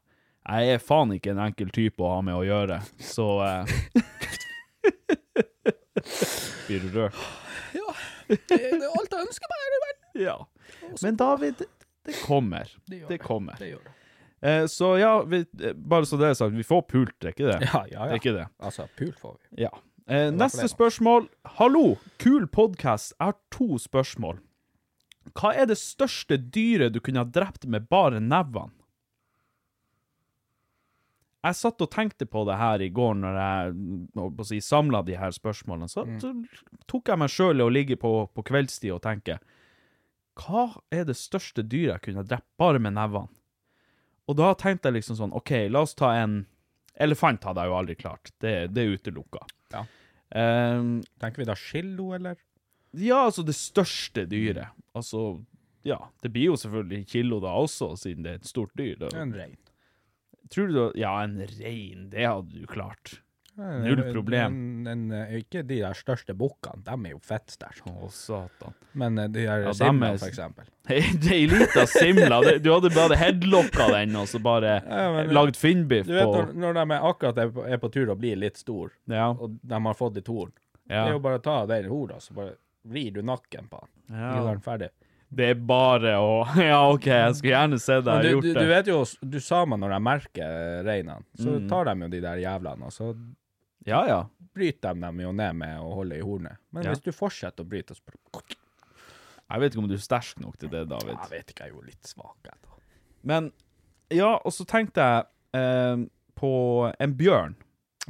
S3: Jeg er faen ikke en enkel type å ha med å gjøre, så eh. Blir du rørt?
S2: Det er alt jeg ønsker meg her i verden.
S3: Ja. Men David, det kommer. Det,
S2: gjør
S3: kommer.
S2: Det gjør det.
S3: Eh, så ja, vi, eh, bare så det er sagt, vi får pult, det er ikke det?
S2: Ja, ja,
S3: Det er
S2: ja.
S3: ikke det.
S2: Altså, pul får vi.
S3: Ja. Eh, neste
S2: det, da.
S3: spørsmål. Hallo, kul podkast. Jeg har to spørsmål. Hva er det største dyret du kunne ha drept med bare nevene? Jeg satt og tenkte på det her i går når jeg mm, si, samla de her spørsmålene. Så tok jeg meg sjøl i å ligge på, på kveldstid og tenke Hva er det største dyret jeg kunne drept bare med nevene? Og da tenkte jeg liksom sånn OK, la oss ta en Elefant hadde jeg jo aldri klart. Det, det er utelukka.
S2: Ja.
S3: Tenker
S2: vi da skillo, eller?
S3: Ja, altså det største dyret. Altså, ja. Det blir jo selvfølgelig kilo da også, siden det er et stort dyr. Da.
S2: En rein.
S3: Tror du da- Ja, en rein, det hadde du klart. Null problem.
S2: Men, men, eh, ikke de der største bukkene, de er jo fettsterke.
S3: Å, satan.
S2: Men eh, de der ja,
S3: Ja, dem
S2: simla,
S3: er-
S2: for eksempel.
S3: Ei lita simla. det- Du hadde bare headlocka den, og så bare
S2: Ja, men-
S3: lagd finnbiff
S2: Du vet når,
S3: på
S2: når de er akkurat er på, er på tur å bli litt stor,
S3: Ja.
S2: og de har fått litt horn,
S3: Ja.
S2: det er jo bare å ta den horna, så bare vrir du nakken på den.
S3: Ja.
S2: Gir den ferdig.
S3: Det er bare å Ja, OK, jeg skulle gjerne se
S2: Men
S3: deg
S2: du,
S3: gjort
S2: du,
S3: det.
S2: du vet jo, du samer når de merker reinene, så
S3: Mm.
S2: tar de jo de der jævlene, og så
S3: Ja, ja.
S2: bryter de dem jo ned med å holde i hornet. Men
S3: Ja.
S2: hvis du fortsetter å bryte, så bare
S3: Jeg vet ikke om du er sterk nok til det, David.
S2: Jeg vet ikke, jeg er jo litt svak. jeg, da.
S3: Men ja, og så tenkte jeg eh, på en bjørn.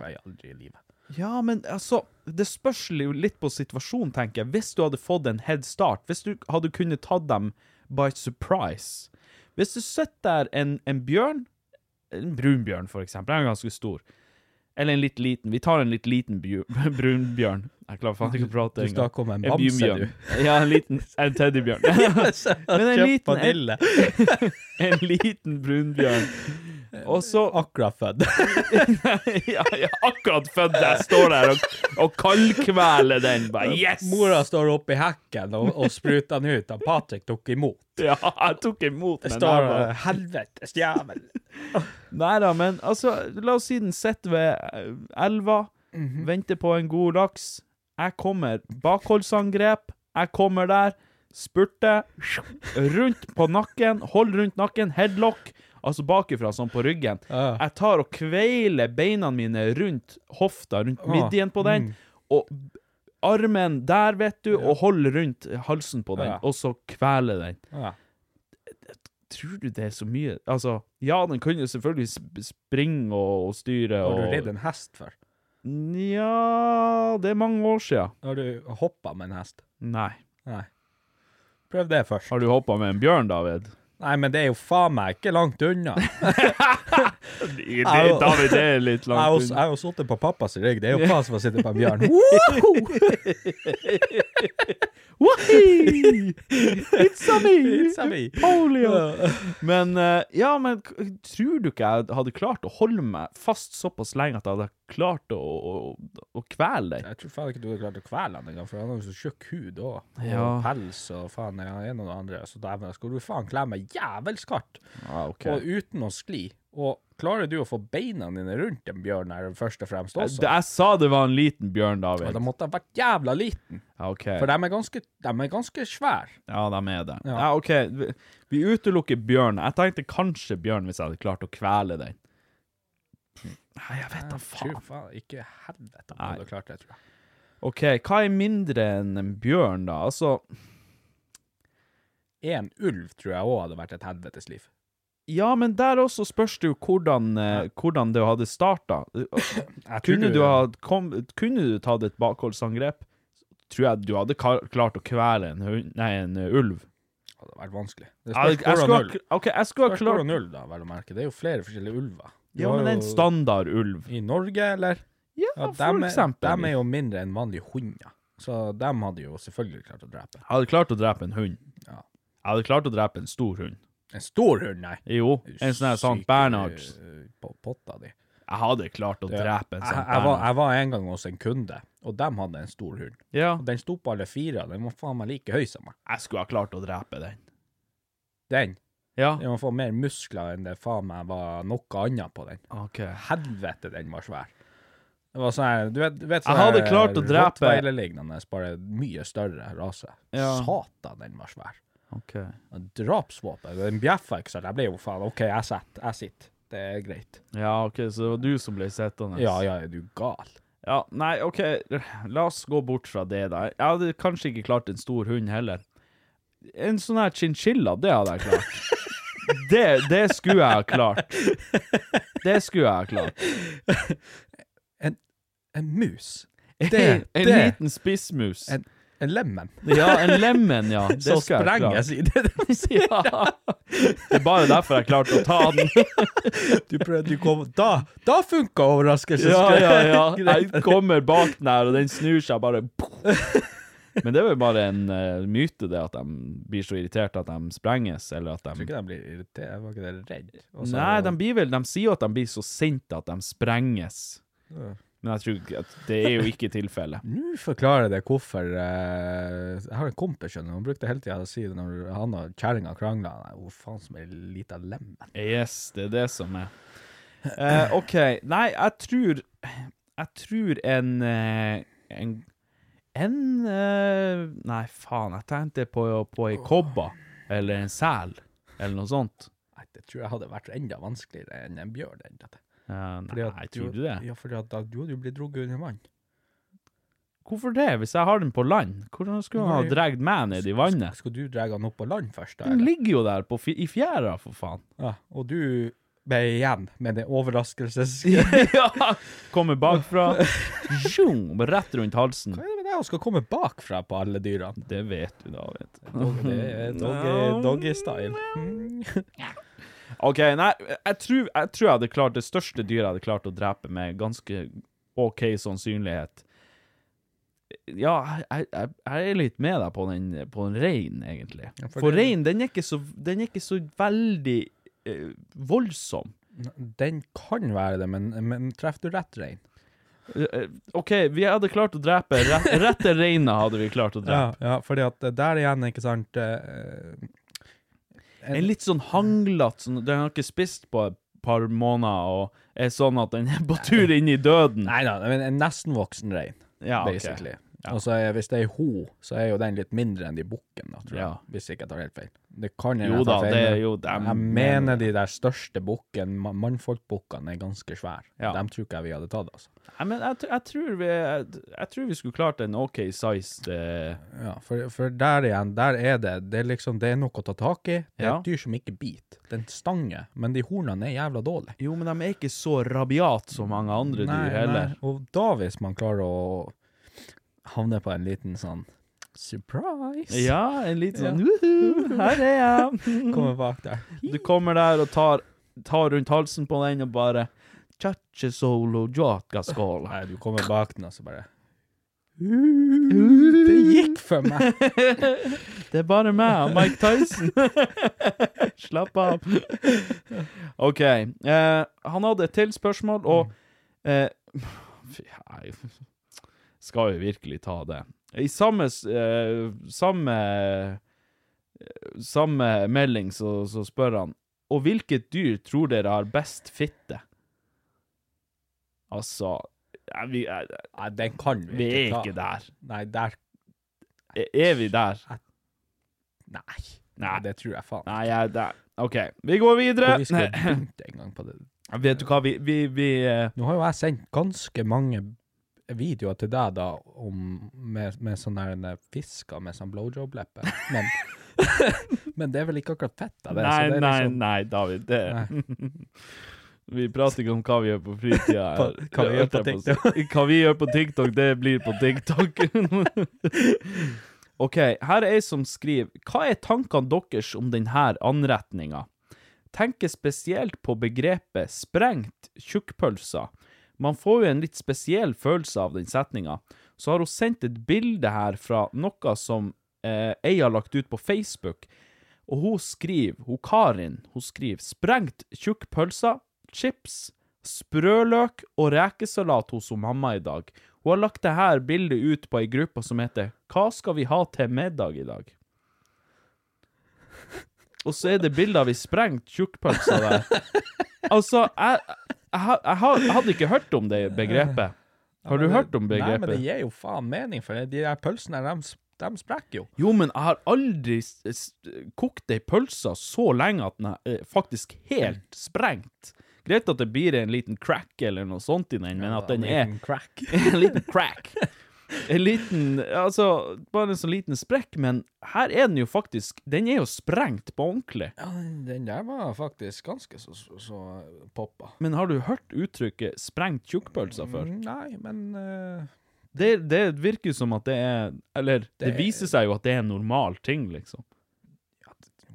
S2: Nei, aldri i livet.
S3: Ja, men altså Det spørs jo litt på situasjonen, tenker jeg. Hvis du hadde fått en head start, hvis du hadde kunnet tatt dem by surprise Hvis du sitter der en, en bjørn, en brunbjørn for eksempel, den er ganske stor, eller en litt liten Vi tar en litt liten bjør- brunbjørn. Jeg klarer faen ikke å prate
S2: Du
S3: engang.
S2: snakker om en bamse,
S3: brunbjørn.
S2: du.
S3: Ja, en liten En teddybjørn. men en
S2: Kjøpt
S3: liten, en,
S2: vanille.
S3: en liten brunbjørn. Og så
S2: Akkurat født.
S3: ja, jeg er akkurat født der, står der og, og kaldkveler den. Bare, yes!
S2: Mora står oppe i hekken og, og spruter den ut. og Patrick tok imot.
S3: Ja, jeg tok imot
S2: Det
S3: den.
S2: står
S3: der, bare.
S2: eh, 'helvetes jævel'.
S3: Nei da, men altså, la oss si den sitter ved eh, elva, venter på en god laks. Jeg kommer bakholdsangrep. Jeg kommer der, spurter rundt på nakken, hold rundt nakken, headlock. Altså bakifra, sånn på ryggen.
S2: Ja.
S3: Jeg tar og kveiler beina mine rundt hofta, rundt midjen på den, og b- armen der, vet du, og holder rundt halsen på den,
S2: Ja.
S3: og så kveler den
S2: Ja.
S3: tror du det er så mye Altså, ja, den kan jo selvfølgelig sp springe og, og styre
S2: Har
S3: og
S2: du ridd en hest før?
S3: Nja Det er mange år sia.
S2: Har du hoppa med en hest?
S3: Nei.
S2: Nei. Prøv det først.
S3: Har du hoppa med en bjørn, David?
S2: Nei, men det er jo faen meg ikke langt unna.
S3: Det,
S2: Au.
S3: David, det er litt
S2: Jeg har jo-
S3: langt
S2: jeg
S3: unna.
S2: har jo sittet på pappas rygg, det er jo faen som å sitte på en bjørn. Woohoo!
S3: Wahi! It's a me!
S2: It's a me.
S3: Polio! Men eh, ja, men k- tror du ikke jeg hadde klart å holde meg fast såpass lenge at jeg hadde klart å, å, å kvele deg?
S2: Jeg tror faen ikke du hadde klart å kvele han engang, for han har jo så tjukk hud òg. Og
S3: Ja.
S2: pels og faen ja, en og det andre. Så dæven, skal du faen klemme jævelsk hardt,
S3: Ah, ok.
S2: og uten å skli. Og klarer du å få beina dine rundt en bjørn her, først og fremst
S3: Jeg,
S2: også?
S3: jeg sa det var en liten bjørn,
S2: Ja,
S3: David.
S2: de måtte ha vært jævla liten,
S3: Ja, ok.
S2: for de er ganske, de er ganske svære.
S3: Ja, de er det. Ja,
S2: Ja.
S3: OK. Vi, vi utelukker bjørn. Jeg tenkte kanskje bjørn hvis jeg hadde klart å kvele den. Nei, jeg vet da faen.
S2: Tror faen ikke helvete om du
S3: Nei.
S2: hadde klart det, tror jeg.
S3: OK, hva er mindre enn en bjørn, da? Altså
S2: En ulv tror jeg òg hadde vært et helvetes liv.
S3: Ja, men der også spørs det jo hvordan, eh, hvordan det hadde starta.
S2: Jeg tror
S3: Kunne du, ha kom, kunne du tatt et bakholdsangrep, tror jeg du hadde ka- klart å kvele en, hund, nei, en eh, ulv.
S2: Det hadde vært vanskelig. Det
S3: Jeg, jeg,
S2: spørs hvordan
S3: skulle, ha
S2: ulv.
S3: k- ok, jeg skulle ha
S2: Først går
S3: klart
S2: det null, da, vel å merke. Det er jo flere forskjellige ulver. Du
S3: Ja,
S2: har
S3: men en
S2: jo-
S3: standard ulv.
S2: I Norge, eller?
S3: Ja, for
S2: dem er-
S3: eksempel.
S2: Dem er jo mindre enn vanlige hunder, så dem hadde jo selvfølgelig klart å drepe.
S3: Jeg hadde klart å drepe en hund.
S2: Ja.
S3: Jeg hadde klart å drepe en stor hund.
S2: En stor hund, nei.
S3: Jo, en sånn her Sankt
S2: Syk,
S3: Bernhard.
S2: eh, På potta di.
S3: Jeg hadde klart å
S2: Det-
S3: drepe en
S2: jeg,
S3: Sankt
S2: jeg, var,
S3: Bernhard.
S2: jeg var en gang hos en kunde, og dem hadde en stor hund.
S3: Ja,
S2: Og Den sto på alle fire, og den var faen meg like høy som meg.
S3: jeg skulle ha klart å drepe den.
S2: Den.
S3: Ja.
S2: Den var faen mer muskler enn det faen meg var noe annet på den.
S3: Ok.
S2: Helvete, den var svær. Det var sånn her, du vet, du vet
S3: Jeg
S2: sånn her
S3: hadde klart å drepe-
S2: Rottweiler-lignende, bare mye større rase.
S3: Ja.
S2: Satan, den var svær.
S3: Ok.
S2: Drapsvåpen. Den bjeffa ikke sånn. Jeg ble jo faen OK, jeg sitter. Jeg sitter. Det er greit.
S3: Ja, ok, så det var du som ble sittende.
S2: Ja, ja, er du gal?
S3: Ja, nei, ok, la oss gå bort fra det da. Jeg hadde kanskje ikke klart en stor hund heller. En sånn her chinchilla, det hadde jeg klart. Det, det skulle jeg ha klart. Det skulle jeg ha klart.
S2: En, en mus.
S3: En
S2: Det,
S3: liten spissmus.
S2: En, en lemmen.
S3: Ja, en lemon, ja. Det
S2: Så
S3: skulle jeg
S2: spreng
S3: klart.
S2: jeg si det de sier.
S3: Det er bare derfor jeg klarte å ta den.
S2: Du prøvde, du kom, da da funka overraskelsesgreia.
S3: Ja, ja, ja. Jeg kommer bak den her, og den snur seg bare Men det er vel bare en eh, myte, det, at de blir så irritert at de sprenges, eller at
S2: Jeg tror
S3: de
S2: ikke de blir irritert. Jeg var ikke det redd. Og så-
S3: Nei, de blir vel De sier jo at de blir så sinte at de sprenges.
S2: Ja.
S3: Men jeg tror ikke at det er jo ikke tilfellet.
S2: Nå forklarer det hvorfor eh, Jeg har en kompis, skjønner du. Han brukte hele tida å si det når han og kjerringa krangla. Nei, Hvor faen som ei lita lem.
S3: Yes, det er det som er. Eh, OK. Nei, jeg tror Jeg tror en eh, En, en eh, Nei, faen, jeg tenkte på, på ei kobbe eller en sel eller noe sånt.
S2: Nei, Det tror jeg hadde vært enda vanskeligere enn en bjørn. enn dette.
S3: Eh,
S2: Fordi
S3: nei,
S2: at
S3: tror du det?
S2: Ja, fordi at da du hadde jo blitt drugget under vann.
S3: Hvorfor det? Hvis jeg har den på land, hvordan skulle han ha dratt meg ned i vannet?
S2: Skal du dra den opp på land først, da?
S3: Den
S2: eller?
S3: ligger jo der på, fi- i fjæra, for faen.
S2: Ja, og du ble igjen med det overraskelses...
S3: ja! Kommer bakfra. Zjung, rett rundt halsen.
S2: Hva er det med deg som skal komme bakfra på alle dyrene?
S3: Det vet du, da, vet du.
S2: Dog- Det er doggy- doggy-style. Mm.
S3: Ok, nei, jeg tror, jeg tror jeg hadde klart det største dyret jeg hadde klart å drepe med ganske OK sannsynlighet. Ja, jeg, jeg, jeg er litt med deg på den, på den reinen, egentlig.
S2: Ja, for
S3: For
S2: det-
S3: reinen, den, er ikke så- den er ikke så veldig eh, voldsom.
S2: Den kan være det, men, men treffer du rett rein?
S3: Eh, eh, OK, vi hadde klart å drepe rett, Rette reinen hadde vi klart å drepe.
S2: Ja, ja, fordi at eh, der igjen, ikke sant eh,
S3: En litt sånn hanglete sånn, Den har ikke spist på et par måneder, og er sånn at den er på tur inn i døden.
S2: Nei da, men en nesten voksen rein,
S3: Ja, ok.
S2: basically.
S3: Ja.
S2: Og så er, hvis det er ho, så er jo den litt mindre enn de bukken, da, tror jeg.
S3: Ja.
S2: Hvis ikke jeg tar helt feil. Det kan
S3: Jo
S2: jeg ta
S3: da,
S2: feil.
S3: det er
S2: men
S3: jo- de
S2: jeg
S3: mener-
S2: mener de der største bukken, ma- mannfolkbukkene, er ganske svære.
S3: Ja.
S2: Dem tror ikke jeg vi hadde tatt, altså.
S3: Nei, men jeg, tr- jeg, tror vi, jeg, jeg tror vi skulle klart en OK sized eh,
S2: Ja, for, for der igjen, der er det Det er liksom, det er noe å ta tak i. Det er
S3: Ja.
S2: et dyr som ikke biter. Det er en stange, men de hornene er jævla dårlige.
S3: Jo, men de er ikke så rabiat som mange andre dyr heller.
S2: Nei. Og da, hvis man klarer å havne på en liten sånn surprise
S3: Ja, en litt sånn
S2: Ja.
S3: «Woohoo, Her er jeg!
S2: Kommer bak der.
S3: Du kommer der og tar, tar rundt halsen på den og bare Chache solo jaka skåla.
S2: Nei, du kommer bak den, og så bare Det gikk for meg!
S3: Det er bare meg og Mike Tyson. Slapp av. OK. Eh, han hadde et til spørsmål, og eh, Fy, jeg skal jo virkelig ta det. I samme s- eh, Samme eh, Samme melding så, så spør han Og hvilket dyr tror dere har best fitte? Altså jeg, vi, jeg,
S2: Nei, den kan vi,
S3: vi er
S2: ta.
S3: ikke der.
S2: Nei, der
S3: Er- Er vi der?
S2: Nei.
S3: Nei.
S2: Det tror jeg faen.
S3: Nei, jeg der. OK, vi går videre.
S2: Og vi skulle begynt en gang på det.
S3: Nei, Vet du hva, vi, vi, vi eh,
S2: Nå har jo jeg sendt ganske mange videoer til deg da om, med, med sånne der fisker med sånn blowjob-leppe. Men, men det er vel ikke akkurat fett? da, det, så
S3: Nei,
S2: det er
S3: nei,
S2: liksom-
S3: nei, David. Det Vi prater ikke om hva vi gjør på fritida. her.
S2: På- hva vi gjør på TikTok.
S3: Hva vi gjør på TikTok, det blir på TikTok. OK, her er ei som skriver Hva er tankene deres om denne anretninga? Tenker spesielt på begrepet 'sprengt tjukkpølser'. Man får jo en litt spesiell følelse av den setninga. Så har hun sendt et bilde her fra noe som eh, ei har lagt ut på Facebook. Og hun skriver, hun Karin, hun skriver sprengt tjukk pølser, chips, sprøløk og rekesalat hos hun mamma i dag. Hun har lagt dette bildet ut på ei gruppe som heter Hva skal vi ha til middag i dag? Og så er det bilder av ei sprengt tjukkpølse der. Altså, jeg, jeg, har- jeg, har- jeg hadde ikke hørt om det begrepet. Har du hørt om
S2: Nei, men det
S3: begrepet?
S2: gir jo faen mening, for de der pølsene, de, sp- de sprekker jo.
S3: Jo, men jeg har aldri s- s- kokt ei pølse så lenge at den er eh, faktisk helt sprengt. Greit at det blir en liten crack eller noe sånt i den, men at den er
S2: Liten crack.
S3: en liten crack. en liten Altså, bare en sånn liten sprekk, men her er den jo faktisk Den er jo sprengt på ordentlig.
S2: Ja, den, den der var faktisk ganske så, så, så poppa.
S3: Men har du hørt uttrykket 'sprengt tjukkpølser' før?
S2: Nei, men eh,
S3: Det, det virker som at det er Eller det,
S2: Det-
S3: viser seg jo at det er en normal ting, liksom.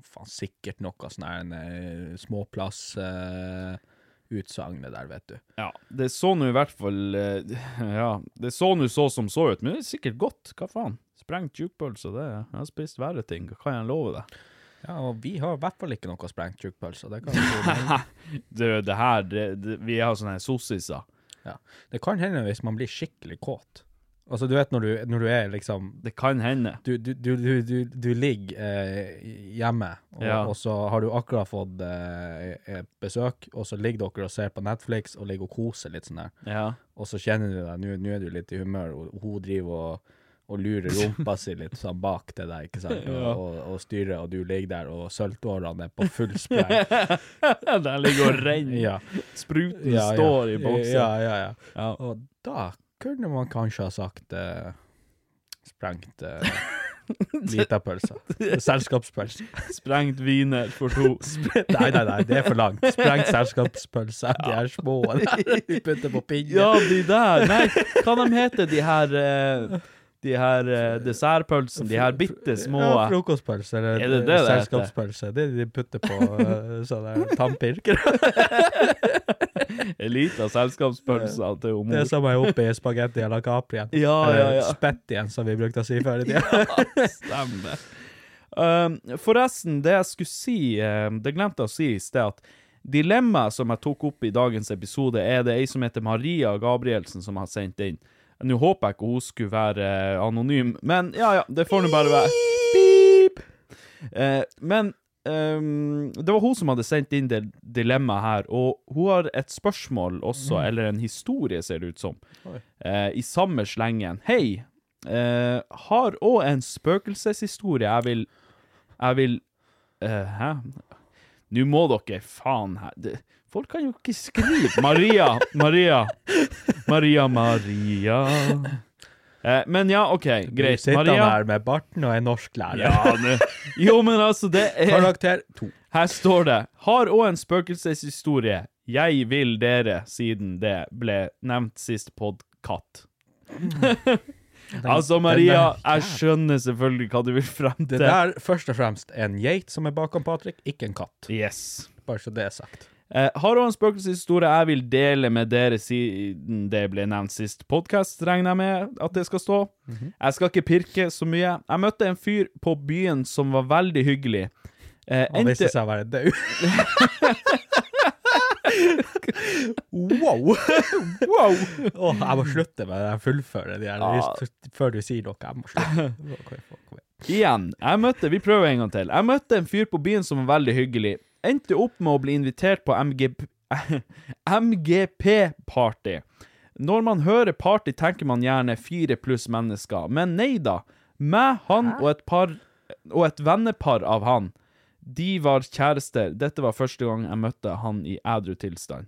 S2: faen, sikkert noe sånn her en, eh, småplass eh, utsagn det der, vet du.
S3: Ja, det så nå i hvert fall eh, Ja, det så nå så som så ut, men det er sikkert godt. Hva faen? Sprengt tjukkpølse, det er Jeg har spist verre ting, kan jeg love deg.
S2: Ja, og vi har i hvert fall ikke noe sprengt tjukkpølse. Det, kan vi si.
S3: Det, det her det, det, Vi har sånne her sossiser.
S2: ja. det kan hende hvis man blir skikkelig kåt. Altså, du vet når du, når du er liksom
S3: Det kan hende.
S2: Du, du, du, du, du, du ligger eh, hjemme, og,
S3: Ja.
S2: og så har du akkurat fått eh, et besøk, og så ligger dere og ser på Netflix og ligger og koser litt sånn der.
S3: Ja.
S2: Og så kjenner du deg, nå- nå er du litt i humør, og hun driver og, og lurer rumpa si litt sånn bak til deg, ikke sant, og,
S3: Ja.
S2: og, og styrer, og du ligger der, og sølvtårene er på full spreng.
S3: Den ligger og renner.
S2: Ja.
S3: Spruten
S2: Ja, ja.
S3: står i boksen.
S2: Ja, ja, ja.
S3: Ja.
S2: Og da kunne man kanskje ha sagt eh, sprengt uh, lita pølse. Selskapspølse.
S3: Sprengt wiener for to.
S2: Nei, nei, nei, det er for langt. Sprengt selskapspølse. De er små. De putter på pinnen.
S3: Ja, de der. Nei, hva de heter de her eh, De her eh, dessertpølsene? De her bitte små
S2: Ja, frokostpølse eller
S3: Er det det det heter?
S2: selskapspølse. Det er de de putter på eh, sånne tannpirkere.
S3: Elita selskapspølser til hun
S2: Det
S3: mor. Eh,
S2: som er oppe i spagetti à la Caprien.
S3: Ja, ja,
S2: Eller
S3: ja.
S2: spettien, som vi brukte å si før i tida.
S3: Stemmer. Um, forresten, det jeg skulle si, um, det glemte jeg å si i sted, at dilemmaet som jeg tok opp i dagens episode, er det ei som heter Maria Gabrielsen som har sendt inn. Nå håper jeg ikke hun skulle være eh, anonym, men ja, ja, det får nå bare være. Beep! Eh, men ehm, det var hun som hadde sendt inn det dilemmaet her, og hun har et spørsmål også,
S2: Mm.
S3: eller en historie, ser det ut som, eh, i samme slengen. Hei! eh, har òg en spøkelseshistorie jeg vil Jeg vil eh, Hæ? Nå må dere faen her det, Folk kan jo ikke skrive Maria, Maria, Maria, Maria. Eh, men ja, OK,
S2: Du
S3: greit.
S2: sitter
S3: Maria.
S2: her med barten og er norsklærer.
S3: Ja, det. Jo, men altså, det er
S2: Karakter to.
S3: Her står det Har òg en spøkelseshistorie. Jeg vil dere, siden det ble nevnt sist podkatt. altså, Maria,
S2: den er
S3: jeg skjønner selvfølgelig hva du vil frem
S2: Det
S3: til.
S2: der, først og fremst, er en geit som er bakom Patrick, ikke en katt.
S3: Yes.
S2: Bare så det er sagt.
S3: Eh, har òg en spøkelseshistorie jeg vil dele med dere siden det ble nevnt sist podkast, regner jeg med at det skal stå.
S2: Mhm.
S3: Jeg skal ikke pirke så mye. Jeg møtte en fyr på byen som var veldig hyggelig. Eh,
S2: Han viste seg å være død. wow! wow! Åh, jeg må slutte med det der fullføre de her,
S3: Ja.
S2: hvis- før du sier noe. Jeg må slutte. Kom igjen, kom igjen.
S3: Igjen, jeg møtte, vi prøver en gang til. Jeg møtte en fyr på byen som var veldig hyggelig. Endte opp med å bli invitert på MGP MGP-party. Når man hører party, tenker man gjerne fire pluss mennesker, men nei da. Meg, han og et, par, og et vennepar av han. De var kjærester. Dette var første gang jeg møtte han i ædru tilstand.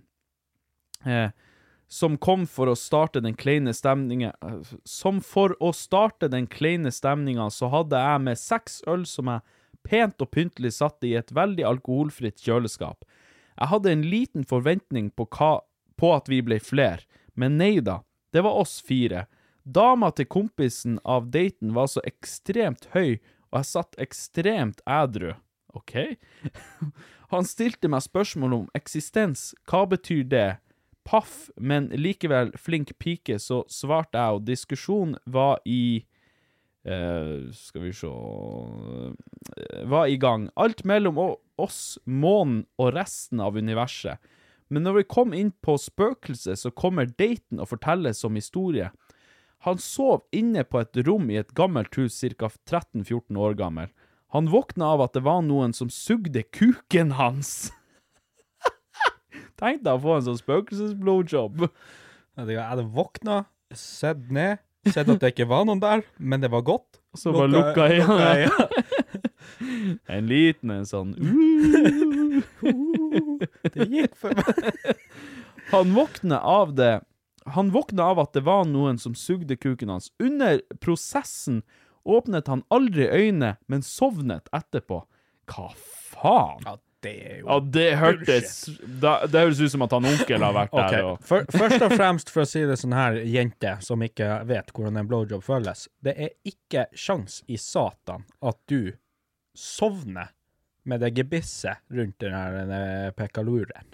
S3: Eh, som kom for å starte den kleine stemningen eh, Som for å starte den kleine stemningen så hadde jeg med seks øl som jeg pent og pyntelig satte i et veldig alkoholfritt kjøleskap. Jeg hadde en liten forventning på, hva, på at vi ble fler, men nei da, det var oss fire. Dama til kompisen av daten var så ekstremt høy, og jeg satt ekstremt ædru. Ok? Han stilte meg spørsmål om eksistens, hva betyr det? Paff, men likevel flink pike, så svarte jeg, og diskusjonen var i eh, Skal vi se eh, Var i gang. Alt mellom å- oss, månen og resten av universet. Men når vi kom inn på spøkelset, så kommer daten og forteller som historie. Han sov inne på et rom i et gammelt hus, ca. 13-14 år gammel. Han våkna av at det var noen som sugde kuken hans. Tenk deg å få en sånn spøkelses-blowjob.
S2: Jeg hadde våkna, sett ned, sett at det ikke var noen der, men det var godt.
S3: Så bare lukka øynene. En liten en sånn uh.
S2: Det gikk for meg.
S3: Han våkner av det Han våkna av at det var noen som sugde kuken hans. Under prosessen åpnet han aldri øynene, men sovnet etterpå. Hva faen? Ja,
S2: det er jo
S3: Ja, det hørtes da, Det høres ut som at han onkel har vært
S2: Ok,
S3: der. Og,
S2: for, Først og fremst, for å si det sånn her, jente som ikke vet hvordan en blowjob føles, det er ikke sjans i satan at du sovner med det gebisset rundt den her denne pekaluren.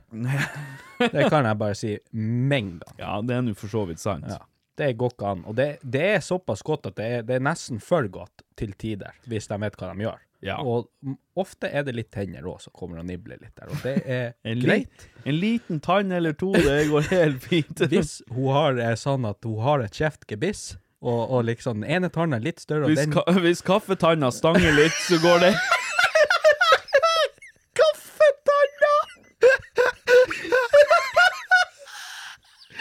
S2: Det kan jeg bare si mengden.
S3: Ja, det er nå for så vidt sant.
S2: det går ikke an. Og det, det er såpass godt at det er, det er nesten for godt til tider, hvis de vet hva de gjør. Og m- ofte er det litt tenner òg som kommer og nibler litt der, og det er
S3: en,
S2: greit.
S3: Li, en liten tann eller to, det går helt fint.
S2: Hvis hun har eh, sånn at hun har et kjeftgebiss, og, og liksom den ene tannen er litt større, og
S3: Hvis,
S2: den
S3: ka, hvis kaffetanna stanger litt, så går det
S1: Kaffetanna!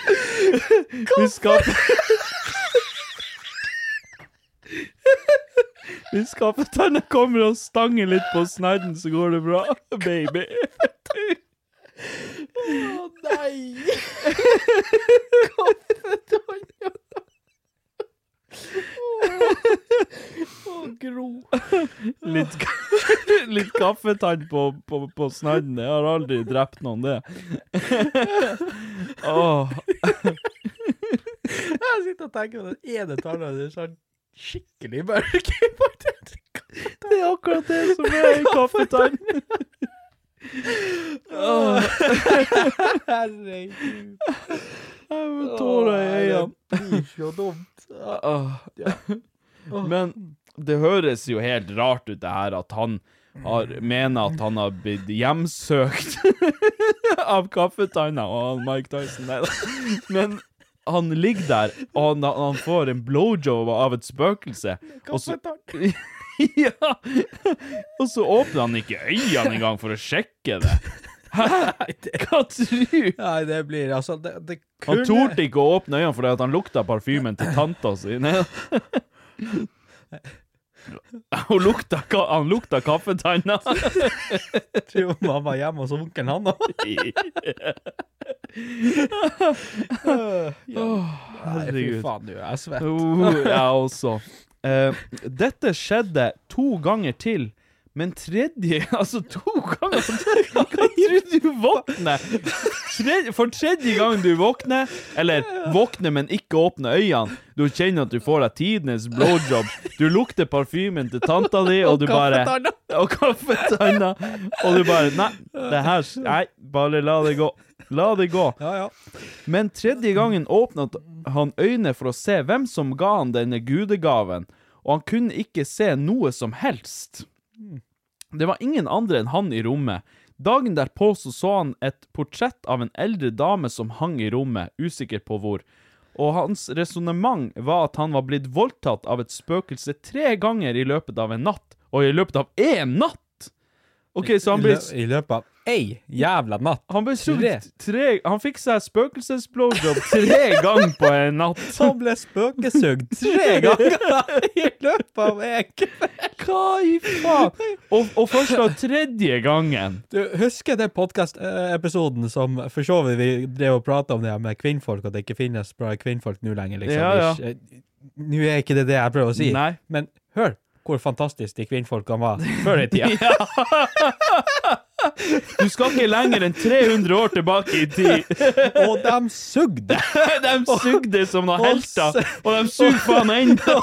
S3: Hvis, kaffe... Hvis kaffetanna kommer og stanger litt på snadden, så går det bra, baby.
S1: Å nei! Kaffetanna! Å, Gro.
S3: Litt, ka- litt kaffetann på, på, på snadden. Jeg har aldri drept noen, det. Åh.
S2: Jeg sitter og tenker på den ene tannen er sånn skikkelig mørk. det
S3: er akkurat det som er en kaffetann. Åh.
S1: Herregud.
S3: Jeg får tårer i øynene.
S1: Det blir så dumt.
S3: Åh. Men det høres jo helt rart ut det her at han har, mener at han har blitt hjemsøkt av kaffetanna og han Mike Tyson. Nei da. Men han ligger der, og han, han får en blowjob av et spøkelse. Og så, ja, og så åpner han ikke øynene engang for å sjekke det. Hva tror du?
S2: Nei, det blir altså det, det
S3: Han
S2: kunne-
S3: torde ikke å åpne øynene fordi at han lukta parfymen til tanta si. Nei. Hun lukta, ka- han lukta kaffetanna.
S2: Tror du han var hjemme hos onkelen han
S3: Åh,
S2: Herregud. Fy faen, du. Jeg er svett.
S3: Oh, jeg også. Eh, dette skjedde to ganger til, men tredje Altså, to ganger til! Hva tror du du våkner? Tredje, for tredje gang du våkner, eller våkner, men ikke åpner øynene, du kjenner at du får deg tidenes blowjob, du lukter parfymen til tanta di, og du bare
S1: kaffetanna.
S3: Og kaffetanna. Og du bare Nei, det her Nei, bare la det gå. La det gå. Men tredje gangen åpnet han øynene for å se hvem som ga han denne gudegaven, og han kunne ikke se noe som helst. Det var ingen andre enn han i rommet. Dagen derpå så, så han et portrett av en eldre dame som hang i rommet, usikker på hvor. Og hans resonnement var at han var blitt voldtatt av et spøkelse tre ganger i løpet av en natt. Og i løpet av én natt! OK, så
S2: I
S3: han
S2: lø-
S3: ble
S2: I løpet av ei jævla natt.
S3: Han ble sugd tre Han fikk seg spøkelsesblowjob tre ganger på en natt.
S2: Han ble spøkesugd tre ganger i løpet av en kveld.
S3: Hva i faen? Og, og først da tredje gangen.
S2: Du, husker det podcast-episoden som for så vidt vi drev og pratet om det her med kvinnfolk, at det ikke finnes bra kvinnfolk nå lenger, liksom.
S3: Ja, ja.
S2: Ish. Eh, Nå er ikke det det jeg prøver å si.
S3: Nei.
S2: Men hør hvor fantastisk de kvinnfolkene var før i tida.
S3: Du skal ikke lenger enn 300 år tilbake i tid.
S2: og de sugde!
S3: De sugde som noen helter, og de suger faen ennå.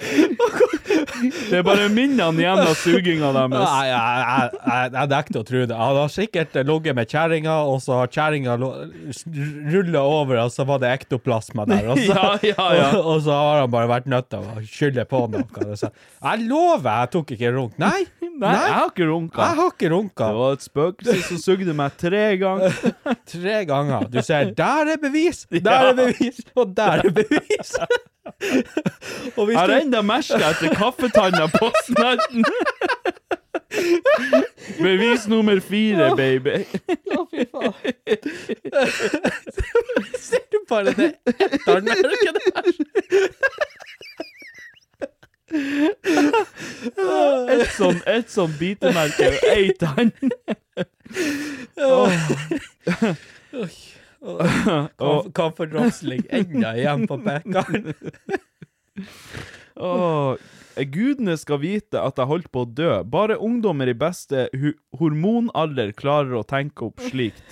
S3: Det er bare minnene igjen av suginga deres.
S2: Nei, jeg, jeg, jeg, jeg nekter å tro det. Han har sikkert ligget med kjerringa, og så har kjerringa rulla over, og så var det ektoplasma der. Og så,
S3: Ja, ja, ja.
S2: Og, og så har han bare vært nødt til å skylde på noe. og så, Jeg lover, jeg tok ikke runk. Nei,
S3: Nei, jeg har ikke runka.
S2: jeg har ikke runka.
S3: Det var et spøkelse som sugde meg tre ganger.
S2: Tre ganger. Du ser 'der er bevis', 'der er bevis', og 'der er bevis'. og
S3: Jeg
S2: hvis
S3: har
S2: du
S3: enda merket etter kaffetanna på snerten. Bevis nummer fire, baby.
S2: Å, fy faen. Ser du bare det ettermørket der?
S3: Et sånn, et sånn bitemerke og ei tann. Åh. Og-
S2: hva for rasling enda igjen på pekeren?
S3: Åh, gudene skal vite at jeg holdt på å dø. Bare ungdommer i beste hu hormonalder klarer å tenke opp slikt.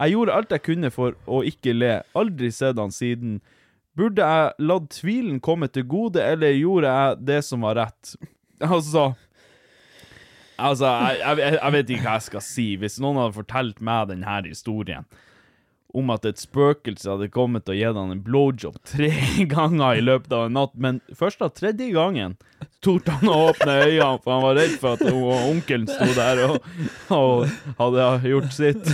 S3: Jeg gjorde alt jeg kunne for å ikke le. Aldri sett han siden. Burde jeg latt tvilen komme til gode, eller gjorde jeg det som var rett? Altså Altså, jeg, jeg, jeg vet ikke hva jeg skal si. Hvis noen hadde fortalt meg denne historien om at et spøkelse hadde kommet og gitt han en blowjob tre ganger i løpet av en natt, men først av tredje gangen torde han å åpne øynene, for han var redd for at hun- onkelen sto der og, og hadde gjort sitt.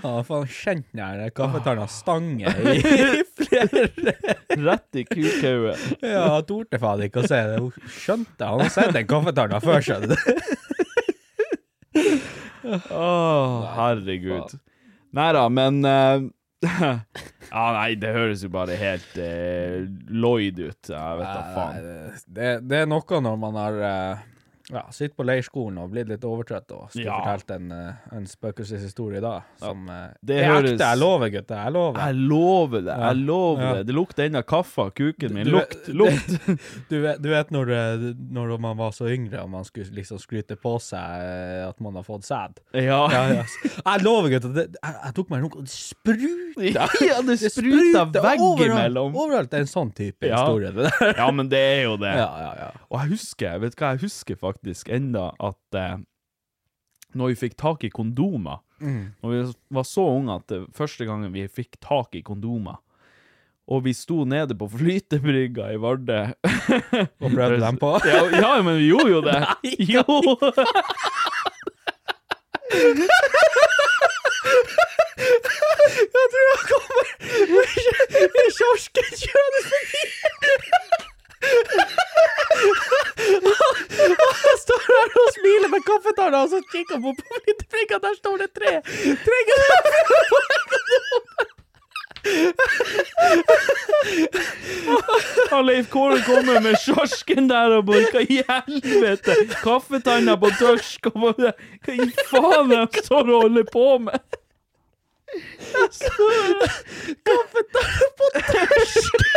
S2: Ja, faen, kjente jeg det? Hva for tar
S3: Ah.
S2: han stange i?
S3: Rett i kukhauget.
S2: Ja, torde faen ikke å se det. Hun skjønte det. Han har sett den kaffetanna før, skjønner du.
S3: Å, herregud. Nei da, men eh, Ja, nei, det høres jo bare helt eh, Lloyd ut. Jeg vet da faen.
S2: Det, det er noe når man har eh, ja, sittet på leirskolen og blitt litt overtrøtt og skulle
S3: Ja.
S2: fortalt en, eh, en spøkelseshistorie da, som eh,
S3: Det
S2: Det er
S3: høres-
S2: ekte, jeg lover, gutter. Jeg lover.
S3: Jeg lover det.
S2: Ja.
S3: jeg lover
S2: Ja.
S3: Det Det lukter ennå kaffe av kuken min.
S2: Du-
S3: Lukt, lukt.
S2: Du vet, du vet når, eh, når man var så yngre og man skulle liksom skryte på seg eh, at man har fått sæd?
S3: Ja.
S2: Jeg lover, gutter, det, jeg, jeg tok meg en runk, og det spruta!
S3: Ja, det spruta
S2: overalt,
S3: veggimellom.
S2: overalt. Det er en sånn type
S3: Ja.
S2: historie, det der.
S3: Ja, men det er jo det.
S2: Ja, ja, ja.
S3: Og jeg husker, vet du hva, jeg husker faktisk enda at eh, når vi fikk tak i kondomer,
S2: Mm.
S3: når vi var så unge at det første gangen vi fikk tak i kondomer, og vi sto nede på flytebrygga i Vardø.
S2: Og prøvde dem på.
S3: Ja, ja, men vi gjorde jo det. Jo!
S2: Jeg tror han kommer i kiosken kjørende forbi. Han står her og smiler med kaffetanna, og så kikker han på politibrikka, der står det tre. Tre
S3: Og Leif Kåre kommer med sjarsken der og bare Hva i helvete? Kaffetanna på tørsk og bare Hva i faen er det han står og holder på med?
S2: kaffetanna på tørsk.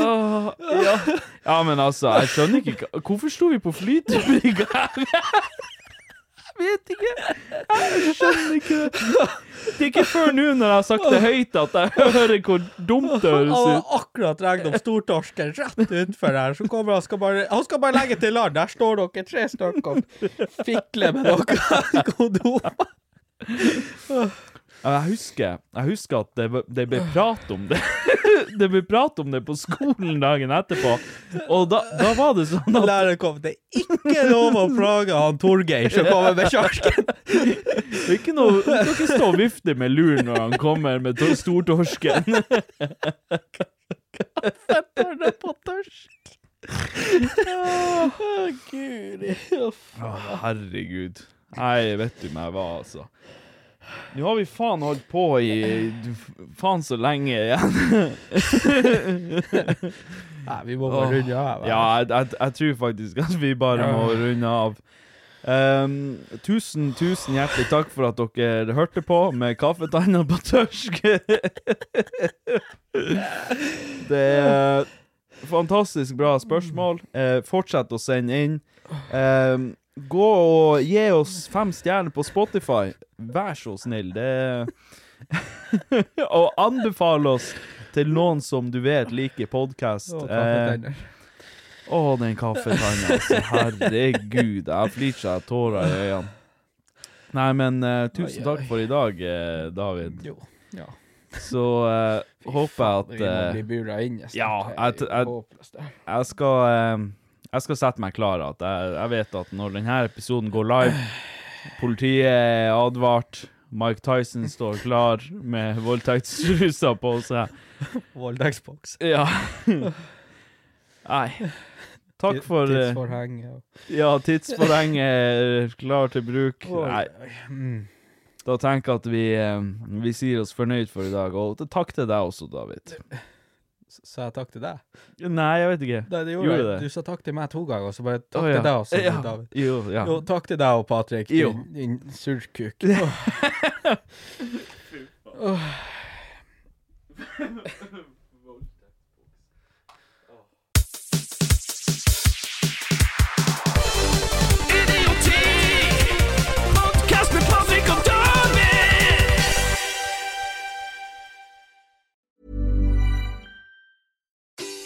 S3: Åh, ja. ja, men altså, jeg skjønner ikke hva- Hvorfor sto vi på flytebrygga? Jeg vet ikke. Jeg skjønner ikke det. Det er ikke før nå når jeg har sagt det høyt at jeg hører hvor dumt det
S2: Han
S3: høres
S2: har
S3: ut.
S2: akkurat regnet opp stortorsken rett utenfor her, så kommer han skal bare, han skal bare legge til land. Der står dere tre stykker og fikler med dere kondomer.
S3: Ja, Jeg husker, jeg husker at det, ble- det ble prat om det. Det ble prat om det på skolen dagen etterpå, og da, da var det sånn at
S2: Læreren kom. Det er ikke lov å plage han Torgeir som kommer med kjarsken.
S3: Det er ikke noe, du kan ikke stå og vifte med lur når han kommer med to- stortorsken.
S2: Kaffetanna på tørsk. Å, guri. Å, faen.
S3: Å, herregud. Nei, vet du meg hva, altså. Nå har vi faen holdt på i du, faen så lenge igjen.
S2: Nei, vi må bare runde av.
S3: Ja, jeg, jeg, jeg tror faktisk at vi bare må runde av. Ehm, tusen, tusen hjertelig takk for at dere hørte på med kaffetanna på tørsk. Det er fantastisk bra spørsmål. Eh, fortsett å sende inn. Ehm, gå og gi oss fem stjerner på Spotify. Vær så snill. Det Og anbefal oss til noen som du vet liker podkast.
S2: Å, kaffetanner.
S3: Å, den kaffetanna, altså. Herregud. Jeg flirte seg tårer i øynene. Nei, men eh, tusen
S2: Oi,
S3: takk
S2: oi.
S3: for i dag, eh, David.
S2: Jo. Ja.
S3: Så eh, håper jeg at
S2: Vi må
S3: eh,
S2: bli bura inne. snart.
S3: ja,
S2: Det
S3: jeg
S2: er
S3: t- jeg-
S2: håpløst, det her.
S3: jeg skal eh, Jeg skal sette meg klar. At jeg, jeg vet at når denne episoden går live, politiet er advart, Mike Tyson står klar med voldtektstruser på seg.
S2: Voldtektsboks.
S3: Ja. Nei. Takk for eh,
S2: Tidsforheng. ja.
S3: Ja, tidsforheng er klar til bruk.
S2: Oi,
S3: Nei,
S2: oi. Mm.
S3: da tenker jeg at vi, eh, vi sier oss fornøyd for i dag. Og takk til deg også, David.
S2: S- Sa jeg takk til deg?
S3: Nei, jeg vet ikke.
S2: Nei, det gjorde, jeg. Du sa takk til meg to ganger, og så bare takk
S3: Å, ja.
S2: til deg, og så
S3: Ja.
S2: til David.
S3: Jo, ja.
S2: takk til deg og Patrick,
S3: Jo.
S2: din, din surkuk. Åh. Åh.